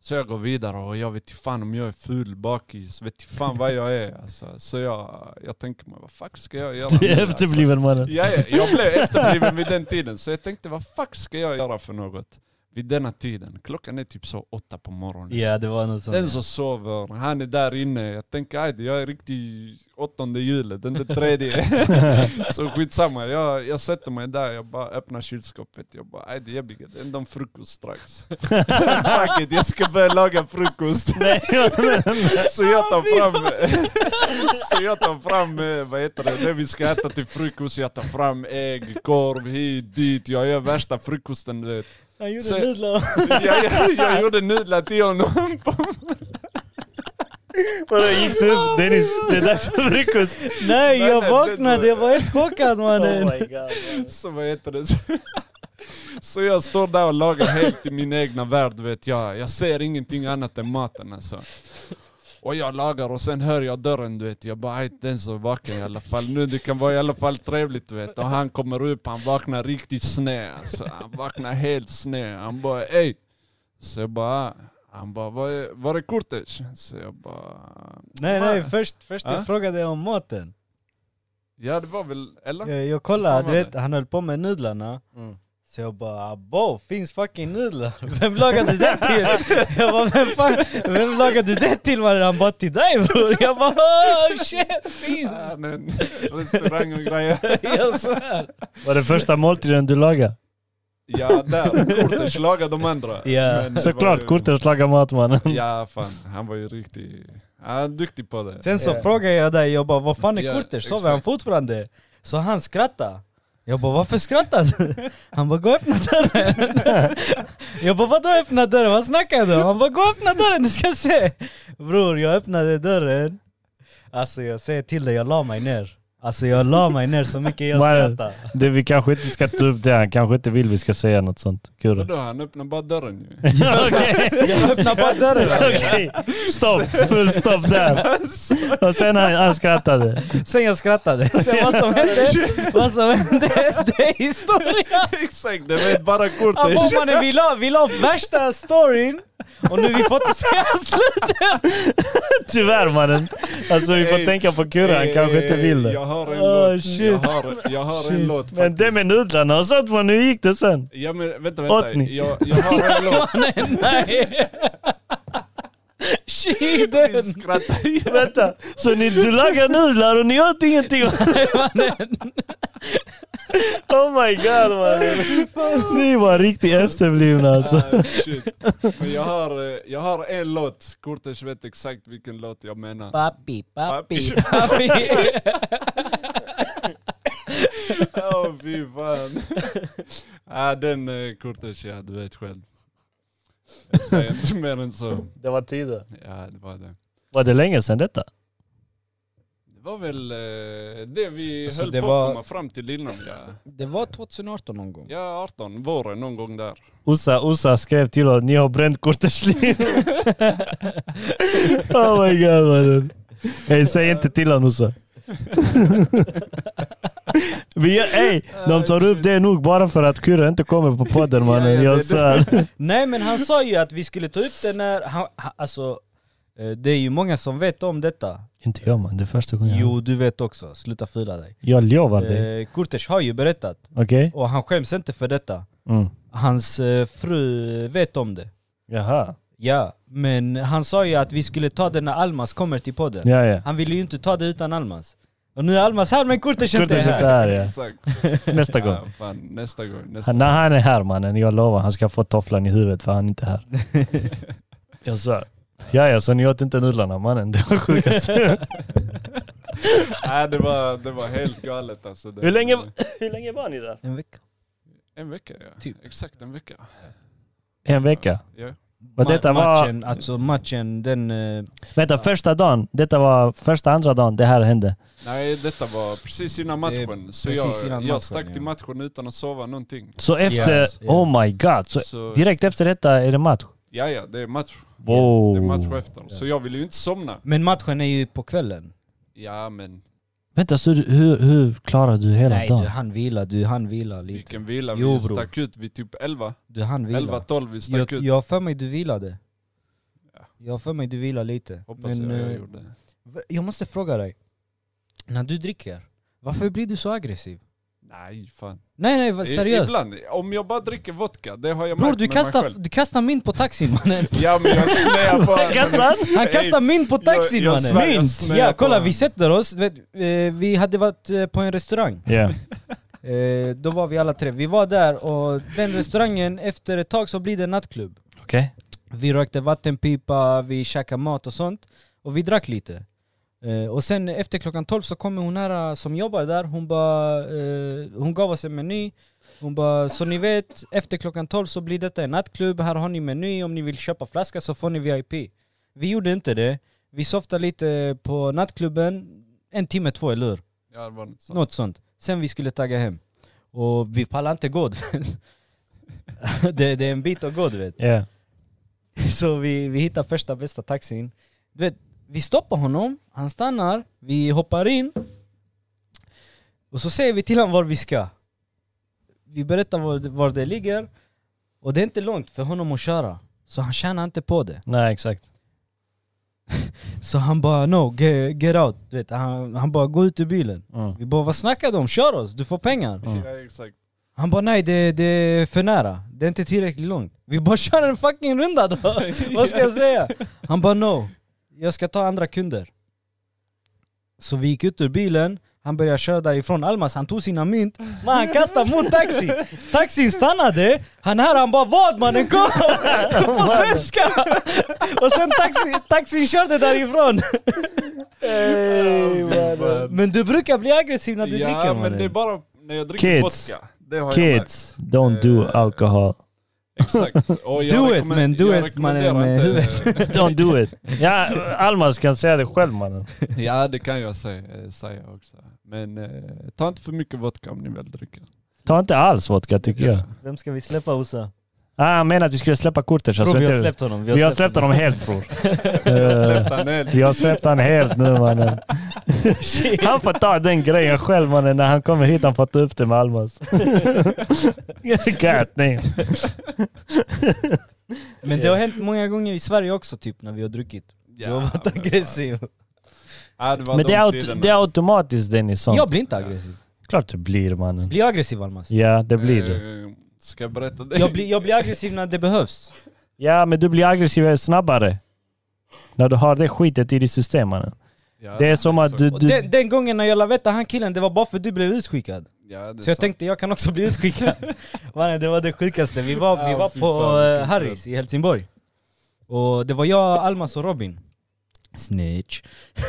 [SPEAKER 3] Så jag går vidare och jag vet ju fan om jag är ful, bakis, vet ju fan vad jag är. Alltså, så jag, jag tänker mig, vad fuck ska jag göra
[SPEAKER 2] Du
[SPEAKER 3] nu,
[SPEAKER 2] är efterbliven mannen.
[SPEAKER 3] Alltså. Ja, ja, jag blev efterbliven vid den tiden, så jag tänkte vad fuck ska jag göra för något? Vid denna tiden, klockan är typ så åtta på morgonen.
[SPEAKER 1] ja, det var något sånt.
[SPEAKER 3] Den som sover, han är där inne. Jag tänker aj, jag är riktigt åttonde hjulet, inte tredje. så skitsamma, jag, jag sätter mig där, jag bara öppnar kylskåpet. Jag bara aj, det är jävligt, ändå en frukost strax. Fuck it, jag ska börja laga frukost.
[SPEAKER 2] Nej,
[SPEAKER 3] så jag tar fram, så jag tar fram, eh, vad heter det, det vi ska äta till frukost. Jag tar fram ägg, korv, hit, dit. Jag gör värsta frukosten du vet.
[SPEAKER 1] Han gjorde
[SPEAKER 3] Så-
[SPEAKER 1] nudlar.
[SPEAKER 3] Jag, jag, jag gjorde nudlar till honom.
[SPEAKER 2] vadå gick du upp? Dennis, det är dags för frukost.
[SPEAKER 1] Nej,
[SPEAKER 3] Nej,
[SPEAKER 1] jag
[SPEAKER 3] nej,
[SPEAKER 1] vaknade.
[SPEAKER 3] det-
[SPEAKER 1] Jag var helt chockad mannen.
[SPEAKER 2] Oh my god.
[SPEAKER 3] Så vad heter det? Så jag står där och lagar helt i min egna värld, du vet jag. Jag ser ingenting annat än maten alltså. Och jag lagar och sen hör jag dörren du vet. Jag bara "Aj, den som vaknar i alla fall nu. Det kan vara i alla fall trevligt du vet. Och han kommer upp, han vaknar riktigt sned alltså. Han vaknar helt sned. Han bara ey. Så jag bara, han bara var är, var är Kurtis? Så jag bara,
[SPEAKER 1] Nej nej, först, först
[SPEAKER 3] Ja.
[SPEAKER 1] jag frågade jag om maten.
[SPEAKER 3] ja det var väl, eller?
[SPEAKER 1] Jag, jag
[SPEAKER 3] Fan, Mm.
[SPEAKER 1] kollade, du
[SPEAKER 3] vad
[SPEAKER 1] vet, han höll på med nudlarna. Så jag bara bo, finns fucking nudlar? Vem lagade det till? Jag bara vem fan, vem lagade det till mannen? Han bara till dig bror. Jag bara oh shit, finns!
[SPEAKER 3] Ah, men, restaurang och grejer.
[SPEAKER 1] Jag svär.
[SPEAKER 2] Var det första måltiden du lagade?
[SPEAKER 3] Ja, där. Kurtis lagar de andra.
[SPEAKER 1] Ja.
[SPEAKER 3] Men det var
[SPEAKER 2] Såklart,
[SPEAKER 3] ju-
[SPEAKER 2] Kurtis lagar mat mannen.
[SPEAKER 3] Ja, fan. Han var ju riktigt... Han är duktig på det.
[SPEAKER 1] Sen så
[SPEAKER 2] Ja.
[SPEAKER 1] frågade jag dig, jag bara vad fan är
[SPEAKER 3] Eh. Ja,
[SPEAKER 1] Kurters? Sover
[SPEAKER 3] exakt.
[SPEAKER 1] han fortfarande? Så han skrattade. Jag bara varför skrattar du? Han bara gå och öppna dörren. Jag bara vadå öppna dörren? Vad snackar du om? Han bara gå och öppna dörren du ska se. Bror jag öppnade dörren. Alltså jag säger till dig, jag la mig ner. Alltså jag la mig ner så mycket jag
[SPEAKER 2] Mannen.
[SPEAKER 1] skrattade.
[SPEAKER 2] Det, vi kanske inte ska ta upp det, han kanske inte vill vi ska säga något sånt. Kul.
[SPEAKER 3] Vadå, han öppnar bara dörren ju.
[SPEAKER 2] Okej,
[SPEAKER 1] Öppna bara dörren.
[SPEAKER 2] Okej. stopp, full stopp där. Och sen han, han skrattade.
[SPEAKER 1] Sen jag skrattade. Sen vad som hände, vad som hände, det är historia.
[SPEAKER 3] Exakt, det var ett bara kort.
[SPEAKER 1] Ah, bro, mannen, vi la, vi la värsta storyn och nu vi får inte säga slut.
[SPEAKER 2] Tyvärr mannen. Alltså vi får tänka på Kurre, han kanske inte vill
[SPEAKER 3] Eh, Jag
[SPEAKER 2] det.
[SPEAKER 3] har en
[SPEAKER 2] Oh,
[SPEAKER 3] låt.
[SPEAKER 2] shit.
[SPEAKER 3] Jag har, jag har en låt
[SPEAKER 2] Men det med
[SPEAKER 3] faktiskt.
[SPEAKER 2] nudlarna och sånt, vad nu gick det sen?
[SPEAKER 3] Ja men vänta,
[SPEAKER 2] Åt
[SPEAKER 3] vänta.
[SPEAKER 2] ni?
[SPEAKER 3] Jag, jag har en låt.
[SPEAKER 1] Mannen, nej. Shiden.
[SPEAKER 3] Ni skrattar ju.
[SPEAKER 2] Vänta, så ni, du lagar nudlar och ni åt ingenting? oh my god mannen. Ni var riktigt efterblivna alltså.
[SPEAKER 3] Ah, shit. Men jag har, eh, jag har en låt. Kurtes vet exakt vilken låt jag menar.
[SPEAKER 1] Papi, papi,
[SPEAKER 3] Papi.
[SPEAKER 1] papi.
[SPEAKER 3] Åh fy fan. Ah, den eh, Kurtes, ja du vet själv. Jag säger inte mer än så.
[SPEAKER 2] Det var tider.
[SPEAKER 3] Ja det var det.
[SPEAKER 2] Var det länge sedan detta?
[SPEAKER 3] Det var väl eh, det vi
[SPEAKER 1] Alltså,
[SPEAKER 3] höll
[SPEAKER 1] det
[SPEAKER 3] på
[SPEAKER 1] var-
[SPEAKER 3] att komma fram till innan. Ja.
[SPEAKER 1] Det var 2018 någon gång.
[SPEAKER 3] ja, 18, våren någon gång där.
[SPEAKER 2] Ossa, Ossa skrev till oss, ni har bränt kortets liv. oh my god mannen. Hey, säg inte till honom Ossa. Vi gör, ey, de tar upp det nog bara för att Kurre inte kommer på podden
[SPEAKER 3] Ja, ja,
[SPEAKER 2] mannen.
[SPEAKER 3] det-
[SPEAKER 2] Jag
[SPEAKER 3] det-
[SPEAKER 2] svär.
[SPEAKER 1] Nej men han sa ju att vi skulle ta upp det när, han, han- alltså eh, det är ju många som vet om detta.
[SPEAKER 2] Inte jag man, det är första gången. jag-
[SPEAKER 1] Jo du vet också, sluta fula dig.
[SPEAKER 2] Jag lovar dig.
[SPEAKER 1] Eh, Kurtes har ju berättat
[SPEAKER 2] Okej?
[SPEAKER 1] och han skäms inte för detta.
[SPEAKER 2] Mm.
[SPEAKER 1] Hans eh, fru vet om det.
[SPEAKER 2] Jaha.
[SPEAKER 1] Ja, men han sa ju att vi skulle ta det när Almas kommer till podden.
[SPEAKER 2] Ja, ja.
[SPEAKER 1] Han ville ju inte ta det utan Almas. Och nu är Almas här men Kurtes inte
[SPEAKER 2] Kurtis
[SPEAKER 1] är
[SPEAKER 2] är
[SPEAKER 1] här.
[SPEAKER 2] inte här ja.
[SPEAKER 3] Exakt.
[SPEAKER 2] Nästa gång.
[SPEAKER 3] Ja, fan, nästa gång. Nästa
[SPEAKER 2] Han,
[SPEAKER 3] gång.
[SPEAKER 2] när han är här mannen, jag lovar, han ska få tofflan i huvudet för han är inte här. jag svär. Ja, ja, så ni åt inte nudlarna mannen, det var sjukast.
[SPEAKER 3] Nej, det, var, det var helt galet alltså. Det,
[SPEAKER 2] hur, länge, hur länge var ni där?
[SPEAKER 1] En vecka.
[SPEAKER 3] En vecka ja.
[SPEAKER 1] Typ.
[SPEAKER 3] Exakt en vecka.
[SPEAKER 2] En vecka.
[SPEAKER 3] Ja.
[SPEAKER 2] Men detta var-
[SPEAKER 1] matchen, alltså matchen, den... eh,
[SPEAKER 2] Vänta, första dagen, detta var första, andra dagen det här hände.
[SPEAKER 3] Nej, detta var precis innan
[SPEAKER 1] Det är
[SPEAKER 3] matchen. Så
[SPEAKER 1] precis
[SPEAKER 3] jag,
[SPEAKER 1] innan matchen,
[SPEAKER 3] jag stack till
[SPEAKER 1] ja.
[SPEAKER 3] matchen utan att sova någonting.
[SPEAKER 2] Så efter,
[SPEAKER 1] Yes, yeah.
[SPEAKER 2] oh my god, så
[SPEAKER 3] Så,
[SPEAKER 2] direkt efter detta är det match?
[SPEAKER 3] ja, ja, det är match.
[SPEAKER 2] Wow.
[SPEAKER 1] Oh,
[SPEAKER 3] Det är match efter. Så jag ville ju inte somna.
[SPEAKER 1] Men matchen är ju på kvällen.
[SPEAKER 3] Ja, men
[SPEAKER 2] Vänta, så du- hur, hur klarar du hela
[SPEAKER 1] Nej
[SPEAKER 2] dagen?
[SPEAKER 1] du hann vila, du hann vila lite.
[SPEAKER 3] vilken vila. Vi
[SPEAKER 1] Jo, bror.
[SPEAKER 3] stack ut vid typ 11.
[SPEAKER 1] Du hann vila.
[SPEAKER 3] 11-12 vi
[SPEAKER 1] Jag,
[SPEAKER 3] stack ut.
[SPEAKER 1] jag har för mig du vilade.
[SPEAKER 3] Ja.
[SPEAKER 1] Jag har för mig du vilade lite.
[SPEAKER 3] Hoppas
[SPEAKER 1] Men,
[SPEAKER 3] jag, jag
[SPEAKER 1] eh,
[SPEAKER 3] gjorde.
[SPEAKER 1] v- jag måste fråga dig. När du dricker, varför blir du så aggressiv?
[SPEAKER 3] Nej, fan.
[SPEAKER 1] Nej nej va-
[SPEAKER 3] I-
[SPEAKER 1] seriöst.
[SPEAKER 3] Ibland, om jag bara dricker vodka, det har jag
[SPEAKER 1] Bror
[SPEAKER 3] märkt
[SPEAKER 1] du
[SPEAKER 3] med mig
[SPEAKER 1] kastar,
[SPEAKER 3] själv.
[SPEAKER 1] du kastar mynt på taxin mannen.
[SPEAKER 3] Ja men jag snäar på
[SPEAKER 2] Kassan?
[SPEAKER 1] Han kastar mynt på taxin
[SPEAKER 3] jag svär,
[SPEAKER 1] mannen.
[SPEAKER 3] jag
[SPEAKER 1] Mynt!
[SPEAKER 3] snävar
[SPEAKER 1] Ja
[SPEAKER 3] på
[SPEAKER 1] kolla
[SPEAKER 3] honom.
[SPEAKER 1] vi sätter oss, vet, eh, vi hade varit eh, på en restaurang.
[SPEAKER 2] Ja.
[SPEAKER 1] Eh, då var vi alla tre. Vi var där och den restaurangen, efter ett tag så blir det nattklubb.
[SPEAKER 2] Okej.
[SPEAKER 1] Vi rökte vattenpipa, vi käkade mat och sånt. Och vi drack lite. Eh, och sen efter klockan 12 så kommer hon här eh, som jobbar där, hon bara, eh, hon gav oss en meny. Hon bara, så ni vet, efter klockan 12 så blir detta en nattklubb, här har ni meny, om ni vill köpa flaska så får ni VIP. Vi gjorde inte det. Vi softade lite på nattklubben, en timme, två eller hur?
[SPEAKER 3] Ja, det var något sånt.
[SPEAKER 1] Något sånt. Sen vi skulle tagga hem. Och vi pallade inte gå du vet. det, det är en bit att gå du vet.
[SPEAKER 2] Ja.
[SPEAKER 1] Så vi, vi hittar första bästa taxin. Du vet, vi stoppar honom, han stannar, vi hoppar in. Och så säger vi till honom var vi ska. Vi berättar var, det- var det ligger. Och det är inte långt för honom att köra. Så han tjänar inte på det.
[SPEAKER 2] Nej, exakt.
[SPEAKER 1] Så han bara no, get, get out. Du vet, han, han bara gå ut ur bilen.
[SPEAKER 2] Mm.
[SPEAKER 1] Vi bara vad snackar du om? Kör oss, du får pengar.
[SPEAKER 2] Mm.
[SPEAKER 3] Ja, exakt.
[SPEAKER 1] Han bara nej det, det är för nära, det är inte tillräckligt långt. Vi bara kör en fucking runda då, vad ska jag säga? Han bara no, jag ska ta andra kunder. Så vi gick ut ur bilen, han började köra därifrån, Almas han tog sina mynt, men han kastade mot taxi. Taxin stannade, han här han bara vad mannen kom! På svenska! Och sen taxi, taxin körde därifrån.
[SPEAKER 3] Hey,
[SPEAKER 1] Men du brukar bli aggressiv när du dricker
[SPEAKER 3] ja men
[SPEAKER 1] mannen.
[SPEAKER 3] det är bara när jag dricker
[SPEAKER 2] Kids.
[SPEAKER 3] vodka. Det har jag märkt.
[SPEAKER 2] Kids, don't do
[SPEAKER 3] Eh,
[SPEAKER 2] alcohol.
[SPEAKER 3] Exakt. Och jag
[SPEAKER 1] Do it,
[SPEAKER 3] rekommen-
[SPEAKER 1] men do
[SPEAKER 3] jag
[SPEAKER 1] it, mannen,
[SPEAKER 3] rekommenderar
[SPEAKER 1] med
[SPEAKER 3] inte-
[SPEAKER 1] huvudet.
[SPEAKER 2] Don't do it. Ja, Almas kan säga det själv mannen.
[SPEAKER 3] Ja det kan jag säga, eh, säga också. Men eh, ta inte för mycket vodka om ni väl dricker.
[SPEAKER 2] Ta inte alls vodka tycker jag.
[SPEAKER 1] Vem ska vi släppa Osa?
[SPEAKER 2] Ah, han menar att vi skulle släppa kortet. så
[SPEAKER 1] Bror vi
[SPEAKER 2] inte-
[SPEAKER 1] har släppt honom.
[SPEAKER 2] vi har släppt honom helt bror. Eh,
[SPEAKER 3] Släpp den helt.
[SPEAKER 2] Vi har släppt han helt nu mannen. Han får ta den grejen själv mannen. När han kommer hit han får ta upp det med Almas. God damn.
[SPEAKER 1] Men det har hänt många gånger i Sverige också typ när vi har druckit. Du har varit
[SPEAKER 3] men-
[SPEAKER 1] aggressiv.
[SPEAKER 3] Ja, det var
[SPEAKER 2] Men
[SPEAKER 3] de
[SPEAKER 2] det är, aut-
[SPEAKER 3] tiderna.
[SPEAKER 2] det är automatiskt Dennis sånt.
[SPEAKER 1] Jag blir inte aggressiv.
[SPEAKER 2] Klart du blir mannen.
[SPEAKER 1] Blir jag aggressiv Almas?
[SPEAKER 2] Ja det blir du.
[SPEAKER 3] Eh, Ska jag berätta det?
[SPEAKER 1] Jag blir, jag blir aggressiv när det behövs.
[SPEAKER 2] Ja men du blir aggressiv eh, snabbare. När du har det skitet i ditt system mannen.
[SPEAKER 3] Ja,
[SPEAKER 2] Det är som att du...
[SPEAKER 3] exakt.
[SPEAKER 1] Och
[SPEAKER 2] du
[SPEAKER 1] Den, den gången när jag la veta han killen, det var bara för att du blev utskickad.
[SPEAKER 3] Ja, det är
[SPEAKER 1] Så jag
[SPEAKER 3] sant.
[SPEAKER 1] tänkte jag kan också bli utskickad. Mannen det var det sjukaste, vi var, vi
[SPEAKER 3] Ja,
[SPEAKER 1] var
[SPEAKER 3] fy
[SPEAKER 1] på
[SPEAKER 3] fan, vilken
[SPEAKER 1] eh, Harrys i Helsingborg. Och det var jag, Almas och Robin. Snitch.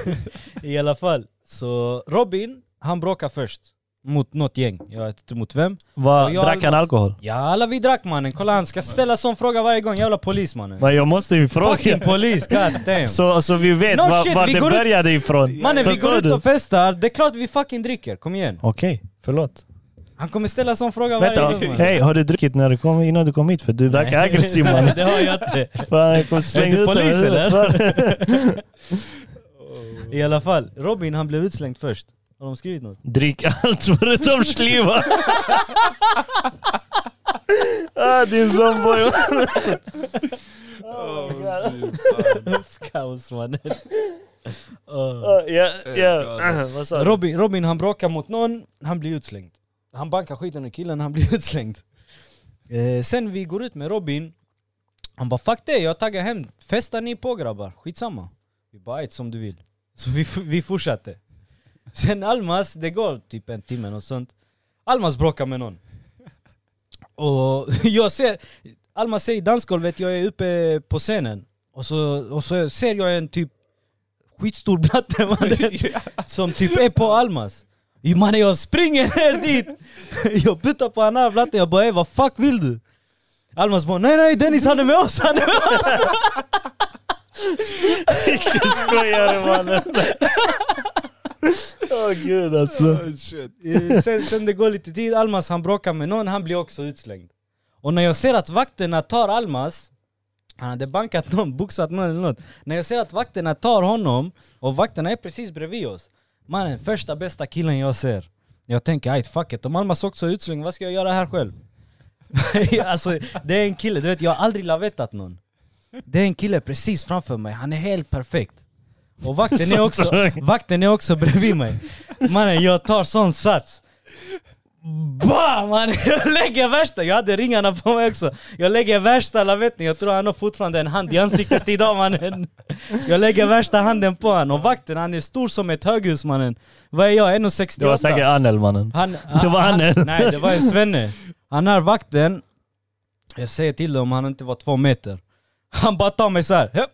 [SPEAKER 1] I alla fall, så Robin, han bråkade först. Mot något gäng, jag vet inte mot vem.
[SPEAKER 2] vad,
[SPEAKER 1] och jag
[SPEAKER 2] drack han
[SPEAKER 1] Almas.
[SPEAKER 2] alkohol?
[SPEAKER 1] Ja alla vi drack mannen, kolla han ska ställa sån fråga varje gång, jävla polis mannen.
[SPEAKER 2] Men jag måste ju fråga.
[SPEAKER 1] Fucking polis, god damn.
[SPEAKER 2] Så, så vi vet
[SPEAKER 1] No
[SPEAKER 2] var,
[SPEAKER 1] shit,
[SPEAKER 2] var
[SPEAKER 1] vi
[SPEAKER 2] det
[SPEAKER 1] går ut-
[SPEAKER 2] började ifrån.
[SPEAKER 1] Mannen vi
[SPEAKER 2] Förstår
[SPEAKER 1] går ut
[SPEAKER 2] du?
[SPEAKER 1] och festar, det är klart vi fucking dricker, kom igen.
[SPEAKER 2] Okej, förlåt.
[SPEAKER 1] Han kommer ställa sån fråga varje
[SPEAKER 2] Vänta,
[SPEAKER 1] gång mannen.
[SPEAKER 2] hej har du druckit när du kom, innan du kom hit? För du verkar aggressiv mannen.
[SPEAKER 1] det har jag inte.
[SPEAKER 2] Fan jag kommer slänga
[SPEAKER 1] Är du
[SPEAKER 2] ut
[SPEAKER 1] polis,
[SPEAKER 2] honom.
[SPEAKER 1] eller? I alla fall, Robin han blev utslängd först. Har de skrivit något?
[SPEAKER 2] Drick allt förutom sliva. ah, din sån boy.
[SPEAKER 3] Åh, fy fan.
[SPEAKER 1] Kaos mannen.
[SPEAKER 2] Ah, ja, ja. Vad sa du?
[SPEAKER 1] Robin, Robin han bråkar mot någon, han blir utslängd. Han bankar skiten ur killen, han blir utslängd. Eh, sen vi går ut med Robin, han bara 'fuck det, jag taggar hem, festar ni på grabbar, skitsamma' Vi bara 'ett som du vill' Så vi, f- vi fortsatte. Sen Almas, det går typ en timme något sånt. Almas bråkar med någon. Och jag ser, Almas säger i dansgolvet, jag är uppe på scenen. Och så, och så ser jag en typ skitstor blatte mannen, som typ är på Almas. Jo, Mannen jag springer ner dit! Jag puttar på den här blatten, jag bara "Ey, vad fuck vill du? Almas bara nej nej Dennis han är med oss, han är med oss!
[SPEAKER 2] Vilken skojare mannen. Åh gud alltså.
[SPEAKER 3] Oh, shit.
[SPEAKER 1] Eh, sen, sen det går lite tid, Almas han bråkar med någon, han blir också utslängd. Och när jag ser att vakterna tar Almas, han hade bankat någon, boxat någon eller något. När jag ser att vakterna tar honom, och vakterna är precis bredvid oss. Mannen, första bästa killen jag ser. Jag tänker ajt fuck it, om Almas också är utslängd, vad ska jag göra här själv? alltså det är en kille, du vet jag har aldrig lavettat någon. Det är en kille precis framför mig, han är helt perfekt. Och vakten är också, vakten är också bredvid mig. Mannen jag tar sån sats. Bam! mannen, Jag lägger värsta, jag hade ringarna på mig också. Jag lägger värsta lavetten, jag tror han har fortfarande en hand i ansiktet idag mannen. Jag lägger värsta handen på honom. Och vakten han är stor som ett höghus mannen. Vad är jag? 1,68?
[SPEAKER 2] Det var säkert Anel mannen.
[SPEAKER 1] Han,
[SPEAKER 2] Det var han, eller?
[SPEAKER 1] Nej, det var en svenne. Han är vakten. Jag säger till honom han inte var två meter. Han bara tar mig så här. "Hö,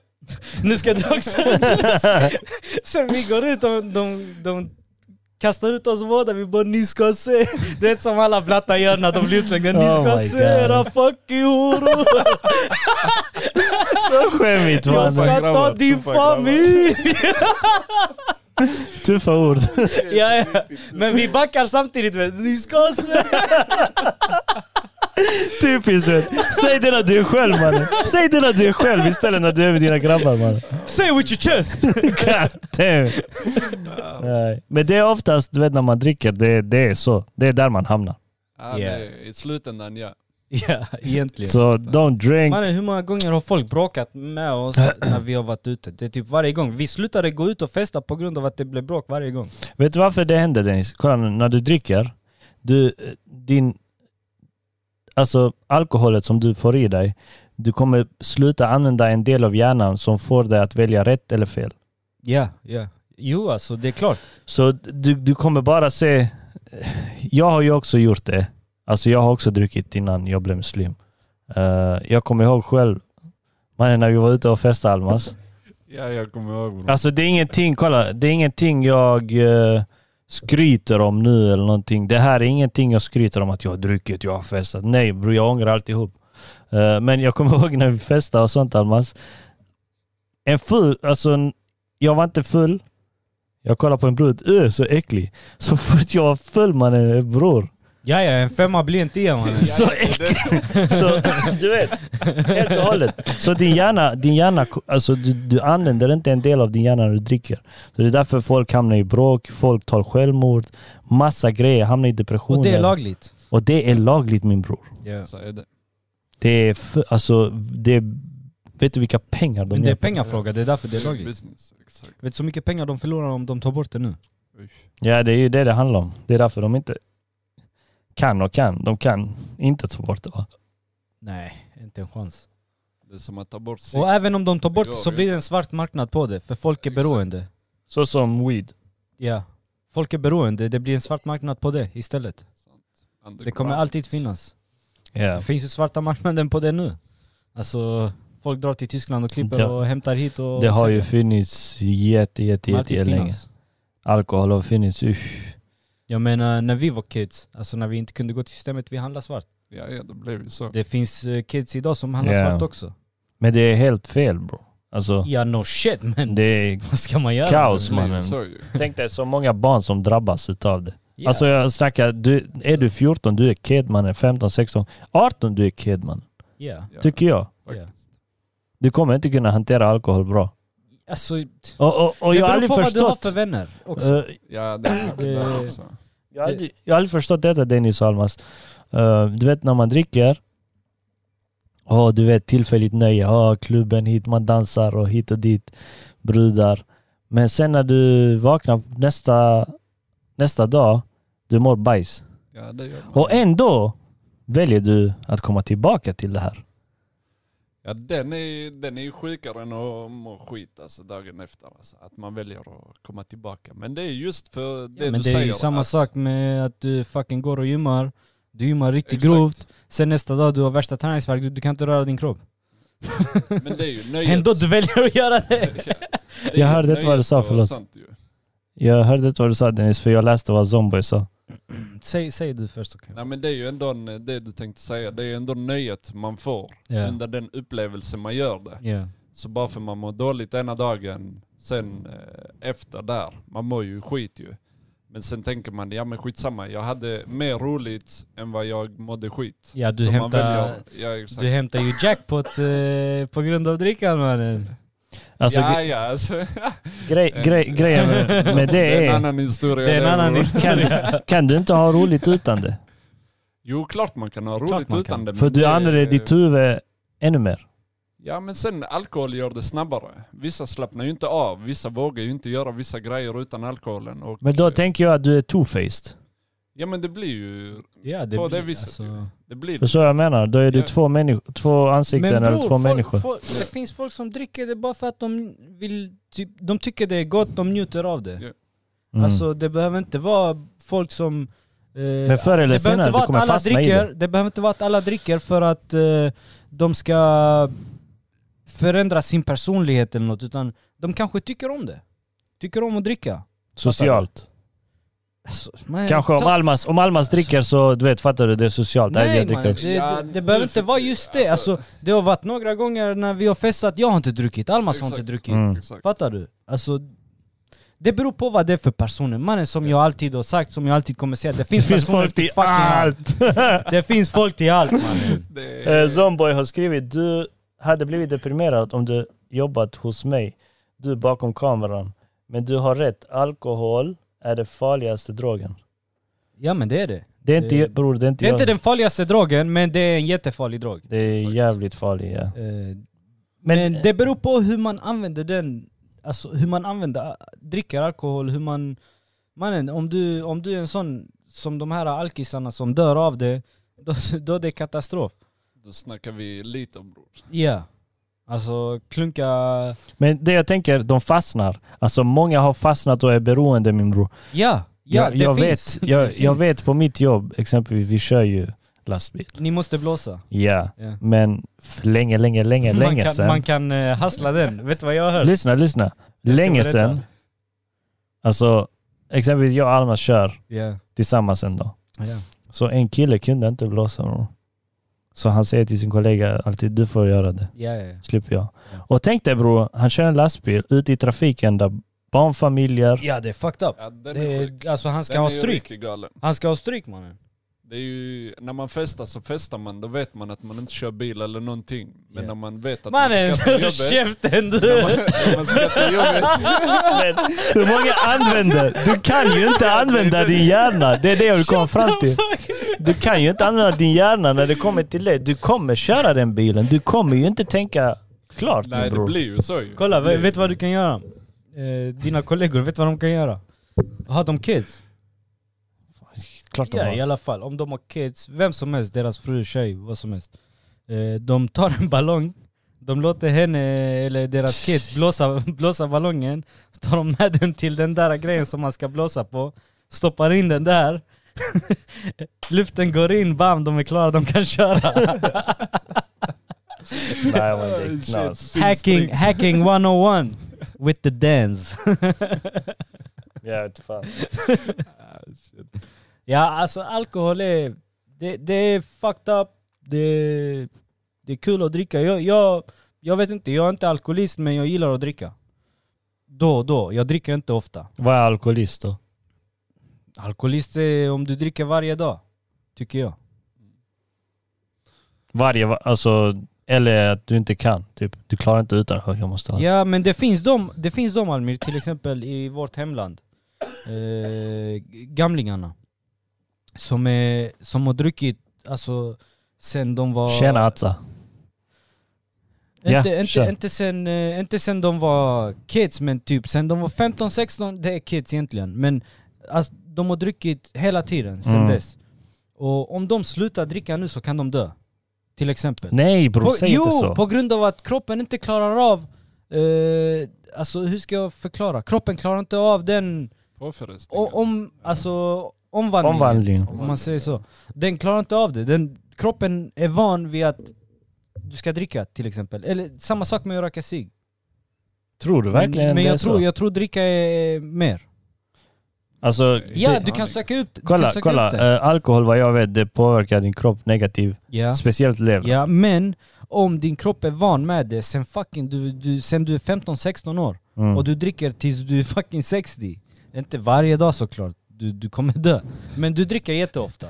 [SPEAKER 1] Nu ska du också ut." Sen vi går ut och de, de kastar ut oss båda. Vi bara ni ska se. Det är som alla blattar gör när de blir utslängda. Ni
[SPEAKER 2] Oh
[SPEAKER 1] ska
[SPEAKER 2] my
[SPEAKER 1] se era
[SPEAKER 2] God.
[SPEAKER 1] fucking horor.
[SPEAKER 2] Skämmigt
[SPEAKER 1] Jag
[SPEAKER 2] mannen.
[SPEAKER 1] ska ta
[SPEAKER 3] grabbar,
[SPEAKER 1] din
[SPEAKER 3] tuffa grabbar."
[SPEAKER 1] familj.
[SPEAKER 2] Tuffa ord.
[SPEAKER 1] Ja, ja. Men vi backar samtidigt. vet du. Ni ska se.
[SPEAKER 2] Typiskt vet. Säg det när du är själv mannen. Säg det när du är själv istället när du är med dina grabbar mannen.
[SPEAKER 1] Say with your chest.
[SPEAKER 2] God damn. Nej. Men det är oftast, du vet när man dricker, det, det är så. Det är där man hamnar.
[SPEAKER 3] Ja,
[SPEAKER 1] Yeah.
[SPEAKER 3] nej, I slutändan ja.
[SPEAKER 1] Ja, egentligen.
[SPEAKER 2] Så don't drink.
[SPEAKER 1] Mannen hur många gånger har folk bråkat med oss när vi har varit ute? Det är typ varje gång. Vi slutade gå ut och festa på grund av att det blev bråk varje gång.
[SPEAKER 2] Vet du varför det händer Dennis? Kolla nu, när du dricker, du, din, alltså alkoholet som du får i dig, du kommer sluta använda en del av hjärnan som får dig att välja rätt eller fel.
[SPEAKER 1] Ja, ja. Jo alltså det är klart.
[SPEAKER 2] Så du, du kommer bara se... Jag har ju också gjort det. Alltså jag har också druckit innan jag blev muslim. Eh, jag kommer ihåg själv, mannen när vi var ute och festade Almas.
[SPEAKER 3] Ja, jag kommer ihåg bro.
[SPEAKER 2] Alltså det är ingenting, kolla, det är ingenting jag eh, skryter om nu eller någonting. Det här är ingenting jag skryter om att jag har druckit, jag har festat. Nej bror, jag ångrar alltihop. Eh, Men jag kommer ihåg när vi festade och sånt Almas. En ful, alltså en, jag var inte full. Jag kollade på en brud, öh så äcklig. Så fort jag var full mannen, bror.
[SPEAKER 1] Ja, ja, en femma blir en tia mannen.
[SPEAKER 2] Så äcklig. Så du vet, helt och hållet. Så din hjärna, din hjärna alltså, du, du använder inte en del av din hjärna när du dricker. Så det är därför folk hamnar i bråk, folk tar självmord, massa grejer, hamnar i depressioner.
[SPEAKER 1] Och det är lagligt.
[SPEAKER 2] och det är lagligt min bror.
[SPEAKER 1] Ja.
[SPEAKER 3] Så är det.
[SPEAKER 2] Det är, för, alltså, det är, vet du vilka pengar de
[SPEAKER 1] Men det är
[SPEAKER 2] gör?
[SPEAKER 1] pengafråga, det är därför det är lagligt.
[SPEAKER 3] Business, exakt.
[SPEAKER 1] Vet du så mycket pengar de förlorar om de tar bort det nu?
[SPEAKER 2] Ja det är ju det det handlar om. Det är därför de inte kan och kan. De kan inte ta bort det va?
[SPEAKER 1] Nej, inte en chans.
[SPEAKER 3] Det är som att ta bort sig.
[SPEAKER 1] Och även om de tar bort
[SPEAKER 3] Det
[SPEAKER 1] det
[SPEAKER 3] går
[SPEAKER 1] så
[SPEAKER 3] ju
[SPEAKER 1] blir det en svart marknad på det, för folk är
[SPEAKER 3] Exakt.
[SPEAKER 1] beroende.
[SPEAKER 2] Så som weed.
[SPEAKER 1] Ja. Folk är beroende, det blir en svart marknad på det istället. Det kommer alltid finnas.
[SPEAKER 2] Ja.
[SPEAKER 1] Det finns ju svarta marknaden på det nu. Alltså, folk drar till Tyskland och klipper
[SPEAKER 2] Ja.
[SPEAKER 1] och hämtar hit och...
[SPEAKER 2] Det har
[SPEAKER 1] säljer.
[SPEAKER 2] ju funnits jätte, jätte,
[SPEAKER 1] Kommer
[SPEAKER 2] jätte,
[SPEAKER 1] alltid
[SPEAKER 2] jätte länge.
[SPEAKER 1] finnas.
[SPEAKER 2] Alkohol har funnits, usch.
[SPEAKER 1] Jag menar, när vi var kids, alltså när vi inte kunde gå till systemet, vi handlade svart.
[SPEAKER 3] Ja, ja, det blev ju så.
[SPEAKER 1] Det finns eh, kids idag som handlar
[SPEAKER 2] Ja.
[SPEAKER 1] svart också.
[SPEAKER 2] Men det är helt fel bro. Alltså,
[SPEAKER 1] Ja, no shit men
[SPEAKER 2] det är
[SPEAKER 1] vad ska man göra?
[SPEAKER 2] kaos
[SPEAKER 3] blev ju
[SPEAKER 2] mannen.
[SPEAKER 3] så ju.
[SPEAKER 2] Tänk dig så många barn som drabbas utav det.
[SPEAKER 1] Ja.
[SPEAKER 2] Alltså jag snackar, du, är du 14, du är kid mannen. 15, 16, 18, du är kid mannen.
[SPEAKER 1] Ja.
[SPEAKER 3] Ja,
[SPEAKER 2] Tycker jag.
[SPEAKER 3] faktiskt.
[SPEAKER 2] Du kommer inte kunna hantera alkohol bra.
[SPEAKER 1] Alltså, det
[SPEAKER 2] Och, och, och jag har
[SPEAKER 1] beror
[SPEAKER 2] aldrig
[SPEAKER 1] på vad du har
[SPEAKER 2] förstått...
[SPEAKER 1] för vänner också.
[SPEAKER 2] eh,
[SPEAKER 3] Ja, det är mycket
[SPEAKER 1] Det-
[SPEAKER 3] där också.
[SPEAKER 2] jag, har aldrig, jag har aldrig förstått detta Dennis och Almas. Eh, du vet när man dricker, oh, du vet tillfälligt nöje, oh, klubben hit, man dansar och hit och dit, brudar. Men sen när du vaknar nästa, nästa dag, du mår bajs.
[SPEAKER 3] Ja, det gör man.
[SPEAKER 2] Och ändå väljer du att komma tillbaka till det här.
[SPEAKER 3] Ja, den är, den är ju sjukare än att må skit alltså, dagen efter. Alltså, att man väljer att komma tillbaka. Men det är just för det
[SPEAKER 1] men
[SPEAKER 3] du
[SPEAKER 1] det
[SPEAKER 3] säger.
[SPEAKER 1] är ju samma
[SPEAKER 3] att,
[SPEAKER 1] sak med att du fucking går och gymmar, du gymmar riktigt
[SPEAKER 3] Exakt.
[SPEAKER 1] grovt, sen nästa dag du har värsta träningsvärk, du, du kan inte röra din kropp.
[SPEAKER 3] Men det är ju nöjet.
[SPEAKER 1] Ändå du väljer att göra
[SPEAKER 3] Det
[SPEAKER 1] det!
[SPEAKER 3] är ju
[SPEAKER 2] Jag hörde inte vad du sa,
[SPEAKER 3] nöjet och
[SPEAKER 2] förlåt.
[SPEAKER 3] sånt ju.
[SPEAKER 2] Jag hörde inte vad du sa Dennis, för jag läste vad Zomboy sa.
[SPEAKER 1] Säg, säg du först okej.
[SPEAKER 3] Nej men det är ju ändå en, det du tänkte säga, det är ju ändå nöjet man får
[SPEAKER 1] Ja.
[SPEAKER 3] under den upplevelse man gör det.
[SPEAKER 1] Ja.
[SPEAKER 3] Så bara för man mår dåligt ena dagen, sen eh, efter där, man mår ju skit ju. Men sen tänker man, ja men skitsamma, jag hade mer roligt än vad jag mådde skit.
[SPEAKER 1] ja, du
[SPEAKER 3] Så man
[SPEAKER 1] hämtar...
[SPEAKER 3] väljer, ja, exakt.
[SPEAKER 1] Du hämtar ju jackpot eh, på grund av drickan mannen.
[SPEAKER 2] Alltså,
[SPEAKER 3] ja, ja, alltså.
[SPEAKER 2] gre- gre- grejen med, med
[SPEAKER 3] det
[SPEAKER 2] det
[SPEAKER 3] är en
[SPEAKER 2] är,
[SPEAKER 3] annan historia.
[SPEAKER 1] Det är en annan
[SPEAKER 3] bror.
[SPEAKER 2] kan, kan du inte ha roligt utan det?
[SPEAKER 3] Jo, klart man kan ha roligt
[SPEAKER 1] man
[SPEAKER 3] utan
[SPEAKER 1] kan.
[SPEAKER 3] det. men
[SPEAKER 2] För du
[SPEAKER 3] det-
[SPEAKER 2] använder
[SPEAKER 1] eh,
[SPEAKER 2] ditt huvud ännu mer.
[SPEAKER 3] Ja, men sen alkohol gör det snabbare. Vissa slappnar ju inte av, vissa vågar ju inte göra vissa grejer utan alkoholen. Och,
[SPEAKER 2] Men då tänker jag att du är two-faced.
[SPEAKER 3] Ja men det blir ju...
[SPEAKER 1] Ja, det
[SPEAKER 3] På det
[SPEAKER 1] blir,
[SPEAKER 3] viset ju.
[SPEAKER 1] alltså,
[SPEAKER 3] Det blir
[SPEAKER 2] Förstår vad jag menar? Då är du
[SPEAKER 3] Ja.
[SPEAKER 2] två, människo- två ansikten eller två
[SPEAKER 1] folk,
[SPEAKER 2] människor.
[SPEAKER 1] Folk, det finns folk som dricker det bara för att de vill, typ, de tycker det är gott, de njuter av det.
[SPEAKER 3] Ja.
[SPEAKER 2] Mm.
[SPEAKER 1] Alltså det behöver inte vara folk som... eh,
[SPEAKER 2] Men förr eller
[SPEAKER 1] det behöver
[SPEAKER 2] senare,
[SPEAKER 1] inte
[SPEAKER 2] du
[SPEAKER 1] vara
[SPEAKER 2] kommer
[SPEAKER 1] att alla
[SPEAKER 2] fastna i
[SPEAKER 1] dricker,
[SPEAKER 2] det.
[SPEAKER 1] det. behöver inte vara att alla dricker för att eh, de ska förändra sin personlighet eller något, utan de kanske tycker om det. Tycker om att dricka.
[SPEAKER 2] Socialt.
[SPEAKER 1] Alltså, man-
[SPEAKER 2] Kanske om
[SPEAKER 1] ta-
[SPEAKER 2] Almas, om Almas dricker så, du vet, fattar du? Det är socialt. Nej,
[SPEAKER 1] Nej,
[SPEAKER 2] jag
[SPEAKER 1] man,
[SPEAKER 2] dricker
[SPEAKER 1] det,
[SPEAKER 2] också.
[SPEAKER 1] det,
[SPEAKER 3] Ja,
[SPEAKER 1] det behöver
[SPEAKER 3] nu
[SPEAKER 1] inte
[SPEAKER 3] fick
[SPEAKER 1] vara
[SPEAKER 3] du-
[SPEAKER 1] just det.
[SPEAKER 3] alltså-
[SPEAKER 1] Alltså, det har varit några gånger när vi har festat, jag har inte druckit, Almas har
[SPEAKER 3] Exakt.
[SPEAKER 1] inte druckit.
[SPEAKER 2] Mm.
[SPEAKER 3] Exakt.
[SPEAKER 1] Fattar du? Alltså, det beror på vad det är för personer. Mannen som jag alltid har sagt, som jag alltid kommer säga, det
[SPEAKER 2] Det
[SPEAKER 1] finns,
[SPEAKER 2] finns
[SPEAKER 1] personer
[SPEAKER 2] folk till
[SPEAKER 1] fucking
[SPEAKER 2] allt!
[SPEAKER 1] Det finns folk till allt mannen.
[SPEAKER 3] Det
[SPEAKER 2] Eh, Zomboy har skrivit, du hade blivit deprimerad om du jobbat hos mig. Du bakom kameran. Men du har rätt, alkohol är den farligaste drogen.
[SPEAKER 1] Ja men det är det.
[SPEAKER 2] Det är inte,
[SPEAKER 1] Eh,
[SPEAKER 2] bror, det är inte
[SPEAKER 1] Det är inte
[SPEAKER 2] jag.
[SPEAKER 1] den farligaste drogen, men det är en jättefarlig drog.
[SPEAKER 2] Det är jävligt farligt ja.
[SPEAKER 1] Eh,
[SPEAKER 2] Men-
[SPEAKER 1] Men, det beror på hur man använder den, alltså hur man använder, dricker alkohol, hur man... Mannen, om du, om du är en sån som de här alkisarna som dör av det, då, då är det katastrof.
[SPEAKER 3] Då snackar vi lite om bror.
[SPEAKER 1] Ja. Alltså klunka...
[SPEAKER 2] Men det jag tänker, de fastnar. Alltså många har fastnat och är beroende min bror.
[SPEAKER 1] Ja, ja
[SPEAKER 2] jag,
[SPEAKER 1] det
[SPEAKER 2] jag
[SPEAKER 1] finns.
[SPEAKER 2] Vet, jag,
[SPEAKER 1] Det
[SPEAKER 2] jag
[SPEAKER 1] finns.
[SPEAKER 2] vet på mitt jobb, exempelvis, vi kör ju lastbil.
[SPEAKER 1] Ni måste blåsa.
[SPEAKER 2] Ja,
[SPEAKER 1] Ja.
[SPEAKER 2] men för länge, länge, länge,
[SPEAKER 1] man
[SPEAKER 2] länge
[SPEAKER 1] kan,
[SPEAKER 2] sedan.
[SPEAKER 1] man kan eh, hassla den, vet du vad jag har hört?
[SPEAKER 2] Lyssna, lyssna.
[SPEAKER 1] Jag ska
[SPEAKER 2] Länge
[SPEAKER 1] berätta.
[SPEAKER 2] sedan, alltså exempelvis jag och Alma kör
[SPEAKER 1] Ja.
[SPEAKER 2] tillsammans en dag.
[SPEAKER 1] Ja.
[SPEAKER 2] Så en kille kunde inte blåsa bror. Så han säger till sin kollega alltid du får göra det,
[SPEAKER 1] Ja, ja, ja.
[SPEAKER 2] slipper jag.
[SPEAKER 1] Ja.
[SPEAKER 2] Och tänk dig bror, han kör en lastbil ute i trafiken där barnfamiljer...
[SPEAKER 1] ja det är fucked up.
[SPEAKER 3] Ja, den
[SPEAKER 1] Det
[SPEAKER 3] är sjuk.
[SPEAKER 1] är, alltså han ska
[SPEAKER 3] Den
[SPEAKER 1] ha
[SPEAKER 3] är ju
[SPEAKER 1] stryk.
[SPEAKER 3] riktigt galen.
[SPEAKER 1] Han ska ha stryk mannen.
[SPEAKER 3] Det är ju, när man festar så festar man, då vet man att man inte kör bil eller någonting. Men
[SPEAKER 1] Ja.
[SPEAKER 3] när man vet att
[SPEAKER 1] Mannen,
[SPEAKER 3] man ska till jobbet...
[SPEAKER 1] käften
[SPEAKER 3] när
[SPEAKER 1] du!
[SPEAKER 3] man, när man ska till jobbet
[SPEAKER 2] Men Hur många använder? Du kan ju inte använda din hjärna. Det är det jag vill komma fram till. Du kan ju inte använda din hjärna när det kommer till det. Du kommer köra den bilen. Du kommer ju inte tänka klart
[SPEAKER 3] Nej
[SPEAKER 2] min
[SPEAKER 3] det
[SPEAKER 2] bror.
[SPEAKER 3] blir ju så ju.
[SPEAKER 1] Kolla,
[SPEAKER 3] Det blir
[SPEAKER 1] vet
[SPEAKER 3] ju-
[SPEAKER 1] vet du vad du kan göra? Eh, dina kollegor, vet du vad de kan göra? Har de kids?
[SPEAKER 2] Klart de
[SPEAKER 1] Ja i
[SPEAKER 2] har.
[SPEAKER 1] alla fall, om de har kids, vem som helst, deras fru, tjej, vad som helst. Eh, de tar en ballong, de låter henne, eller deras kids, blåsa, blåsa ballongen. Så tar de med den till den där grejen som man ska blåsa på, stoppar in den där. Luften går in, bam, de är klara, de kan köra.
[SPEAKER 2] Nej, men det är
[SPEAKER 3] Shit,
[SPEAKER 2] knas.
[SPEAKER 3] finns
[SPEAKER 1] Hacking,
[SPEAKER 3] tricks.
[SPEAKER 1] hacking 101 with the dance.
[SPEAKER 2] Jag vet fan.
[SPEAKER 1] Ja, alltså alkohol är... Det, det är fucked up. Det, det är kul att dricka. Jag, jag, jag vet inte, jag är inte alkoholist men jag gillar att dricka. Då och då. Jag dricker inte ofta.
[SPEAKER 2] Vad är alkoholist då?
[SPEAKER 1] Alkoholist är om du dricker varje dag, tycker jag.
[SPEAKER 2] Varje, va- alltså, eller att du inte kan. Typ, du klarar inte utan hög, jag måste ha.
[SPEAKER 1] Ja men det finns de, det finns de Almir, till exempel i vårt hemland. Eh, gamlingarna. Som, är, som har druckit, alltså sen de var...
[SPEAKER 2] Tjena Atza. Ja,
[SPEAKER 1] Inte, inte,
[SPEAKER 2] kör.
[SPEAKER 1] inte, sen, eh, inte sen de var kids, men typ sen de var 15-16, det är kids egentligen. Men alltså, de har druckit hela tiden sen
[SPEAKER 2] Mm.
[SPEAKER 1] dess. Och om de slutar dricka nu så kan de dö. Till exempel.
[SPEAKER 2] Nej bror,
[SPEAKER 1] På-
[SPEAKER 2] säg
[SPEAKER 1] jo,
[SPEAKER 2] inte så.
[SPEAKER 1] på grund av att kroppen inte klarar av... Eh, alltså hur ska jag förklara? Kroppen klarar inte av den
[SPEAKER 3] Påfrestningar.
[SPEAKER 1] o- om, alltså, omvandlingen.
[SPEAKER 2] Omvandling.
[SPEAKER 1] Om man säger så. Den klarar inte av det. Den, kroppen är van vid att du ska dricka till exempel. Eller samma sak med att röka cigg.
[SPEAKER 2] Tror du verkligen
[SPEAKER 1] Men, men
[SPEAKER 2] det är
[SPEAKER 1] jag, tror,
[SPEAKER 2] så?
[SPEAKER 1] jag tror dricka är mer.
[SPEAKER 2] Alltså,
[SPEAKER 1] Ja,
[SPEAKER 2] det-
[SPEAKER 1] du kan söka upp, du kan
[SPEAKER 2] Kolla,
[SPEAKER 1] söka
[SPEAKER 2] kolla.
[SPEAKER 1] upp det.
[SPEAKER 2] Eh, alkohol vad jag vet det påverkar din kropp negativt.
[SPEAKER 1] Ja.
[SPEAKER 2] Speciellt lever.
[SPEAKER 1] ja, men om din kropp är van med det sen fucking du, du, sen du är 15-16 år
[SPEAKER 2] Mm.
[SPEAKER 1] och du dricker tills du är fucking 60. Inte varje dag såklart, du, du kommer dö. Men du dricker jätteofta.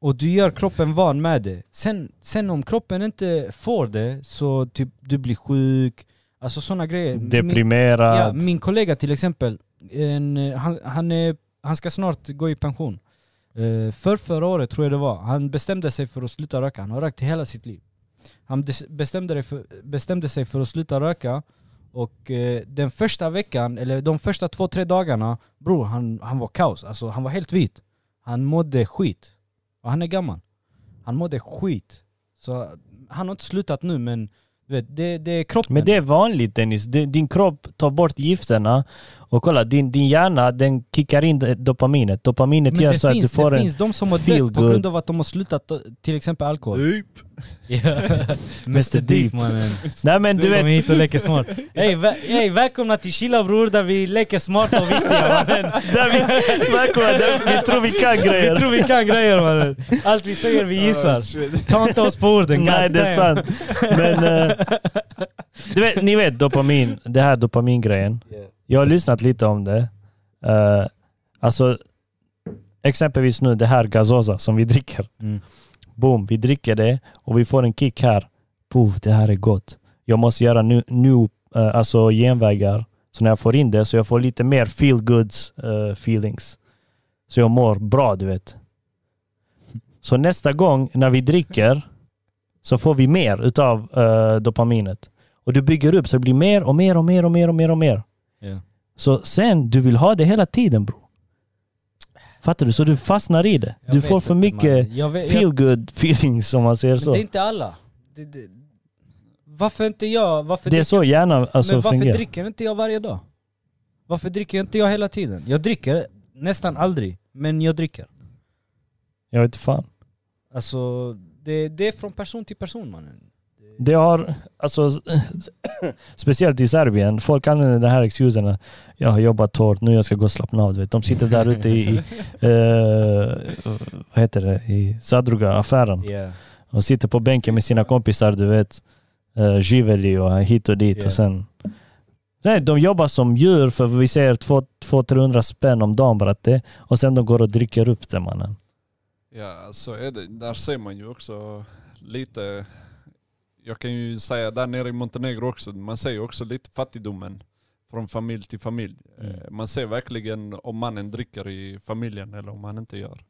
[SPEAKER 1] Och du gör kroppen van med det. Sen, sen om kroppen inte får det så typ du blir sjuk, alltså sådana grejer. Min, ja,
[SPEAKER 2] Deprimerad.
[SPEAKER 1] min kollega till exempel, en, eh, han, han, är, han ska snart gå i pension. Uh, för förra året tror jag det var, han bestämde sig för att sluta röka. Han har rökt hela sitt liv. Han des- bestämde, det för, bestämde sig för att sluta röka och eh, den första veckan, eller de första två, tre dagarna, bror han, han var kaos. Alltså han var helt vit. Han mådde skit. Och han är gammal. Han mådde skit. Så han har inte slutat nu men du vet, det, det är kroppen.
[SPEAKER 2] Men det är vanligt Dennis. Di- Din kropp tar bort gifterna och kolla, din, din hjärna den kickar in det- dopaminet. Dopaminet
[SPEAKER 1] Men
[SPEAKER 2] gör
[SPEAKER 1] det,
[SPEAKER 2] så
[SPEAKER 1] finns,
[SPEAKER 2] alltså att du får
[SPEAKER 1] det
[SPEAKER 2] en...
[SPEAKER 1] finns de som har
[SPEAKER 2] feel
[SPEAKER 1] dött på
[SPEAKER 2] good.
[SPEAKER 1] grund av att de har slutat eh, till exempel alkohol.
[SPEAKER 3] Typ.
[SPEAKER 1] Mr
[SPEAKER 2] Deep.
[SPEAKER 1] Deep mannen.
[SPEAKER 2] Nej men du
[SPEAKER 1] Du
[SPEAKER 2] vet,
[SPEAKER 1] kommer hit och leker smart. Hej vä- hey, välkomna till Chilla bror där vi leker smart och viktiga mannen.
[SPEAKER 2] där vi, Välkomna, där vi tror vi kan
[SPEAKER 1] Vi
[SPEAKER 2] grejer.
[SPEAKER 1] tror vi kan grejer mannen. Allt vi säger vi gissar. Ta inte oss på orden.
[SPEAKER 2] Nej det är sant. Men, eh, du vet, ni vet dopamin, det här dopamingrejen. Jag har lyssnat lite om det. Uh, alltså, exempelvis nu det här gazosa som vi dricker.
[SPEAKER 1] Mm.
[SPEAKER 2] Boom, vi dricker det och vi får en kick här. Puff, det här är gott. Jag måste göra nu, nu eh, alltså genvägar. Så när jag får in det så jag får lite mer feel goods eh, feelings. Så jag mår bra, du vet. Så nästa gång när vi dricker så får vi mer utav eh, dopaminet. Och du bygger upp så det blir mer och mer och mer och mer och mer och mer.
[SPEAKER 1] Ja.
[SPEAKER 2] Så sen, du vill ha det hela tiden bro. Fattar du? Så du fastnar i det.
[SPEAKER 1] Jag
[SPEAKER 2] du
[SPEAKER 1] vet
[SPEAKER 2] får för
[SPEAKER 1] inte,
[SPEAKER 2] mycket
[SPEAKER 1] mannen. Jag vet- jag-
[SPEAKER 2] feel good feelings som man säger så.
[SPEAKER 1] Men det är
[SPEAKER 2] Det,
[SPEAKER 1] inte alla. Det, det, varför inte jag? Varför
[SPEAKER 2] är så hjärnan alltså,
[SPEAKER 1] men varför
[SPEAKER 2] fungerar.
[SPEAKER 1] dricker inte jag varje dag? Varför dricker inte jag hela tiden? Jag dricker nästan aldrig, men jag dricker.
[SPEAKER 2] Jag vet inte fan.
[SPEAKER 1] Alltså, det, det är från person till person mannen.
[SPEAKER 2] Det har, alltså, speciellt i Serbien, folk använder den här excusen. Jag har jobbat hårt, nu jag ska gå och slappna av. du Vet. De sitter där ute i, i eh, vad heter det, i Sadruga-affären
[SPEAKER 1] Yeah.
[SPEAKER 2] och sitter på bänken med sina kompisar, du vet. Uh, Giveli och hit och dit.
[SPEAKER 1] Ja.
[SPEAKER 2] Och sen, nej, de jobbar som djur för vi ser 200-300 spänn om dagen bara. Det, och sen de går och dricker upp det mannen.
[SPEAKER 3] Ja, så är det. Där ser man ju också lite... Jag kan ju säga där nere i Montenegro också, man ser ju också lite fattigdomen från familj till familj.
[SPEAKER 2] Mm.
[SPEAKER 3] Eh, Man ser verkligen om mannen dricker i familjen eller om han inte gör.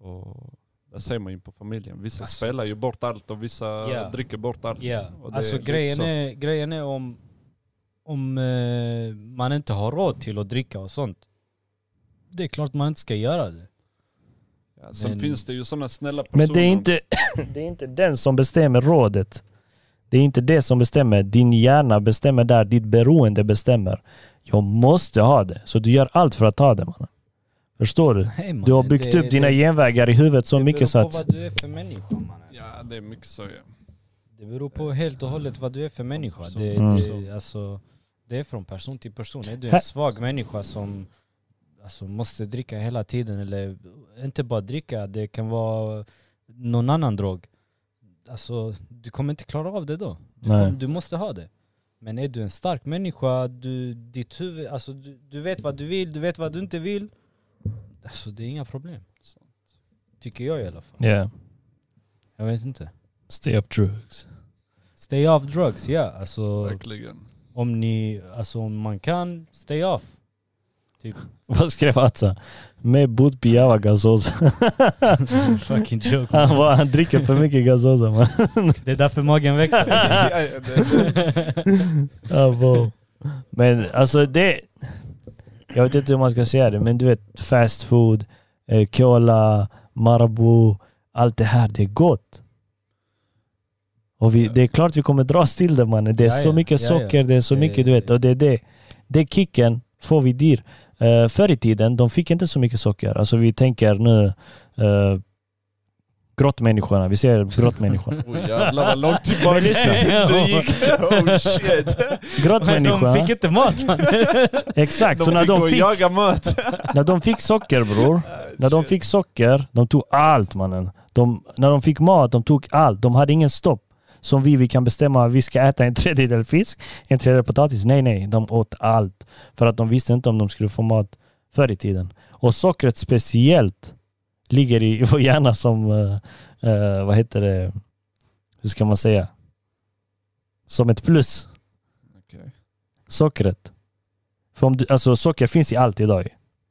[SPEAKER 3] Och där ser man ju på familjen. Vissa
[SPEAKER 1] Alltså-
[SPEAKER 3] spelar ju bort allt och vissa
[SPEAKER 1] Ja.
[SPEAKER 3] dricker bort allt.
[SPEAKER 1] Ja,
[SPEAKER 3] Och det
[SPEAKER 1] alltså
[SPEAKER 3] är liksom- lite
[SPEAKER 1] grejen
[SPEAKER 3] så.
[SPEAKER 1] är, grejen är om, om eh, man inte har råd till att dricka och sånt. Det är klart man inte ska göra det.
[SPEAKER 3] Ja, sen
[SPEAKER 1] men-
[SPEAKER 3] finns det ju sådana snälla personer.
[SPEAKER 2] Men det är, inte, det är inte den som bestämmer rådet. Det är inte det som bestämmer. Din hjärna bestämmer där. Ditt beroende bestämmer. Jag måste ha det. Så du gör allt för att ha det mannen. Förstår du?
[SPEAKER 1] Nej, man,
[SPEAKER 2] Du har byggt
[SPEAKER 1] det-
[SPEAKER 2] upp dina
[SPEAKER 1] det-
[SPEAKER 2] genvägar i huvudet så
[SPEAKER 1] det
[SPEAKER 2] mycket så
[SPEAKER 1] beror på
[SPEAKER 2] att...
[SPEAKER 1] vad du är för människa mannen.
[SPEAKER 3] Ja, det är mycket så ja.
[SPEAKER 1] Det beror på helt och hållet vad du är för människa.
[SPEAKER 3] Person
[SPEAKER 1] Det,
[SPEAKER 3] till person.
[SPEAKER 1] det, alltså, det är från person till person. Är du
[SPEAKER 2] Här-
[SPEAKER 1] en svag människa som alltså, måste dricka hela tiden, eller inte bara dricka, det kan vara någon annan drog. Alltså, du kommer inte klara av det då. Du,
[SPEAKER 2] Nej.
[SPEAKER 1] kom, du måste ha det. Men är du en stark människa, du, ditt huvud, alltså, du, du vet vad du vill, du vet vad du inte vill. Alltså, det är inga problem.
[SPEAKER 3] Så.
[SPEAKER 1] Tycker jag i alla fall.
[SPEAKER 2] Yeah.
[SPEAKER 1] Jag vet inte.
[SPEAKER 2] Stay off drugs.
[SPEAKER 1] Stay off drugs, ja. Alltså,
[SPEAKER 3] Verkligen.
[SPEAKER 1] om ni, alltså om man kan, stay off.
[SPEAKER 2] Vad skrev Atza? Med bud pijava gazosa.
[SPEAKER 1] Fucking joke.
[SPEAKER 2] Han, var, han dricker för mycket gazosa man.
[SPEAKER 1] Det är därför magen växer.
[SPEAKER 3] ja, ja, det,
[SPEAKER 2] Ja, wow. Men alltså det... Jag vet inte hur man ska säga det, men du vet fast food, eh, cola, Marabou, allt det här, det är gott. Och vi, det är klart vi kommer dras till det mannen. Det är
[SPEAKER 1] Ja,
[SPEAKER 2] så
[SPEAKER 1] ja.
[SPEAKER 2] mycket
[SPEAKER 1] Ja, ja.
[SPEAKER 2] socker, det är så
[SPEAKER 1] Ja,
[SPEAKER 2] mycket
[SPEAKER 1] ja,
[SPEAKER 2] du vet.
[SPEAKER 1] ja.
[SPEAKER 2] Och det är det. Det kicken får vi dyr. Uh, förr i tiden, de fick inte så mycket socker. Alltså vi tänker nu eh, grottmänniskorna, vi ser grottmänniskorna.
[SPEAKER 3] Oj jävlar vad långt tillbaka
[SPEAKER 2] Men lyssna.
[SPEAKER 3] det gick. Oh shit.
[SPEAKER 2] Grottmänniskorna,
[SPEAKER 1] De fick inte mat man.
[SPEAKER 2] exakt. så när
[SPEAKER 3] fick gå
[SPEAKER 2] de
[SPEAKER 3] och
[SPEAKER 2] fick
[SPEAKER 3] jaga mat.
[SPEAKER 2] När de fick socker bror, när de fick socker, de tog allt mannen. De, när de fick mat, de tog allt. De hade ingen stopp. Som vi, vi kan bestämma, vi ska äta en tredjedel fisk, en tredjedel potatis. Nej, nej, de åt allt. För att de visste inte om de skulle få mat förr i tiden. Och sockret speciellt ligger i vår hjärna som, eh, eh, vad heter det, hur ska man säga? Som ett plus.
[SPEAKER 3] Okej.
[SPEAKER 2] Sockret. För om du, alltså socker finns i allt idag.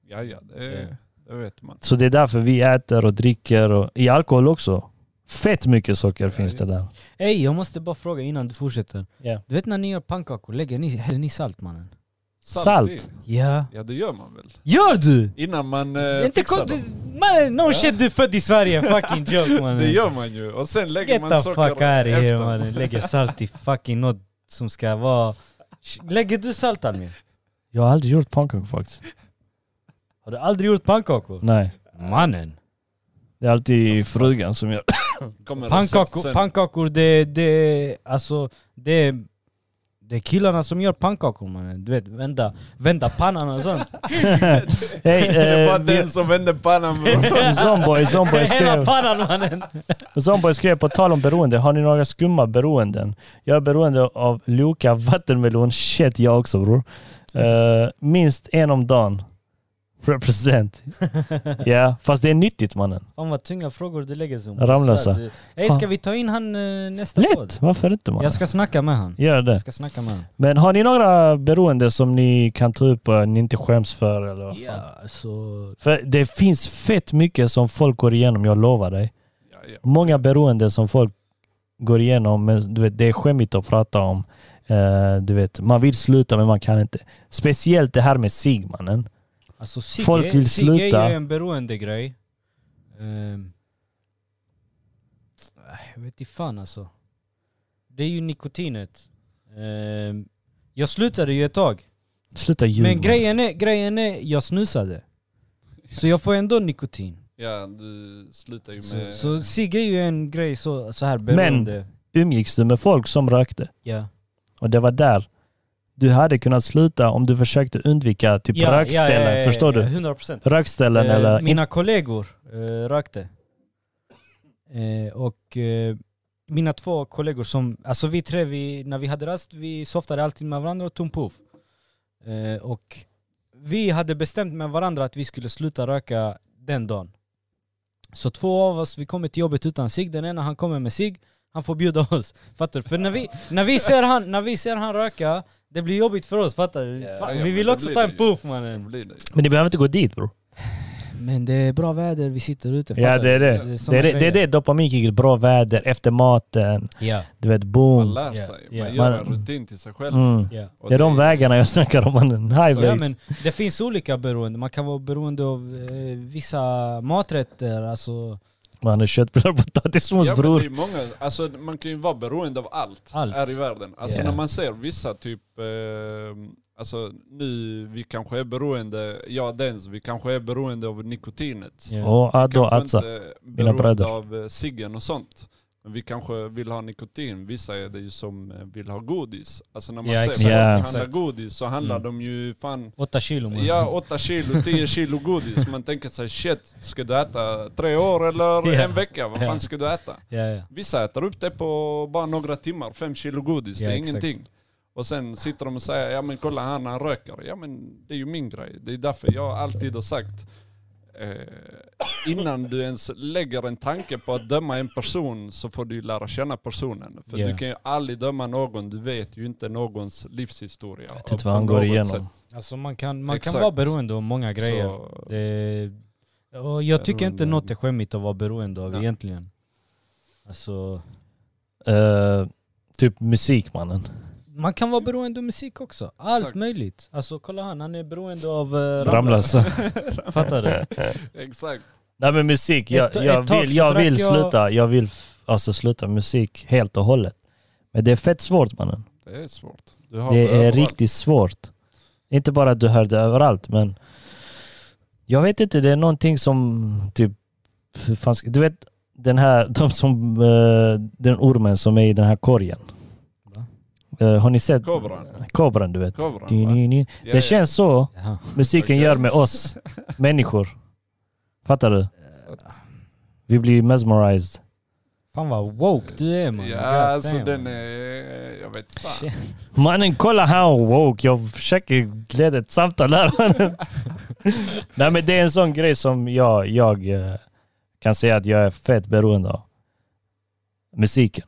[SPEAKER 3] Ja, ja, det, det vet man.
[SPEAKER 2] Så det är därför vi äter och dricker och i alkohol också. Fett mycket socker finns det där.
[SPEAKER 1] Ey, jag måste bara fråga innan du fortsätter.
[SPEAKER 2] Ja.
[SPEAKER 1] Du vet när ni gör pannkakor, lägger ni, häller ni salt mannen?
[SPEAKER 2] Salt.
[SPEAKER 3] i.
[SPEAKER 1] Ja.
[SPEAKER 3] Ja, det gör man väl.
[SPEAKER 1] Gör du?
[SPEAKER 3] Innan man
[SPEAKER 1] Det
[SPEAKER 3] eh,
[SPEAKER 1] är inte
[SPEAKER 3] fixar
[SPEAKER 1] kon-
[SPEAKER 3] dem.
[SPEAKER 1] du, man, no
[SPEAKER 3] Ja.
[SPEAKER 1] shit du är född i Sverige, fucking joke mannen.
[SPEAKER 3] Det gör man ju. Och sen lägger
[SPEAKER 1] Get
[SPEAKER 3] man
[SPEAKER 1] the
[SPEAKER 3] socker
[SPEAKER 1] fuck out here
[SPEAKER 3] efter.
[SPEAKER 1] mannen, lägger salt i fucking något som ska vara... Lägger du salt Almin?
[SPEAKER 2] Jag har aldrig gjort pannkakor faktiskt.
[SPEAKER 1] Har du aldrig gjort pannkakor?
[SPEAKER 2] Nej.
[SPEAKER 1] Mannen.
[SPEAKER 2] Det är alltid frugan som gör.
[SPEAKER 3] Kommer recept
[SPEAKER 1] Pannkakor,
[SPEAKER 3] sen.
[SPEAKER 1] pannkakor det, det, alltså, det, det är killarna som gör pannkakor mannen. Du vet, vända, vända pannan och sånt.
[SPEAKER 2] Hej,
[SPEAKER 3] Det var
[SPEAKER 2] eh, vi-
[SPEAKER 3] den som vände pannan bror.
[SPEAKER 2] Zomboy, Zomboy skrev,
[SPEAKER 1] Hela pannan mannen.
[SPEAKER 2] Zomboy skrev på tal om beroende. Har ni några skumma beroenden? Jag är beroende av Loka vattenmelon. Shit, jag också bror. Eh, minst en om dagen. Represent. Ja, fast det är nyttigt mannen.
[SPEAKER 1] Fan vad tunga frågor du lägger som.
[SPEAKER 2] Ramlösa.
[SPEAKER 1] Ey, eh, ska vi ta in han eh, nästa podd?
[SPEAKER 2] Lätt! Varför inte mannen?
[SPEAKER 1] Jag ska snacka med han.
[SPEAKER 2] Gör det.
[SPEAKER 1] Jag ska snacka med han.
[SPEAKER 2] Men har ni några beroende som ni kan ta upp och ni inte skäms för? Eller vad fan?
[SPEAKER 1] Ja, så...
[SPEAKER 2] För det finns fett mycket som folk går igenom, jag lovar dig.
[SPEAKER 3] Ja, ja.
[SPEAKER 2] Många beroende som folk går igenom, men du vet, det är skämmigt att prata om. Eh, du vet, man vill sluta men man kan inte. Speciellt det här med cigg, mannen.
[SPEAKER 1] Alltså Sigge,
[SPEAKER 2] Folk vill
[SPEAKER 1] Sigge
[SPEAKER 2] sluta.
[SPEAKER 1] är ju en beroende grej. Ehm. Äh, jag vet inte fan alltså. Det är ju nikotinet. Ehm, jag slutade ju ett tag.
[SPEAKER 2] Sluta ljuga.
[SPEAKER 1] Men
[SPEAKER 2] mannen.
[SPEAKER 1] grejen är, grejen är, jag snusade. Så jag får ändå nikotin.
[SPEAKER 3] ja, du slutar ju
[SPEAKER 1] Så,
[SPEAKER 3] med...
[SPEAKER 1] så Sigge är ju en grej så, så här beroende.
[SPEAKER 2] umgicks du med folk som rökte.
[SPEAKER 1] Ja.
[SPEAKER 2] Och det var där du hade kunnat sluta om du försökte undvika typ
[SPEAKER 1] Ja, ja,
[SPEAKER 2] rökställen.
[SPEAKER 1] ja, ja,
[SPEAKER 2] förstår
[SPEAKER 1] ja,
[SPEAKER 2] du?
[SPEAKER 1] 100 procent.
[SPEAKER 2] Rökställen eller...
[SPEAKER 1] Mina kollegor eh, rökte. Eh, och eh, mina två kollegor som, alltså vi tre, vi, när vi hade rast, vi softade alltid med varandra och tog puff. Eh, och vi hade bestämt med varandra att vi skulle sluta röka den dagen. Så två av oss, vi kommer till jobbet utan cigg, den ena han kommer med cigg, han får bjuda oss. Fattar du? För när vi, när vi, ser, han, när vi ser han röka, det blir jobbigt för oss, fattar du?
[SPEAKER 2] Ja,
[SPEAKER 1] Fan,
[SPEAKER 3] ja,
[SPEAKER 1] vi
[SPEAKER 3] men
[SPEAKER 1] vill
[SPEAKER 3] det
[SPEAKER 1] också
[SPEAKER 3] blir
[SPEAKER 1] ta
[SPEAKER 3] det
[SPEAKER 1] en
[SPEAKER 3] ju.
[SPEAKER 1] puff
[SPEAKER 3] Det
[SPEAKER 1] mannen.
[SPEAKER 3] blir det.
[SPEAKER 2] Men ni behöver inte gå dit bror.
[SPEAKER 1] Men det är bra väder, vi sitter ute.
[SPEAKER 2] Ja det är det. Det är det, det, är det dopaminkicket, bra väder, efter maten,
[SPEAKER 1] Ja,
[SPEAKER 2] du vet
[SPEAKER 3] Man
[SPEAKER 2] boom.
[SPEAKER 3] lär
[SPEAKER 1] Ja,
[SPEAKER 3] sig,
[SPEAKER 1] ja.
[SPEAKER 3] man gör en
[SPEAKER 2] Man-
[SPEAKER 3] rutin till sig själv.
[SPEAKER 2] Mm.
[SPEAKER 1] ja.
[SPEAKER 3] Och
[SPEAKER 2] Det är de vägarna jag snackar om mannen.
[SPEAKER 3] Så-
[SPEAKER 1] ja
[SPEAKER 2] Highways.
[SPEAKER 1] men det finns olika beroende. Man kan vara beroende av eh, vissa maträtter. Alltså
[SPEAKER 2] Man är köttbullar och potatismos
[SPEAKER 3] Ja, men
[SPEAKER 2] bror.
[SPEAKER 3] det är många, alltså, man kan ju vara beroende av allt,
[SPEAKER 1] Allt.
[SPEAKER 3] här i världen. Alltså
[SPEAKER 2] Ja.
[SPEAKER 3] när man ser vissa typ, eh, alltså nu vi kanske är beroende, ja dens, vi kanske är beroende av nikotinet.
[SPEAKER 1] eh,
[SPEAKER 2] Och Addo
[SPEAKER 3] kanske
[SPEAKER 1] alltså?
[SPEAKER 2] Atza.
[SPEAKER 3] inte beroende
[SPEAKER 2] bröder.
[SPEAKER 3] av eh, ciggen och sånt. Men vi kanske vill ha nikotin, vissa är det ju som eh, vill ha godis. Alltså när man
[SPEAKER 1] Ja,
[SPEAKER 3] ser
[SPEAKER 1] exakt.
[SPEAKER 3] folk
[SPEAKER 2] Ja.
[SPEAKER 3] handla
[SPEAKER 1] Exakt.
[SPEAKER 3] godis så handlar
[SPEAKER 1] Mm.
[SPEAKER 3] de ju fan
[SPEAKER 1] åtta kilo man.
[SPEAKER 3] Ja, 8 kilo, 10 kilo godis. Man tänker sig shit, ska du äta tre år eller
[SPEAKER 1] Ja.
[SPEAKER 3] en vecka? Vad
[SPEAKER 1] Ja.
[SPEAKER 3] fan ska du äta?
[SPEAKER 1] ja, ja.
[SPEAKER 3] Vissa äter upp det på bara några timmar, fem kilo godis,
[SPEAKER 1] Ja,
[SPEAKER 3] det är
[SPEAKER 1] exakt.
[SPEAKER 3] ingenting. Och sen sitter de och säger, ja men kolla han, han röker. Ja men det är ju min grej. Det är därför jag alltid har sagt, eh, innan du ens lägger en tanke på att döma en person så får du ju lära känna personen. För
[SPEAKER 1] Ja.
[SPEAKER 3] du kan ju aldrig döma någon, du vet ju inte någons livshistoria. Jag
[SPEAKER 2] vet inte Typ vad han går igenom.
[SPEAKER 1] Alltså man kan, man kan
[SPEAKER 3] Exakt.
[SPEAKER 1] vara beroende av många grejer. Det, och jag tycker inte
[SPEAKER 3] Beroende.
[SPEAKER 1] något är skämmigt att vara beroende av
[SPEAKER 3] Ja.
[SPEAKER 1] egentligen. Alltså,
[SPEAKER 2] Eh, typ musik mannen.
[SPEAKER 1] man kan vara beroende av musik också. Allt
[SPEAKER 3] Exakt.
[SPEAKER 1] möjligt. Alltså kolla han, han är beroende av uh,
[SPEAKER 2] Ramlös.
[SPEAKER 1] Fattar du?
[SPEAKER 3] Exakt.
[SPEAKER 2] alltså. Nej men musik, jag,
[SPEAKER 1] Ett- ett
[SPEAKER 2] jag
[SPEAKER 1] tag
[SPEAKER 2] vill,
[SPEAKER 1] så
[SPEAKER 2] jag
[SPEAKER 1] drack
[SPEAKER 2] vill
[SPEAKER 1] jag-
[SPEAKER 2] sluta. Jag vill f- alltså sluta musik helt och hållet. Men det är fett svårt mannen.
[SPEAKER 3] Det är svårt. Du har
[SPEAKER 2] Det är
[SPEAKER 3] överallt.
[SPEAKER 2] riktigt svårt. Inte bara att du hör det överallt men jag vet inte, det är någonting som typ, hur fan ska, du vet den här, de som, eh, den ormen som är i den här korgen.
[SPEAKER 1] Va?
[SPEAKER 2] Eh, Har ni sett?
[SPEAKER 3] Kobran.
[SPEAKER 2] Kobran du vet.
[SPEAKER 3] Kobran, va? Ja, ja.
[SPEAKER 2] Det känns så
[SPEAKER 1] Jaha.
[SPEAKER 2] musiken
[SPEAKER 3] Okej.
[SPEAKER 2] gör med oss människor. Fattar du?
[SPEAKER 3] Eh,
[SPEAKER 2] Vi blir mesmerized.
[SPEAKER 1] Fan vad woke du är man.
[SPEAKER 3] Ja,
[SPEAKER 1] God
[SPEAKER 3] alltså
[SPEAKER 1] damn.
[SPEAKER 3] den är... Jag vet fan.
[SPEAKER 1] Shit.
[SPEAKER 2] Mannen kolla här woke, jag försöker leda ett samtal här. mannen. Nej men det är en sån grej som jag, jag eh, kan säga att jag är fett beroende av. Musiken.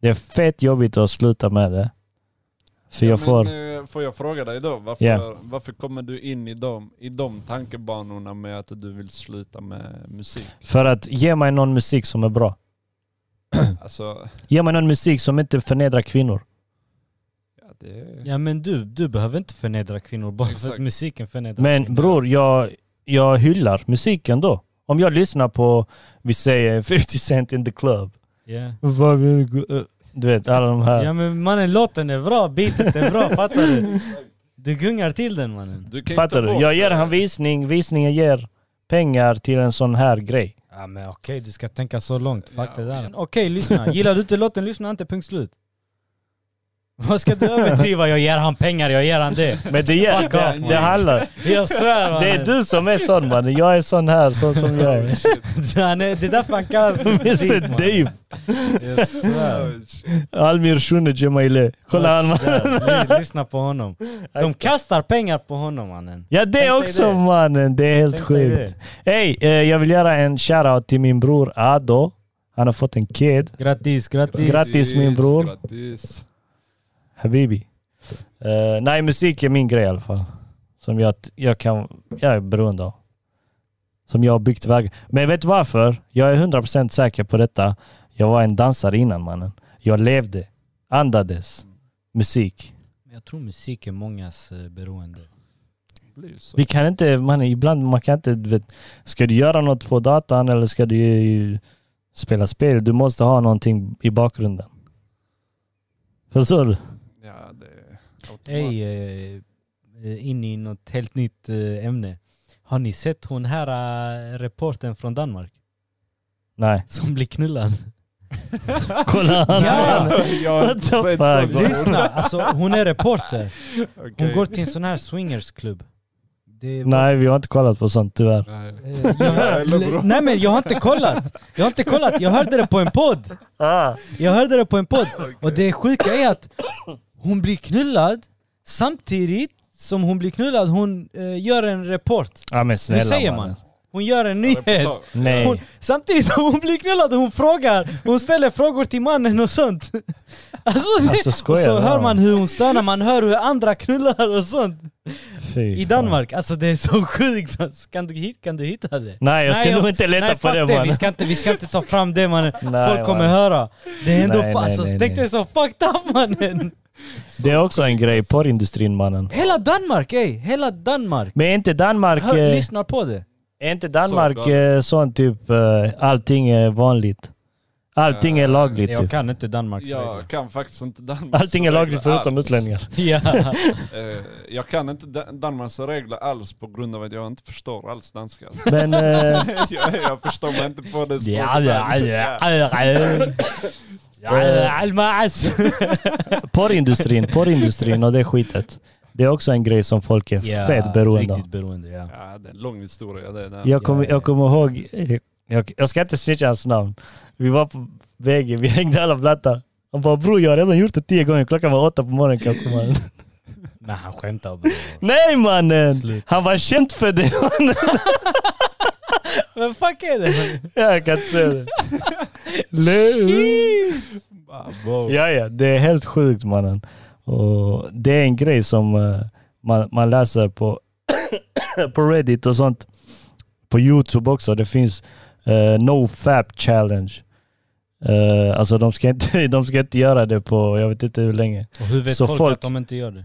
[SPEAKER 2] Det är fett jobbigt att sluta med det. För
[SPEAKER 3] Ja,
[SPEAKER 2] jag
[SPEAKER 3] men,
[SPEAKER 2] får...
[SPEAKER 3] eh, får jag fråga dig då, varför,
[SPEAKER 2] Ja.
[SPEAKER 3] varför kommer du in i de, i de tankebanorna med att du vill sluta med musik?
[SPEAKER 2] För att ge mig någon musik som är bra.
[SPEAKER 3] Alltså,
[SPEAKER 2] Ge mig någon musik som inte förnedrar kvinnor.
[SPEAKER 3] ja, det är...
[SPEAKER 1] Ja men du, du behöver inte förnedra kvinnor bara för att
[SPEAKER 3] Exakt.
[SPEAKER 1] musiken förnedrar
[SPEAKER 2] Men
[SPEAKER 1] kvinnor.
[SPEAKER 2] bror, jag, jag hyllar musiken då. Om jag lyssnar på, vi säger 50 Cent in the club.
[SPEAKER 1] Ja.
[SPEAKER 2] Vad vill du- eh, Du vet, alla de här.
[SPEAKER 1] Ja men mannen låten är bra, beatet är bra, fattar du? Du gungar till den mannen.
[SPEAKER 3] Du kan
[SPEAKER 2] Fattar
[SPEAKER 3] inte
[SPEAKER 2] du?
[SPEAKER 3] bort
[SPEAKER 2] Jag ger
[SPEAKER 3] det.
[SPEAKER 2] han visning, visningen ger pengar till en sån här grej.
[SPEAKER 1] Ja men okej, du ska tänka så långt. Fuck
[SPEAKER 3] Ja,
[SPEAKER 1] det där.
[SPEAKER 3] men-
[SPEAKER 1] Okej, lyssna. Gillar du inte låten, lyssna inte, punkt slut. Vad ska du överdriva? Jag ger han pengar, jag ger han det.
[SPEAKER 2] Men det, ger,
[SPEAKER 1] Fuck off,
[SPEAKER 2] det,
[SPEAKER 1] man.
[SPEAKER 2] det handlar...
[SPEAKER 1] Jag svär mannen.
[SPEAKER 2] Det är du som är sån mannen, jag är sån här, sån som jag är.
[SPEAKER 3] Shit,
[SPEAKER 1] Han är, det är därför han kallas
[SPEAKER 2] Mr
[SPEAKER 1] musik mannen.
[SPEAKER 2] Dave,
[SPEAKER 1] Jag svär.
[SPEAKER 3] oh, shit.
[SPEAKER 2] Almir Shune Jemaile. Kolla han mannen.
[SPEAKER 1] Där, Lyssna på honom. De kastar pengar på honom mannen.
[SPEAKER 2] Ja det
[SPEAKER 1] Tänk dig
[SPEAKER 2] också
[SPEAKER 1] det.
[SPEAKER 2] mannen, det är helt
[SPEAKER 1] Tänk dig
[SPEAKER 2] sjukt. Hej, eh, jag vill göra en shoutout till min bror Ado. Han har fått en kid.
[SPEAKER 1] Grattis, grattis.
[SPEAKER 2] Grattis. min bror.
[SPEAKER 3] Grattis.
[SPEAKER 2] Habibi. Eh, nej, musik är min grej i alla fall. Som jag, jag, kan, jag är beroende av. Som jag har byggt väg. Men vet du varför? Jag är 100% säker på detta. Jag var en dansare innan mannen. Jag levde, andades, musik.
[SPEAKER 1] Men Jag tror musik är mångas eh, beroende.
[SPEAKER 3] Det blir ju så.
[SPEAKER 2] Vi kan inte, man, ibland man kan inte, du vet, ska du göra något på datan eller ska du ju spela spel? Du måste ha någonting i bakgrunden. Förstår du?
[SPEAKER 3] Ja, det är automatiskt.
[SPEAKER 1] Ey, eh, eh, in i något helt nytt eh, ämne. Har ni sett hon här äh, reporten från Danmark?
[SPEAKER 2] Nej.
[SPEAKER 1] Som blir knullad.
[SPEAKER 2] Kolla han.
[SPEAKER 1] Ja.
[SPEAKER 3] jag har inte
[SPEAKER 2] What the
[SPEAKER 3] sett sånt.
[SPEAKER 2] fuck?
[SPEAKER 1] Lyssna, alltså hon är reporter. Hon
[SPEAKER 3] Okej.
[SPEAKER 1] går till en sån här swingersklubb. Det var-
[SPEAKER 2] Nej vi har inte kollat på sånt tyvärr.
[SPEAKER 3] Nej.
[SPEAKER 1] Eh, jag-
[SPEAKER 3] Eller bra.
[SPEAKER 1] Nej men jag har inte kollat. Jag har inte kollat. Jag hörde det på en podd. Jag hörde det på en podd. Och det sjuka är att hon blir knullad samtidigt som hon blir knullad, hon eh, gör en report.
[SPEAKER 2] Ja men
[SPEAKER 1] Hur
[SPEAKER 2] snälla
[SPEAKER 1] säger
[SPEAKER 2] mannen.
[SPEAKER 1] man? Hon gör en nyhet.
[SPEAKER 3] Reportage.
[SPEAKER 1] Hon,
[SPEAKER 2] Nej.
[SPEAKER 1] samtidigt som hon blir knullad, hon frågar, hon ställer frågor till mannen och sånt. Alltså, det-
[SPEAKER 2] Alltså,
[SPEAKER 1] och
[SPEAKER 2] skojar
[SPEAKER 1] så
[SPEAKER 2] du?
[SPEAKER 1] hör man hur hon stönar, man hör hur andra knullar och sånt.
[SPEAKER 2] Fy
[SPEAKER 1] I
[SPEAKER 2] fan.
[SPEAKER 1] Danmark, alltså det är så sjukt. alltså. Kan du, hit- kan du hitta det?
[SPEAKER 2] Nej jag ska
[SPEAKER 1] Nej, jag-
[SPEAKER 2] nog inte leta
[SPEAKER 1] Nej
[SPEAKER 2] på
[SPEAKER 1] fuck
[SPEAKER 2] det
[SPEAKER 1] det,
[SPEAKER 2] mannen.
[SPEAKER 1] Vi, ska inte, vi ska inte ta fram det mannen.
[SPEAKER 2] Nej,
[SPEAKER 1] Folk kommer
[SPEAKER 2] mannen.
[SPEAKER 1] höra. Det är ändå,
[SPEAKER 2] Nej,
[SPEAKER 1] fa-
[SPEAKER 2] nej,
[SPEAKER 1] alltså,
[SPEAKER 2] nej,
[SPEAKER 1] tänk
[SPEAKER 2] nej.
[SPEAKER 1] dig så fucked up mannen.
[SPEAKER 2] Det är också en grej, porrindustrin mannen.
[SPEAKER 1] Hela Danmark ey, hela Danmark.
[SPEAKER 2] Men är inte Danmark,
[SPEAKER 1] Hör,
[SPEAKER 2] eh,
[SPEAKER 1] lyssnar på det.
[SPEAKER 2] är inte Danmark
[SPEAKER 3] Sådär.
[SPEAKER 2] eh, sån typ, eh, allting är vanligt? Allting är
[SPEAKER 3] Eh,
[SPEAKER 2] lagligt typ.
[SPEAKER 1] kan inte Danmarks
[SPEAKER 3] Jag kan faktiskt inte Danmarks
[SPEAKER 2] Allting är lagligt
[SPEAKER 3] regler
[SPEAKER 2] förutom
[SPEAKER 3] alls.
[SPEAKER 2] utlänningar.
[SPEAKER 1] Ja.
[SPEAKER 3] Eh, jag kan inte Dan- Danmarks regler alls på grund av att jag inte förstår alls danska.
[SPEAKER 2] Men eh,
[SPEAKER 3] jag, jag förstår mig inte på det språket
[SPEAKER 1] Ja, ja,
[SPEAKER 3] alls.
[SPEAKER 1] ja, ja, ja. Ja, Almas.
[SPEAKER 2] porrindustrin, porrindustrin och det skitet. Det är också en grej som folk är fett beroende av.
[SPEAKER 1] Riktigt beroende ja.
[SPEAKER 3] Ja, det är en lång historia det där.
[SPEAKER 2] Jag kommer,
[SPEAKER 1] Ja, ja.
[SPEAKER 2] jag kommer ihåg, eh, jag, jag ska inte snitcha hans namn. Vi var på vägen, vi hängde alla blattar. Han bara bror jag har redan gjort det tio gånger, klockan var åtta på morgonen kanske mannen.
[SPEAKER 1] Men han skämtar bror.
[SPEAKER 2] Nej mannen!
[SPEAKER 1] Slut.
[SPEAKER 2] Han var känd för det mannen.
[SPEAKER 1] Men fuck är det?
[SPEAKER 2] Jag kan inte säga det. Le- ja ja, det är helt sjukt mannen. Och det är en grej som eh, man, man läser på, på Reddit och sånt. På Youtube också. Det finns eh, No Fap Challenge. Uh, alltså de ska, inte, de ska inte göra det på, jag vet inte hur länge.
[SPEAKER 1] Och hur vet
[SPEAKER 2] Så
[SPEAKER 1] folk,
[SPEAKER 2] folk-
[SPEAKER 1] att de inte gör det?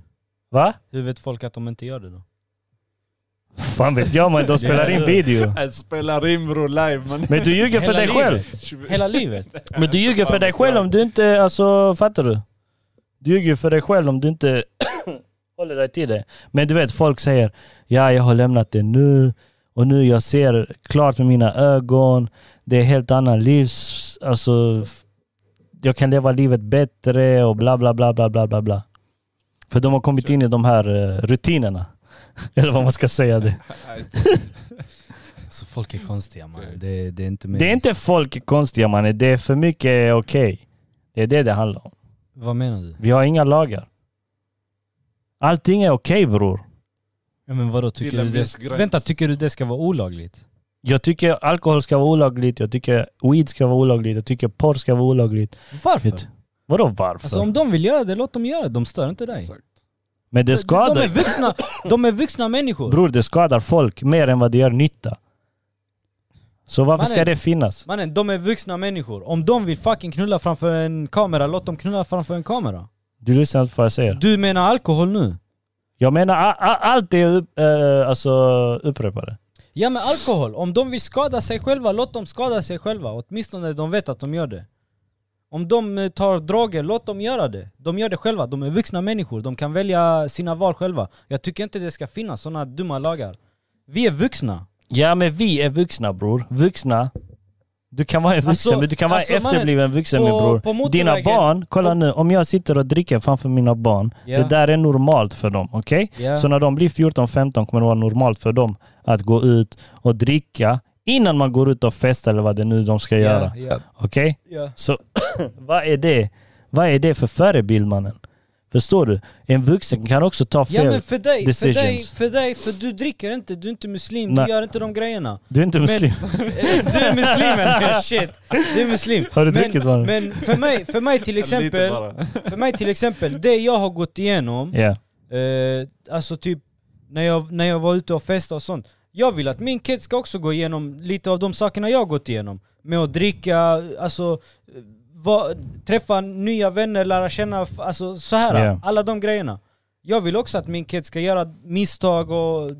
[SPEAKER 2] Va?
[SPEAKER 1] Hur vet folk att de inte gör det då?
[SPEAKER 2] Fan vet jag men de spelar in video.
[SPEAKER 3] Jag spelar in bro live men...
[SPEAKER 2] Men du ljuger för
[SPEAKER 1] Hela
[SPEAKER 2] dig
[SPEAKER 1] livet.
[SPEAKER 2] själv.
[SPEAKER 1] Hela livet?
[SPEAKER 2] Men du ljuger för dig själv om du inte, alltså fattar du? Du ljuger för dig själv om du inte håller dig till det. Men du vet, folk säger ja jag har lämnat det nu och nu jag ser klart med mina ögon. Det är helt annan livs... Alltså, f- jag kan leva livet bättre och bla bla bla bla bla bla bla. För de har kommit in i de här eh, rutinerna. Eller vad man ska säga det.
[SPEAKER 3] Nej,
[SPEAKER 1] Så Alltså, folk är konstiga man. Det, det är inte
[SPEAKER 2] Det är inte folk konstiga mannen, det är för mycket okej. Det är det det handlar om.
[SPEAKER 1] Vad menar du?
[SPEAKER 2] Vi har inga lagar. Allting är okej bror.
[SPEAKER 1] Ja, men vadå,
[SPEAKER 3] Till
[SPEAKER 1] tycker
[SPEAKER 3] en
[SPEAKER 1] du
[SPEAKER 3] viss
[SPEAKER 1] det,
[SPEAKER 3] gräns.
[SPEAKER 1] vänta, tycker du det ska vara olagligt?
[SPEAKER 2] Jag tycker alkohol ska vara olagligt, jag tycker weed ska vara olagligt, jag tycker porr ska vara olagligt.
[SPEAKER 1] Varför?
[SPEAKER 2] Vet- Vadå varför?
[SPEAKER 1] Alltså om de vill göra det, låt dem göra det. De stör inte dig.
[SPEAKER 3] exakt.
[SPEAKER 2] Men det
[SPEAKER 1] De, de, är
[SPEAKER 2] skadar,
[SPEAKER 1] vuxna, de är vuxna människor.
[SPEAKER 2] bror det skadar folk mer än vad det gör nytta. Så varför ska
[SPEAKER 1] Mannen.
[SPEAKER 2] det finnas?
[SPEAKER 1] Mannen, de är vuxna människor. Om de vill fucking knulla framför en kamera, låt dem knulla framför en kamera.
[SPEAKER 2] Du lyssnar inte på vad jag säger.
[SPEAKER 1] Du menar alkohol nu?
[SPEAKER 2] Jag menar a- a- allt är upp, eh, alltså, upprepade.
[SPEAKER 1] Ja men alkohol, om de vill skada sig själva, låt dem skada sig själva. Åtminstone de vet att de gör det. Om de eh, tar droger, låt dem göra det. De gör det själva, de är vuxna människor, de kan välja sina val själva. Jag tycker inte det ska finnas sådana dumma lagar. Vi är vuxna.
[SPEAKER 2] Ja men vi är vuxna bror. Vuxna. Du kan vara en vuxen
[SPEAKER 1] Alltså,
[SPEAKER 2] men du kan vara
[SPEAKER 1] alltså,
[SPEAKER 2] efterbliven vuxen min
[SPEAKER 1] på-
[SPEAKER 2] bror.
[SPEAKER 1] på motorvägen-
[SPEAKER 2] Dina barn, kolla
[SPEAKER 1] på-
[SPEAKER 2] nu, om jag sitter och dricker framför mina barn,
[SPEAKER 1] Ja.
[SPEAKER 2] det där är normalt för dem. Okej?
[SPEAKER 1] Ja.
[SPEAKER 2] Så när de blir 14-15 kommer det vara normalt för dem att gå ut och dricka innan man går ut och festar eller vad det nu de ska göra.
[SPEAKER 1] Ja, ja,
[SPEAKER 2] Okej?
[SPEAKER 1] ja.
[SPEAKER 2] Så vad är det? Vad är det för förebild mannen? Förstår du? En vuxen kan också ta
[SPEAKER 1] ja
[SPEAKER 2] fel.
[SPEAKER 1] men för dig, för dig,
[SPEAKER 2] decisions.
[SPEAKER 1] för dig, för du dricker inte, du är inte muslim,
[SPEAKER 2] Nej.
[SPEAKER 1] du gör inte de grejerna.
[SPEAKER 2] Du är inte muslim.
[SPEAKER 1] Du är muslimen, shit. Du är muslim.
[SPEAKER 2] Har du
[SPEAKER 1] men,
[SPEAKER 2] druckit, mannen?
[SPEAKER 1] Men för mig, för mig till
[SPEAKER 3] Lite
[SPEAKER 1] exempel,
[SPEAKER 3] bara.
[SPEAKER 1] för mig till exempel, det jag har gått igenom
[SPEAKER 2] Ja.
[SPEAKER 1] Eh, alltså typ när jag, när jag var ute och festade och sånt. Jag vill att min kid ska också gå igenom lite av de sakerna jag har gått igenom. Med att dricka, alltså eh, va, träffa nya vänner, lära känna, f- alltså så här.
[SPEAKER 2] Ja.
[SPEAKER 1] Alla de grejerna. Jag vill också att min kid ska göra misstag och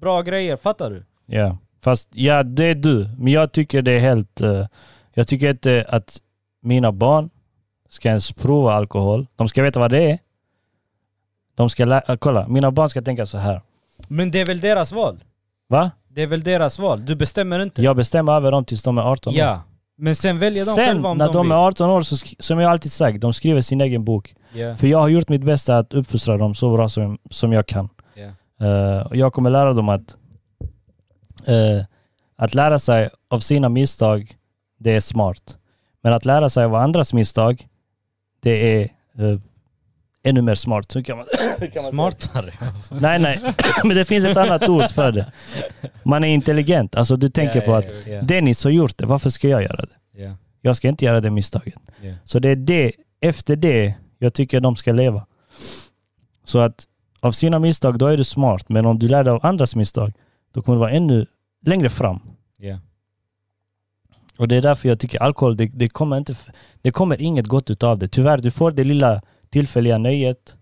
[SPEAKER 1] bra grejer, fattar du?
[SPEAKER 2] Ja, fast ja, det är du. Men jag tycker det är helt... eh, jag tycker inte att mina barn ska ens prova alkohol. De ska veta vad det är. De ska lä- äh, kolla, mina barn ska tänka så här.
[SPEAKER 1] Men det är väl deras val?
[SPEAKER 2] Va?
[SPEAKER 1] Det är väl deras val? Du bestämmer inte?
[SPEAKER 2] Jag bestämmer över dem tills de är 18 år.
[SPEAKER 1] Ja. Men sen väljer de
[SPEAKER 2] Sen
[SPEAKER 1] själva om
[SPEAKER 2] när
[SPEAKER 1] de,
[SPEAKER 2] de,
[SPEAKER 1] vill.
[SPEAKER 2] är 18 år, så sk- som jag alltid sagt, de skriver sin egen bok.
[SPEAKER 1] Ja,
[SPEAKER 2] För jag har gjort mitt bästa att uppfostra dem så bra som, som jag kan.
[SPEAKER 1] ja.
[SPEAKER 2] Eh, och jag kommer lära dem att, eh, att lära sig av sina misstag, det är smart. Men att lära sig av andras misstag, det är eh, ännu mer smart. Hur kan man, hur kan man säga?
[SPEAKER 1] Smartare.
[SPEAKER 2] Nej, nej. Men det finns ett annat ord för det. Man är intelligent. Alltså du tänker
[SPEAKER 1] Ja,
[SPEAKER 2] på
[SPEAKER 1] ja,
[SPEAKER 2] att
[SPEAKER 1] ja,
[SPEAKER 2] Dennis har gjort det, varför ska jag göra det?
[SPEAKER 1] ja.
[SPEAKER 2] Jag ska inte göra det misstaget.
[SPEAKER 1] Ja.
[SPEAKER 2] Så det är det, efter det jag tycker de ska leva. Så att av sina misstag, då är du smart. Men om du lär dig av andras misstag, då kommer du vara ännu längre fram.
[SPEAKER 1] Ja.
[SPEAKER 2] Och det är därför jag tycker alkohol, det, det, kommer, inte, f- det kommer inget gott utav det. Tyvärr, du får det lilla tillfälliga nöjet.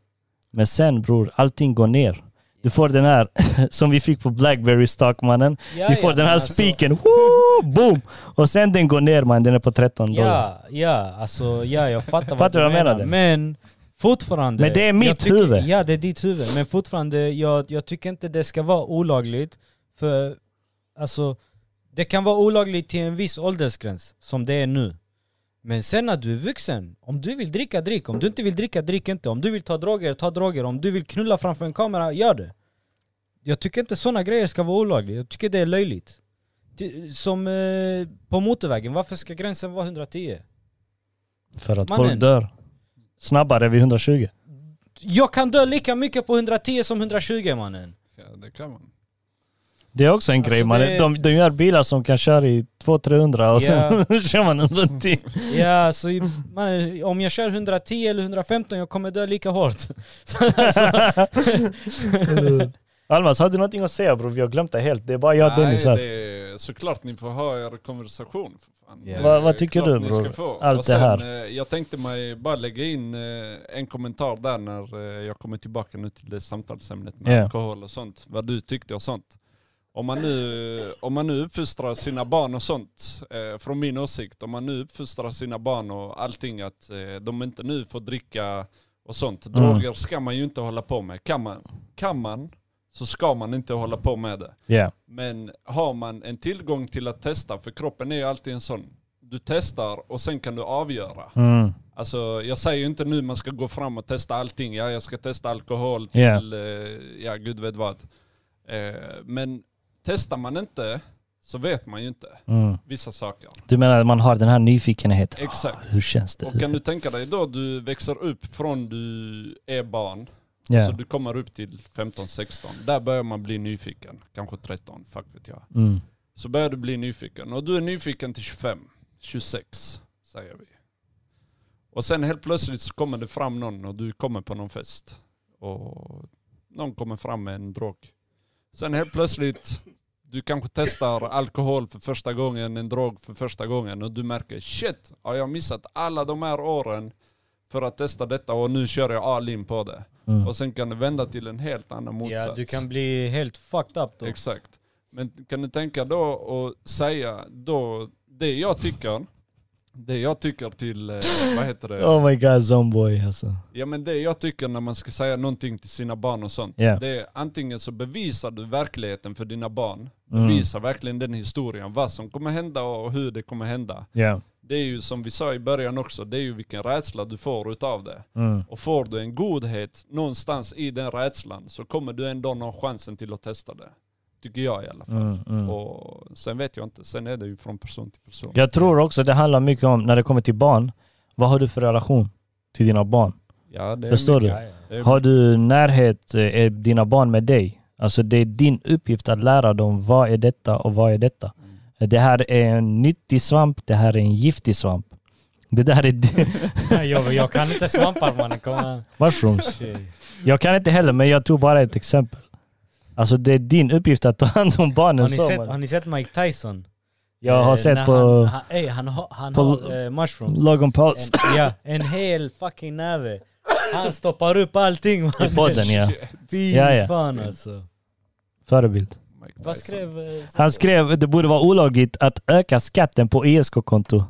[SPEAKER 2] Men sen bror, allting går ner. Du får den här som vi fick på Blackberry Stockmannen.
[SPEAKER 1] Ja,
[SPEAKER 2] Vi får
[SPEAKER 1] ja,
[SPEAKER 2] den
[SPEAKER 1] men
[SPEAKER 2] här
[SPEAKER 1] alltså-
[SPEAKER 2] spiken, woo, boom! Och sen den går ner man, den är på 13 dollar.
[SPEAKER 1] Ja, ja, alltså ja, jag fattar vad
[SPEAKER 2] Fattar
[SPEAKER 1] du
[SPEAKER 2] vad jag
[SPEAKER 1] menar.
[SPEAKER 2] menade?
[SPEAKER 1] Men fortfarande.
[SPEAKER 2] Men det är
[SPEAKER 1] jag
[SPEAKER 2] mitt
[SPEAKER 1] tycker,
[SPEAKER 2] huvud.
[SPEAKER 1] Ja, det är ditt huvud. Men fortfarande, jag, jag tycker inte det ska vara olagligt. För alltså, det kan vara olagligt till en viss åldersgräns, som det är nu. Men sen när du är vuxen, om du vill dricka, drick. Om du inte vill dricka, drick inte. Om du vill ta droger, ta droger. Om du vill knulla framför en kamera, gör det. Jag tycker inte sådana grejer ska vara olagliga. Jag tycker det är löjligt. Det- Som eh, på motorvägen, varför ska gränsen vara 110?
[SPEAKER 2] För att
[SPEAKER 1] Mannen.
[SPEAKER 2] folk dör snabbare vid 120.
[SPEAKER 1] Jag kan dö lika mycket på 110 som 120 mannen.
[SPEAKER 3] Ja, det kan man.
[SPEAKER 2] Det är också en
[SPEAKER 1] Alltså,
[SPEAKER 2] grej. Man,
[SPEAKER 1] det-
[SPEAKER 2] de, de gör bilar som kan köra i 200-300
[SPEAKER 1] Ja.
[SPEAKER 2] och sen kör man 110.
[SPEAKER 1] Ja, så i- mannen, om jag kör 110 eller 115 jag kommer dö lika hårt.
[SPEAKER 2] Almas, har du någonting att säga bror? Vi har glömt det helt. Det är bara jag och Dennis här.
[SPEAKER 3] det är, såklart ni får ha er konversation. För fan.
[SPEAKER 1] Ja.
[SPEAKER 3] Det är
[SPEAKER 2] Vad- vad tycker
[SPEAKER 3] klart
[SPEAKER 2] du,
[SPEAKER 3] ni
[SPEAKER 2] bror?
[SPEAKER 3] ska få.
[SPEAKER 2] Allt
[SPEAKER 3] Och
[SPEAKER 2] det här.
[SPEAKER 3] sen, eh, Jag tänkte mig bara lägga in eh, en kommentar där när eh, jag kommer tillbaka nu till det samtalsämnet med
[SPEAKER 2] Ja.
[SPEAKER 3] alkohol och sånt. Vad du tyckte och sånt. Om man, nu, om man nu uppfostrar sina barn och sånt, eh, från min åsikt, om man nu uppfostrar sina barn och allting att eh, de inte nu får dricka och sånt.
[SPEAKER 2] Mm.
[SPEAKER 3] Droger ska man ju inte hålla på med. Kan man, kan man så ska man inte hålla på med det.
[SPEAKER 2] Ja.
[SPEAKER 3] Men har man en tillgång till att testa, för kroppen är ju alltid en sån. Du testar och sen kan du avgöra.
[SPEAKER 2] Mm.
[SPEAKER 3] Alltså jag säger ju inte nu man ska gå fram och testa allting. Ja, jag ska testa alkohol till,
[SPEAKER 2] Ja.
[SPEAKER 3] eh, ja gud vet vad. Eh, men testar man inte så vet man ju inte
[SPEAKER 2] Mm.
[SPEAKER 3] vissa saker.
[SPEAKER 2] Du menar att man har den här nyfikenheten?
[SPEAKER 3] Exakt.
[SPEAKER 2] Hur känns det?
[SPEAKER 3] Och kan du tänka dig då du växer upp från du är barn,
[SPEAKER 2] Ja.
[SPEAKER 1] alltså
[SPEAKER 3] så du kommer upp till 15-16. Där börjar man bli nyfiken. Kanske 13, fuck vet jag.
[SPEAKER 2] Mm.
[SPEAKER 3] Så börjar du bli nyfiken. Och du är nyfiken till 25, 26 säger vi. Och sen helt plötsligt så kommer det fram någon och du kommer på någon fest. Och någon kommer fram med en drog. Sen helt plötsligt, du kanske testar alkohol för första gången, en drog för första gången och du märker shit, har jag missat alla de här åren för att testa detta och nu kör jag all in på det.
[SPEAKER 2] Mm.
[SPEAKER 3] Och sen kan det vända till en helt annan motsats.
[SPEAKER 1] Ja, du kan bli helt fucked up då.
[SPEAKER 3] Exakt. Men kan du tänka då och säga då det jag tycker, det jag tycker till, eh, vad heter det?
[SPEAKER 2] Oh my god, zomboy alltså.
[SPEAKER 3] Ja men det jag tycker när man ska säga någonting till sina barn och sånt.
[SPEAKER 2] Ja.
[SPEAKER 3] Det är antingen så bevisar du verkligheten för dina barn.
[SPEAKER 2] Mm.
[SPEAKER 3] Bevisa verkligen den historien, vad som kommer hända och hur det kommer hända.
[SPEAKER 2] Ja.
[SPEAKER 3] Det är ju som vi sa i början också, det är ju vilken rädsla du får utav det.
[SPEAKER 2] Mm.
[SPEAKER 3] Och får du en godhet någonstans i den rädslan så kommer du ändå ha chansen till att testa det. Tycker jag i alla fall.
[SPEAKER 2] Mm. Mm.
[SPEAKER 3] Och sen vet jag inte, sen är det ju från person till person.
[SPEAKER 2] Jag tror också det handlar mycket om, när det kommer till barn, vad har du för relation till dina barn?
[SPEAKER 3] Ja, det är
[SPEAKER 2] Förstår
[SPEAKER 3] mycket.
[SPEAKER 1] Ja, ja.
[SPEAKER 3] Det är
[SPEAKER 2] Har du närhet, eh, är dina barn med dig? Alltså det är din uppgift att lära dem vad är detta och vad är detta.
[SPEAKER 1] Mm.
[SPEAKER 2] Det här är en nyttig svamp, det här är en giftig svamp. Det där är di-
[SPEAKER 1] jag, jag kan inte svampar mannen, kom igen.
[SPEAKER 2] mushrooms.
[SPEAKER 1] Shit.
[SPEAKER 2] Jag kan inte heller men jag tog bara ett exempel. Alltså det är din uppgift att ta hand om barnen.
[SPEAKER 1] Har ni,
[SPEAKER 2] så,
[SPEAKER 1] sett,
[SPEAKER 2] man.
[SPEAKER 1] har ni sett Mike Tyson?
[SPEAKER 2] jag har
[SPEAKER 1] Eh,
[SPEAKER 2] sett
[SPEAKER 1] när
[SPEAKER 2] på
[SPEAKER 1] Han, han, ey, han, har- han
[SPEAKER 2] på-
[SPEAKER 1] har eh, mushrooms.
[SPEAKER 2] Logan Paul
[SPEAKER 1] En, ja, en hel fucking näve. Han stoppar upp allting
[SPEAKER 2] i
[SPEAKER 1] mannen.
[SPEAKER 2] podden ja.
[SPEAKER 1] Fy
[SPEAKER 2] Ja, ja.
[SPEAKER 1] fan alltså.
[SPEAKER 2] Förebild.
[SPEAKER 3] Mike
[SPEAKER 1] Vad
[SPEAKER 3] Tyson.
[SPEAKER 1] skrev... eh,
[SPEAKER 2] Han skrev det borde vara olagligt att öka skatten på ISK-konto.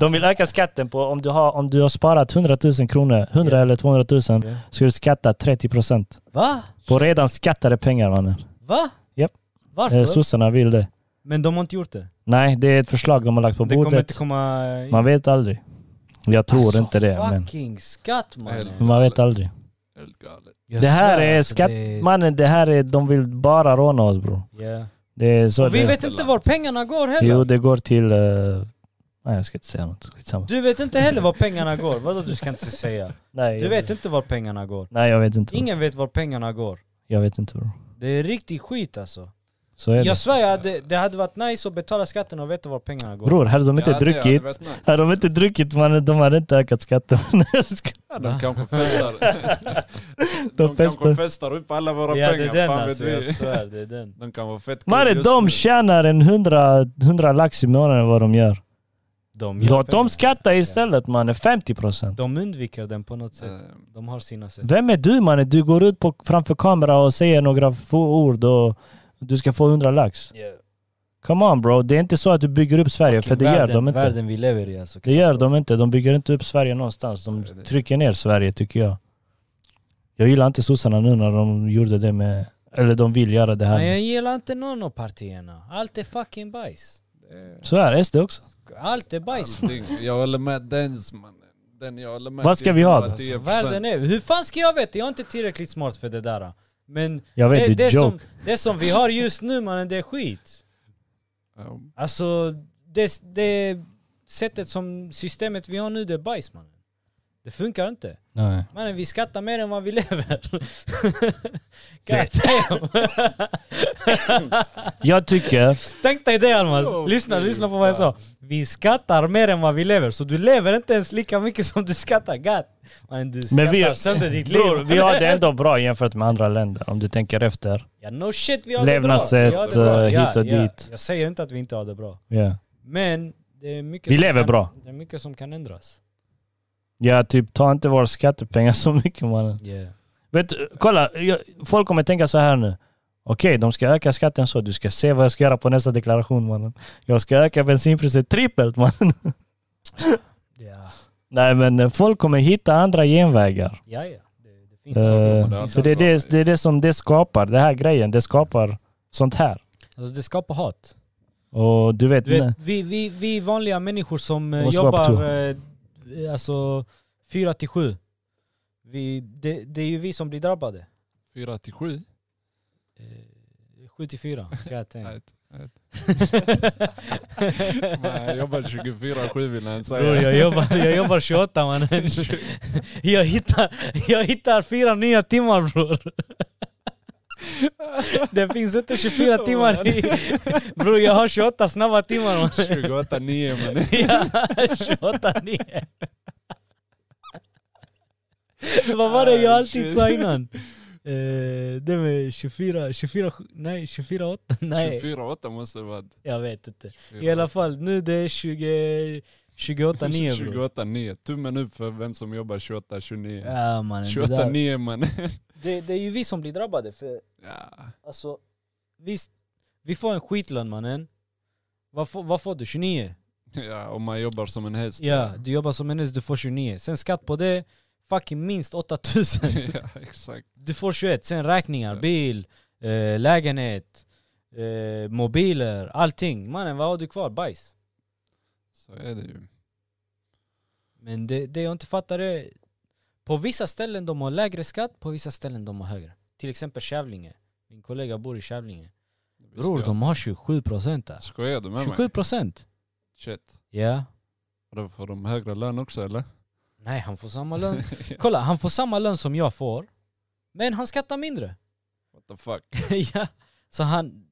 [SPEAKER 2] De vill öka skatten på om du har, om du har sparat 100 000 kronor, 100 eller 200 000,
[SPEAKER 1] Ja.
[SPEAKER 2] ska du skatta 30 procent.
[SPEAKER 1] Va?
[SPEAKER 2] På redan skattade pengar mannen.
[SPEAKER 1] Va?
[SPEAKER 2] Japp.
[SPEAKER 1] Varför?
[SPEAKER 2] Eh, Sossarna vill det.
[SPEAKER 1] Men de har inte gjort det.
[SPEAKER 2] Nej, det är ett förslag de har lagt på
[SPEAKER 1] Det kommer
[SPEAKER 2] bordet.
[SPEAKER 1] inte komma... in.
[SPEAKER 2] Man vet aldrig. Jag tror
[SPEAKER 1] Alltså,
[SPEAKER 2] inte det, men
[SPEAKER 1] fucking skatt
[SPEAKER 3] Nej,
[SPEAKER 1] mannen.
[SPEAKER 2] man vet aldrig.
[SPEAKER 3] Helt galet.
[SPEAKER 1] Jag
[SPEAKER 2] Det här
[SPEAKER 1] svär,
[SPEAKER 2] är
[SPEAKER 1] alltså,
[SPEAKER 2] skatt...
[SPEAKER 1] det är-
[SPEAKER 2] Mannen, det här är... De vill bara råna oss bror.
[SPEAKER 1] Ja.
[SPEAKER 2] Det är så
[SPEAKER 1] Och vi
[SPEAKER 2] det...
[SPEAKER 1] vet inte var pengarna går heller.
[SPEAKER 2] Jo, det går till... eh, Nej, jag ska inte säga något. Skitsamma.
[SPEAKER 1] Du vet inte heller var pengarna går. Vadå du ska inte säga?
[SPEAKER 2] Nej,
[SPEAKER 1] Du
[SPEAKER 2] jag
[SPEAKER 1] vet inte var pengarna går.
[SPEAKER 2] Nej, jag vet inte. bror.
[SPEAKER 1] Ingen vet var pengarna går.
[SPEAKER 2] Jag vet inte bror.
[SPEAKER 1] Det är riktig skit alltså.
[SPEAKER 2] Så är
[SPEAKER 1] Jag
[SPEAKER 2] det.
[SPEAKER 1] svär, jag hade, det hade varit nice att betala skatten och veta var pengarna går.
[SPEAKER 2] Bror, hade de inte
[SPEAKER 3] Ja, det- ja, det
[SPEAKER 2] druckit...
[SPEAKER 3] vet man.
[SPEAKER 2] Hade de inte druckit mannen, de hade inte ökat skatten. Nej, jag ska-
[SPEAKER 3] Ja, de kanske festar.
[SPEAKER 2] De
[SPEAKER 3] de
[SPEAKER 2] festar.
[SPEAKER 3] kanske festar upp alla våra
[SPEAKER 1] ja det är
[SPEAKER 3] pengar.
[SPEAKER 1] den
[SPEAKER 3] fan
[SPEAKER 1] alltså,
[SPEAKER 3] vet vi.
[SPEAKER 1] jag svär det är den.
[SPEAKER 3] De kan vara fett kul
[SPEAKER 2] Mannen,
[SPEAKER 3] just
[SPEAKER 2] de
[SPEAKER 3] nu.
[SPEAKER 2] tjänar en 100, 100 lax i månaden vad de gör.
[SPEAKER 1] De, gör
[SPEAKER 2] De,
[SPEAKER 1] pengar.
[SPEAKER 2] de skattar istället mannen, 50%.
[SPEAKER 1] de undviker den på något sätt.
[SPEAKER 3] Eh,
[SPEAKER 1] De har sina sätt.
[SPEAKER 2] Vem är du mannen? Du går ut på, framför kamera och säger några få ord och du ska få 100 lax. Come on bro, det är inte så att du bygger upp Sverige, för det gör
[SPEAKER 1] världen,
[SPEAKER 2] de inte.
[SPEAKER 1] Världen vi lever i alltså.
[SPEAKER 2] Det gör de inte, de bygger inte upp Sverige någonstans. De
[SPEAKER 3] Nej, det-
[SPEAKER 2] trycker ner Sverige tycker jag. Jag gillar inte sossarna nu när de gjorde det med... Eller de vill göra det här.
[SPEAKER 1] Men jag gillar inte någon av partierna. Allt är fucking bajs.
[SPEAKER 3] det-
[SPEAKER 2] Så är SD också.
[SPEAKER 1] Allt är bajs.
[SPEAKER 3] Allting. Jag håller med Dens mannen. Den jag håller med
[SPEAKER 2] Vad ska
[SPEAKER 3] till
[SPEAKER 2] vi ha då?
[SPEAKER 3] 110%.
[SPEAKER 1] Världen är... Hur fan ska jag veta? Jag är inte tillräckligt smart för det där. Men
[SPEAKER 2] Jag vet,
[SPEAKER 1] det,
[SPEAKER 2] det
[SPEAKER 1] det,
[SPEAKER 2] är
[SPEAKER 1] som,
[SPEAKER 2] joke.
[SPEAKER 1] det som vi har just nu mannen, det är skit.
[SPEAKER 3] Ja,
[SPEAKER 1] Alltså det, det sättet som systemet vi har nu det är bajs mannen. Det funkar inte.
[SPEAKER 2] Nej.
[SPEAKER 1] Mannen vi skattar mer än vad vi lever. God
[SPEAKER 2] Det-
[SPEAKER 1] damn.
[SPEAKER 2] Jag tycker...
[SPEAKER 1] Tänk dig det Almas. Lyssna,
[SPEAKER 3] Okej,
[SPEAKER 1] lyssna på vad jag sa. Vi skattar mer än vad vi lever. Så du lever inte ens lika mycket som du skattar. God. Mannen du skattar
[SPEAKER 2] Men vi-
[SPEAKER 1] sönder ditt liv.
[SPEAKER 2] Bror, vi har det ändå bra jämfört med andra länder om du tänker efter.
[SPEAKER 1] Ja, no shit vi har det
[SPEAKER 2] Levnadssätt,
[SPEAKER 1] bra. Vi har det bra.
[SPEAKER 2] eh, hit och
[SPEAKER 1] ja,
[SPEAKER 2] dit.
[SPEAKER 1] Ja. Jag säger inte att vi inte har det bra.
[SPEAKER 2] Ja.
[SPEAKER 1] Men det är mycket
[SPEAKER 2] Vi
[SPEAKER 1] som
[SPEAKER 2] lever
[SPEAKER 1] kan,
[SPEAKER 2] bra.
[SPEAKER 1] Det är mycket som kan ändras.
[SPEAKER 2] Ja, typ ta inte våra skattepengar så mycket mannen.
[SPEAKER 1] Yeah.
[SPEAKER 2] Vet du, kolla, jag, folk kommer tänka så här nu. Okej, de ska öka skatten så. Du ska se vad jag ska göra på nästa deklaration mannen. Jag ska öka bensinpriset trippelt mannen.
[SPEAKER 1] Ja.
[SPEAKER 2] Nej men eh, folk kommer hitta andra genvägar.
[SPEAKER 1] Ja, ja. Det, det finns
[SPEAKER 2] Eh,
[SPEAKER 1] såklart.
[SPEAKER 3] det är
[SPEAKER 2] för det är det, det är det som det skapar, det här grejen, det skapar sånt här.
[SPEAKER 1] Alltså, det skapar hat.
[SPEAKER 2] Och du vet,
[SPEAKER 1] Du
[SPEAKER 2] nej.
[SPEAKER 1] vet, vi, vi, vi vanliga människor som eh,
[SPEAKER 2] Måste vara på
[SPEAKER 1] jobbar eh, alltså, fyra till sju. Vi, det, det är ju vi som blir drabbade.
[SPEAKER 3] Fyra till sju?
[SPEAKER 1] Eh, Sju till fyra. ska jag tänka.
[SPEAKER 3] Nej, Nej, jag jobbar 24-7 vill
[SPEAKER 1] Bror,
[SPEAKER 3] han säga.
[SPEAKER 1] jag jobbar, jag jobbar 28 mannen. Jag hittar, jag hittar fyra nya timmar bror. Det finns inte 24 timmar i... Bror jag har 28 snabba timmar mannen.
[SPEAKER 3] 28-9 mannen.
[SPEAKER 1] Ja, 28 9. Vad var det jag alltid sa innan? Eh, det med 24, 24, nej 24 8, nej
[SPEAKER 3] 24-8 måste det vara.
[SPEAKER 1] jag vet inte. I alla fall nu det är 20, 28 9 bror.
[SPEAKER 3] 28-9. Tummen upp för vem som jobbar 28-29.
[SPEAKER 1] Ja, mannen, det, där,
[SPEAKER 3] 28-9 mannen.
[SPEAKER 1] det, det är ju vi som blir drabbade för
[SPEAKER 3] Ja.
[SPEAKER 1] alltså visst, vi får en skitlön mannen. Vad får, vad får du? 29?
[SPEAKER 3] ja, om man jobbar som en häst.
[SPEAKER 1] Ja, du jobbar som NS, du får 29. Sen skatt på det, fucking minst 8000.
[SPEAKER 3] ja, exakt.
[SPEAKER 1] Du får 21, sen räkningar,
[SPEAKER 3] Ja.
[SPEAKER 1] bil, eh, lägenhet, eh, mobiler, allting. Mannen vad har du kvar? Bajs.
[SPEAKER 3] Så är det ju.
[SPEAKER 1] Men det, det jag inte fattar är, på vissa ställen de har lägre skatt, på vissa ställen de har högre. Till exempel Kävlinge. Min kollega bor i Kävlinge.
[SPEAKER 3] Visst,
[SPEAKER 1] Bror,
[SPEAKER 3] ja.
[SPEAKER 1] de har 27 procent där.
[SPEAKER 3] Skojar du med
[SPEAKER 1] 27
[SPEAKER 3] mig?
[SPEAKER 1] procent?
[SPEAKER 3] Shit.
[SPEAKER 1] Ja.
[SPEAKER 3] Och då får de högre lön också eller?
[SPEAKER 1] Nej, han får samma lön. Kolla, han får samma lön som jag får, men han skattar mindre.
[SPEAKER 3] What the fuck?
[SPEAKER 1] ja. Så han,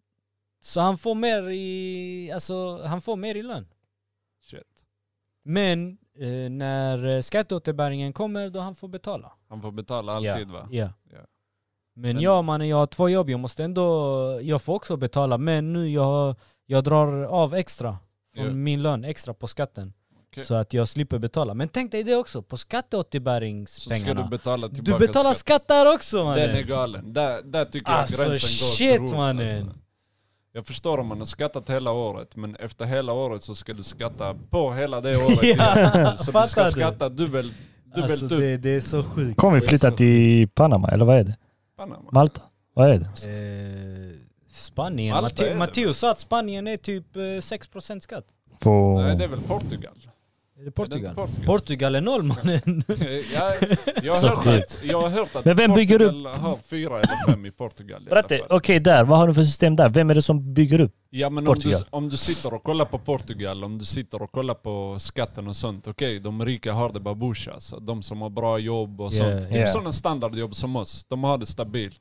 [SPEAKER 1] så han får mer i, alltså han får mer i lön.
[SPEAKER 3] Shit.
[SPEAKER 1] Men eh, när eh, skatteåterbäringen kommer då han får betala.
[SPEAKER 3] Han får betala alltid va?
[SPEAKER 1] Ja.
[SPEAKER 3] Ja.
[SPEAKER 1] Men
[SPEAKER 3] Men-
[SPEAKER 1] jag mannen, jag har två jobb, jag måste ändå, jag får också betala men nu jag, jag drar av extra från
[SPEAKER 3] Ja.
[SPEAKER 1] min lön, extra på skatten.
[SPEAKER 3] Okej.
[SPEAKER 1] Så att jag slipper betala. Men tänk dig det också, på
[SPEAKER 3] Så ska du
[SPEAKER 1] skatteåterbäringspengarna.
[SPEAKER 3] betala
[SPEAKER 1] Du,
[SPEAKER 3] tillbaka
[SPEAKER 1] betalar skatt där också
[SPEAKER 3] Den är
[SPEAKER 1] mannen!
[SPEAKER 3] galen. Där, där tycker
[SPEAKER 1] Alltså,
[SPEAKER 3] jag gränsen går
[SPEAKER 1] shit,
[SPEAKER 3] grovt,
[SPEAKER 1] mannen.
[SPEAKER 3] Jag förstår om man har skattat hela året, men efter hela året så ska du skatta på hela det året.
[SPEAKER 1] Ja,
[SPEAKER 3] igen. Så du
[SPEAKER 1] fattar
[SPEAKER 3] ska
[SPEAKER 1] du?
[SPEAKER 3] skatta dubbelt dubbelt
[SPEAKER 1] Alltså,
[SPEAKER 3] upp.
[SPEAKER 1] det, det är så sjukt.
[SPEAKER 2] Kommer vi flytta till Panama eller vad är det?
[SPEAKER 3] Panama.
[SPEAKER 2] Malta? Vad är det?
[SPEAKER 1] Eh, Spanien.
[SPEAKER 3] Malta är
[SPEAKER 1] Matte-
[SPEAKER 3] det
[SPEAKER 1] Matteo sa att Spanien är typ eh, 6% skatt.
[SPEAKER 2] På...
[SPEAKER 3] Nej det är väl Portugal?
[SPEAKER 1] Är det
[SPEAKER 3] Är det
[SPEAKER 1] Portugal?
[SPEAKER 3] inte Portugal?
[SPEAKER 1] Portugal är noll mannen.
[SPEAKER 3] jag, jag,
[SPEAKER 2] Så
[SPEAKER 3] har hört
[SPEAKER 2] sjukt.
[SPEAKER 3] att, jag har hört att
[SPEAKER 2] Men vem bygger
[SPEAKER 3] Portugal har fyra eller fem i Portugal i alla
[SPEAKER 2] Bratte,
[SPEAKER 3] fall.
[SPEAKER 2] okej där, vad har du för system där? Vem är det som bygger upp?
[SPEAKER 3] Ja men om du,
[SPEAKER 2] Portugal.
[SPEAKER 3] om du sitter och kollar på Portugal, om du sitter och kollar på skatten och sånt. Okej, de rika har det babusha, så de som har bra jobb och
[SPEAKER 1] Yeah,
[SPEAKER 3] sånt. Typ
[SPEAKER 2] yeah.
[SPEAKER 3] sådana standardjobb som oss, de har det stabilt.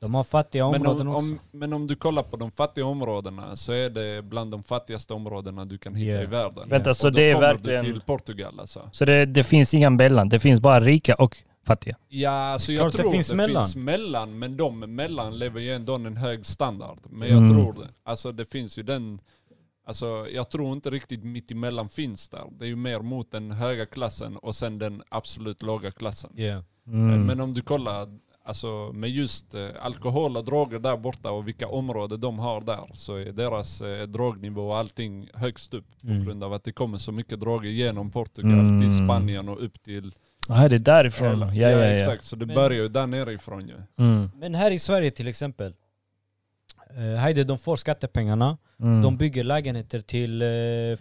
[SPEAKER 1] De har fattiga
[SPEAKER 3] Men
[SPEAKER 1] områden
[SPEAKER 3] om,
[SPEAKER 1] också.
[SPEAKER 3] om, men om du kollar på de fattiga områdena så är det bland de fattigaste områdena du kan hitta
[SPEAKER 1] Yeah.
[SPEAKER 3] i världen.
[SPEAKER 1] Vänta,
[SPEAKER 3] Och
[SPEAKER 2] så
[SPEAKER 3] då
[SPEAKER 2] det är
[SPEAKER 3] kommer
[SPEAKER 2] verkligen-
[SPEAKER 3] du till Portugal alltså.
[SPEAKER 2] Så det, det finns inga mellan, det finns bara rika och fattiga.
[SPEAKER 3] Ja, alltså jag
[SPEAKER 1] Klart det
[SPEAKER 3] tror det,
[SPEAKER 1] finns
[SPEAKER 3] finns,
[SPEAKER 1] mellan.
[SPEAKER 3] mellan. men de mellan lever ju ändå en hög standard. Men
[SPEAKER 2] Mm.
[SPEAKER 3] jag tror det. Alltså det finns ju den, alltså jag tror inte riktigt mitt emellan finns där. Det är ju mer mot den höga klassen och sen den absolut låga klassen.
[SPEAKER 1] Yeah.
[SPEAKER 2] Mm.
[SPEAKER 3] Men om du kollar, alltså med just eh, alkohol och droger där borta och vilka områden de har där så är deras eh, drognivå och allting högst upp på
[SPEAKER 1] Mm.
[SPEAKER 3] grund av att det kommer så mycket droger genom Portugal
[SPEAKER 2] Mm.
[SPEAKER 3] till Spanien och upp till...
[SPEAKER 2] Ah, det är därifrån.
[SPEAKER 3] Irland.
[SPEAKER 2] Ja, ja, ja.
[SPEAKER 3] exakt. Så det
[SPEAKER 1] Men-
[SPEAKER 3] börjar ju där nerifrån ju.
[SPEAKER 2] Mm.
[SPEAKER 1] Men här i Sverige till exempel. Uh, Heide, de får skattepengarna.
[SPEAKER 2] Mm.
[SPEAKER 1] De bygger lägenheter till eh,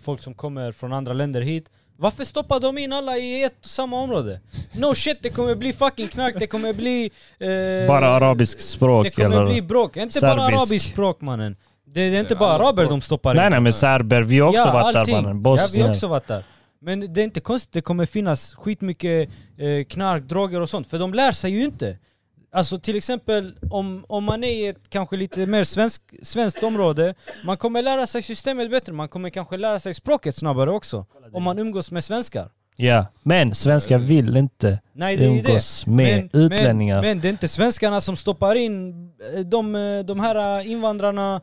[SPEAKER 1] folk som kommer från andra länder hit. Varför stoppar de in alla i ett och samma område? No shit, det kommer bli fucking knark, det kommer bli... eh,
[SPEAKER 2] bara arabisk språk
[SPEAKER 1] Det kommer
[SPEAKER 2] eller?
[SPEAKER 1] bli bråk, inte bara
[SPEAKER 2] serbisk.
[SPEAKER 1] arabiskt språk mannen. Det, det är inte
[SPEAKER 3] är
[SPEAKER 1] bara
[SPEAKER 3] alla
[SPEAKER 1] araber
[SPEAKER 3] språk.
[SPEAKER 1] de stoppar
[SPEAKER 2] Nej
[SPEAKER 1] in.
[SPEAKER 2] nej men serber, vi har också varit där mannen.
[SPEAKER 1] Ja, vi
[SPEAKER 2] Bosnien.
[SPEAKER 1] har också varit där. Men det är inte konstigt, det kommer finnas skitmycket eh, knark, droger och sånt. För de lär sig ju inte. Alltså till exempel om, om man är i ett kanske lite mer svensk, svenskt område, man kommer lära sig systemet bättre, man kommer kanske lära sig språket snabbare också. Om man umgås med svenskar.
[SPEAKER 2] Ja, men svenskar vill inte
[SPEAKER 1] Nej det är ju det.
[SPEAKER 2] umgås med utlänningar.
[SPEAKER 1] Men,
[SPEAKER 2] Men,
[SPEAKER 1] men det är inte svenskarna som stoppar in eh, de, eh, de här eh, invandrarna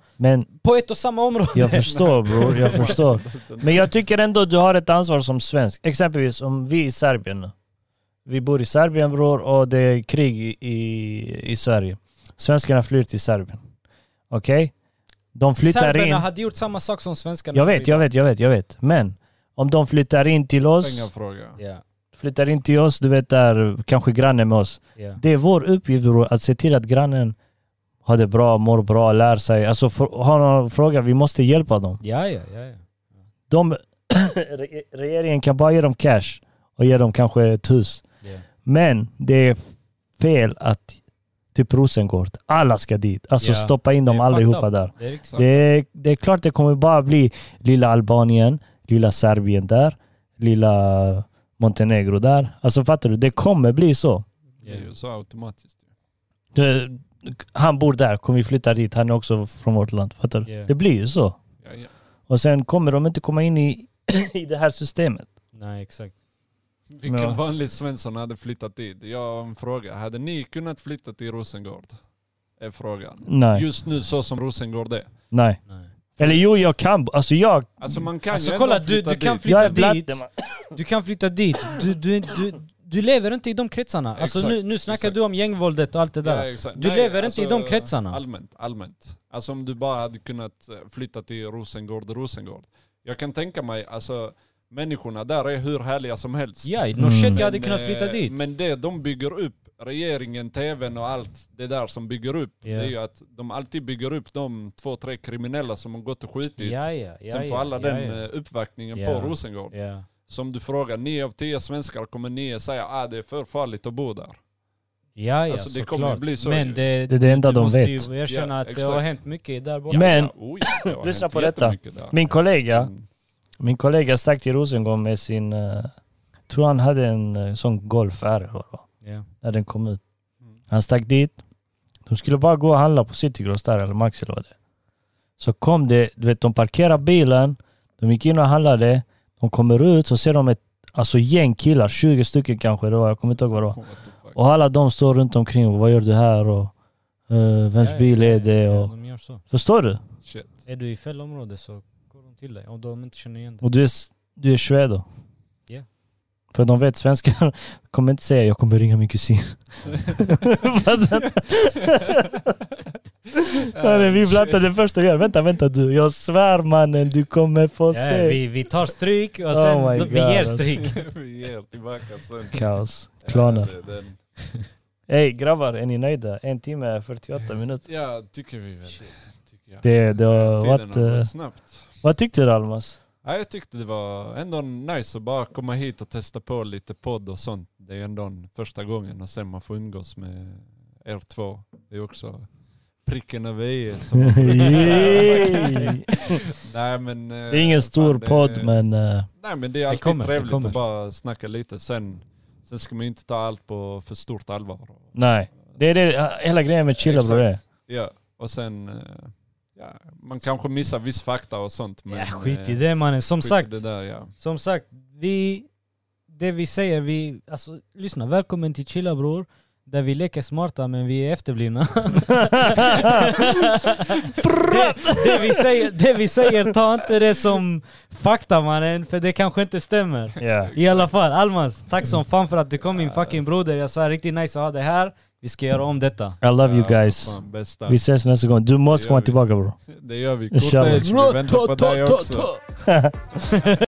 [SPEAKER 1] på ett och samma område.
[SPEAKER 2] jag förstår bror, jag förstår. Men jag tycker ändå du har ett ansvar som svensk. Exempelvis om vi är i Serbien nu. Vi bor i Serbien bror och det är krig i, i, i Sverige. Svenskarna flyr till Serbien. Okej? De flyttar
[SPEAKER 1] Serberna
[SPEAKER 2] in.
[SPEAKER 1] hade gjort samma sak som svenskarna.
[SPEAKER 2] Jag vet, jag vet, jag vet, jag vet. Men om de flyttar in till oss,
[SPEAKER 3] Pengar fråga.
[SPEAKER 1] Ja,
[SPEAKER 2] flyttar in till oss, du vet där, kanske grannen med oss.
[SPEAKER 1] ja.
[SPEAKER 2] Det är vår uppgift bror, att se till att grannen har det bra, mår bra, lär sig. Alltså för, har någon fråga, vi måste hjälpa dem.
[SPEAKER 1] Ja, ja, ja, ja.
[SPEAKER 2] De, re- regeringen kan bara ge dem cash och ge dem kanske ett hus.
[SPEAKER 1] Ja.
[SPEAKER 2] Men det är fel att typ Rosengård, alla ska dit. Alltså
[SPEAKER 1] Ja.
[SPEAKER 2] stoppa in dem
[SPEAKER 1] Det är fucked
[SPEAKER 2] allihopa
[SPEAKER 1] up.
[SPEAKER 2] där.
[SPEAKER 1] Det är riktigt.
[SPEAKER 3] liksom-
[SPEAKER 2] Det är, det är klart det kommer bara bli lilla Albanien, lilla Serbien där, lilla Montenegro där. Alltså fattar du? Det kommer bli så.
[SPEAKER 3] Det är ju så automatiskt.
[SPEAKER 2] Du, han bor där, kommer vi flytta dit, han är också från vårt land. Fattar du?
[SPEAKER 1] Ja.
[SPEAKER 2] Det blir ju så.
[SPEAKER 3] Ja, ja.
[SPEAKER 2] Och sen kommer de inte komma in i, i det här systemet.
[SPEAKER 1] Nej, exakt.
[SPEAKER 3] Vilken
[SPEAKER 2] Ja.
[SPEAKER 3] vanlig Svensson hade flyttat dit? Jag har en fråga. Hade ni kunnat flytta till Rosengård? Är frågan.
[SPEAKER 2] Nej,
[SPEAKER 3] Just nu så som Rosengård är.
[SPEAKER 2] nej.
[SPEAKER 1] Nej.
[SPEAKER 2] Eller jo, jag kan, alltså jag...
[SPEAKER 3] Alltså man kan
[SPEAKER 1] Alltså
[SPEAKER 3] ju
[SPEAKER 1] kolla,
[SPEAKER 3] ändå
[SPEAKER 1] du,
[SPEAKER 3] flytta
[SPEAKER 1] du kan
[SPEAKER 3] dit.
[SPEAKER 2] jag
[SPEAKER 1] flytta
[SPEAKER 2] är blatt-
[SPEAKER 1] dit, du kan flytta dit, du, du, du, du lever inte i de kretsarna. Alltså
[SPEAKER 3] Exakt,
[SPEAKER 1] nu, nu snackar
[SPEAKER 3] exakt.
[SPEAKER 1] du om gängvåldet och allt det där.
[SPEAKER 3] Ja, exakt. alltså,
[SPEAKER 1] Du lever inte i de kretsarna.
[SPEAKER 3] Allmänt, allmänt. Alltså om du bara hade kunnat eh, flytta till Rosengård, Rosengård. Jag kan tänka mig, alltså människorna där är hur härliga som helst.
[SPEAKER 1] Ja, no
[SPEAKER 2] Mm.
[SPEAKER 1] shit jag hade
[SPEAKER 3] Men,
[SPEAKER 1] kunnat flytta
[SPEAKER 3] eh,
[SPEAKER 1] dit.
[SPEAKER 3] Men det de bygger upp, regeringen, tvn och allt det där som bygger upp,
[SPEAKER 1] Ja.
[SPEAKER 3] det är ju att de alltid bygger upp de två, tre kriminella som har gått och skjutit.
[SPEAKER 1] Ja, ja, ja,
[SPEAKER 3] Sen
[SPEAKER 1] ja,
[SPEAKER 3] får alla
[SPEAKER 1] ja,
[SPEAKER 3] den
[SPEAKER 1] ja.
[SPEAKER 3] eh, uppvaktningen
[SPEAKER 1] Ja.
[SPEAKER 3] på Rosengård.
[SPEAKER 1] Ja.
[SPEAKER 3] Som du frågar, nio av tio svenskar kommer nio säga att ah, det är för farligt att bo där.
[SPEAKER 1] Ja, ja,
[SPEAKER 3] Alltså, det
[SPEAKER 1] såklart.
[SPEAKER 3] kommer bli så
[SPEAKER 1] Men
[SPEAKER 3] ju.
[SPEAKER 1] det,
[SPEAKER 2] Det är det enda
[SPEAKER 1] du
[SPEAKER 2] de
[SPEAKER 1] måste
[SPEAKER 2] vet.
[SPEAKER 1] ju erkänna
[SPEAKER 3] Ja,
[SPEAKER 1] att det har
[SPEAKER 3] exakt.
[SPEAKER 1] hänt mycket där borta.
[SPEAKER 2] Ja. Men-
[SPEAKER 3] oj, det har
[SPEAKER 2] lyssna
[SPEAKER 3] hänt
[SPEAKER 2] på detta.
[SPEAKER 3] jättemycket där.
[SPEAKER 2] Min kollega,
[SPEAKER 3] Mm.
[SPEAKER 2] min kollega stack till Rosengård med sin... eh, tror han hade en eh, sån Golf R, va?
[SPEAKER 1] Ja.
[SPEAKER 2] när den kom ut.
[SPEAKER 3] Mm.
[SPEAKER 2] Han stack dit. De skulle bara gå och handla på Citygross där, eller Maxi eller vad det är. Så kom det, du vet de parkerade bilen, de gick in och handlade, de kommer ut så ser de ett alltså gäng killar, 20 stycken kanske det var, jag kommer inte ihåg vad det var.
[SPEAKER 3] What the fuck.
[SPEAKER 2] Och alla de står runt omkring och vad gör du här och eh, vems
[SPEAKER 1] Ja, ja,
[SPEAKER 2] bil
[SPEAKER 1] ja,
[SPEAKER 2] är det?
[SPEAKER 1] ja,
[SPEAKER 2] Och,
[SPEAKER 1] de gör så.
[SPEAKER 2] förstår du?
[SPEAKER 3] Shit.
[SPEAKER 1] Är du i fel område så går de till dig om de inte känner igen dig.
[SPEAKER 2] Och du är, s- du är shred då.
[SPEAKER 1] Ja.
[SPEAKER 2] För de vet svenskar kommer inte säga jag kommer ringa min kusin. Fattar du? Mannen,
[SPEAKER 3] Äh,
[SPEAKER 2] vi blattade det första vi gör. Vänta, vänta du. Jag svär mannen, du kommer få
[SPEAKER 1] Ja,
[SPEAKER 2] se.
[SPEAKER 1] vi, vi tar stryk och
[SPEAKER 2] Oh
[SPEAKER 1] sen
[SPEAKER 2] my
[SPEAKER 1] då- vi
[SPEAKER 2] God,
[SPEAKER 1] ger
[SPEAKER 2] alltså.
[SPEAKER 1] stryk.
[SPEAKER 3] Vi ger tillbaka sen.
[SPEAKER 2] Kaos. Planer.
[SPEAKER 3] Ja, det- den-
[SPEAKER 2] Hej grabbar, är ni nöjda? En timme 48 minuter.
[SPEAKER 3] ja, tycker vi väl. Tycker Ja.
[SPEAKER 2] Det, det har
[SPEAKER 3] Tiden
[SPEAKER 2] varit...
[SPEAKER 3] har
[SPEAKER 2] eh,
[SPEAKER 3] gått snabbt.
[SPEAKER 2] Vad tyckte du Almas?
[SPEAKER 3] Ja, jag tyckte det var ändå nice att bara komma hit och testa på lite podd och sånt. Det är ändå en första gången och sen man får umgås med er två. Det är också pricken över i som man
[SPEAKER 2] Yay!
[SPEAKER 3] Nej men... eh,
[SPEAKER 2] Det är ingen stor
[SPEAKER 3] fan, det-
[SPEAKER 2] podd men... eh,
[SPEAKER 3] Nej men det är alltid
[SPEAKER 1] kommer, det
[SPEAKER 3] trevligt
[SPEAKER 1] kommer.
[SPEAKER 3] att bara snacka lite. Sen, sen ska man ju inte ta allt på för stort allvar.
[SPEAKER 2] Nej. Det är det, hela grejen med chilla bror. det.
[SPEAKER 3] Ja, och sen... eh, Ja, man kanske missar viss fakta och sånt. Men,
[SPEAKER 1] Ja, skit i
[SPEAKER 3] eh,
[SPEAKER 1] det mannen. Som
[SPEAKER 3] skit i
[SPEAKER 1] sagt,
[SPEAKER 3] Det där, ja.
[SPEAKER 1] som sagt, vi... Det vi säger, vi... Alltså lyssna, välkommen till Chilla bror. Där vi leker smarta men vi är efterblivna. det, det, vi säger, det vi säger, ta inte det som fakta mannen, för det kanske inte stämmer.
[SPEAKER 2] Ja.
[SPEAKER 1] I alla fall, Almas, tack som fan för att du kom min fucking broder. Jag sa riktigt nice att ha dig här. Vi ska göra om detta.
[SPEAKER 2] I love you
[SPEAKER 3] Ja,
[SPEAKER 2] guys.
[SPEAKER 3] fan, bästa.
[SPEAKER 2] Vi ses nästa gång. Du måste
[SPEAKER 3] gör
[SPEAKER 2] komma
[SPEAKER 3] vi.
[SPEAKER 2] tillbaka bror.
[SPEAKER 3] Det gör vi.
[SPEAKER 2] Kör.
[SPEAKER 3] Kortage, vi väntar på dig också.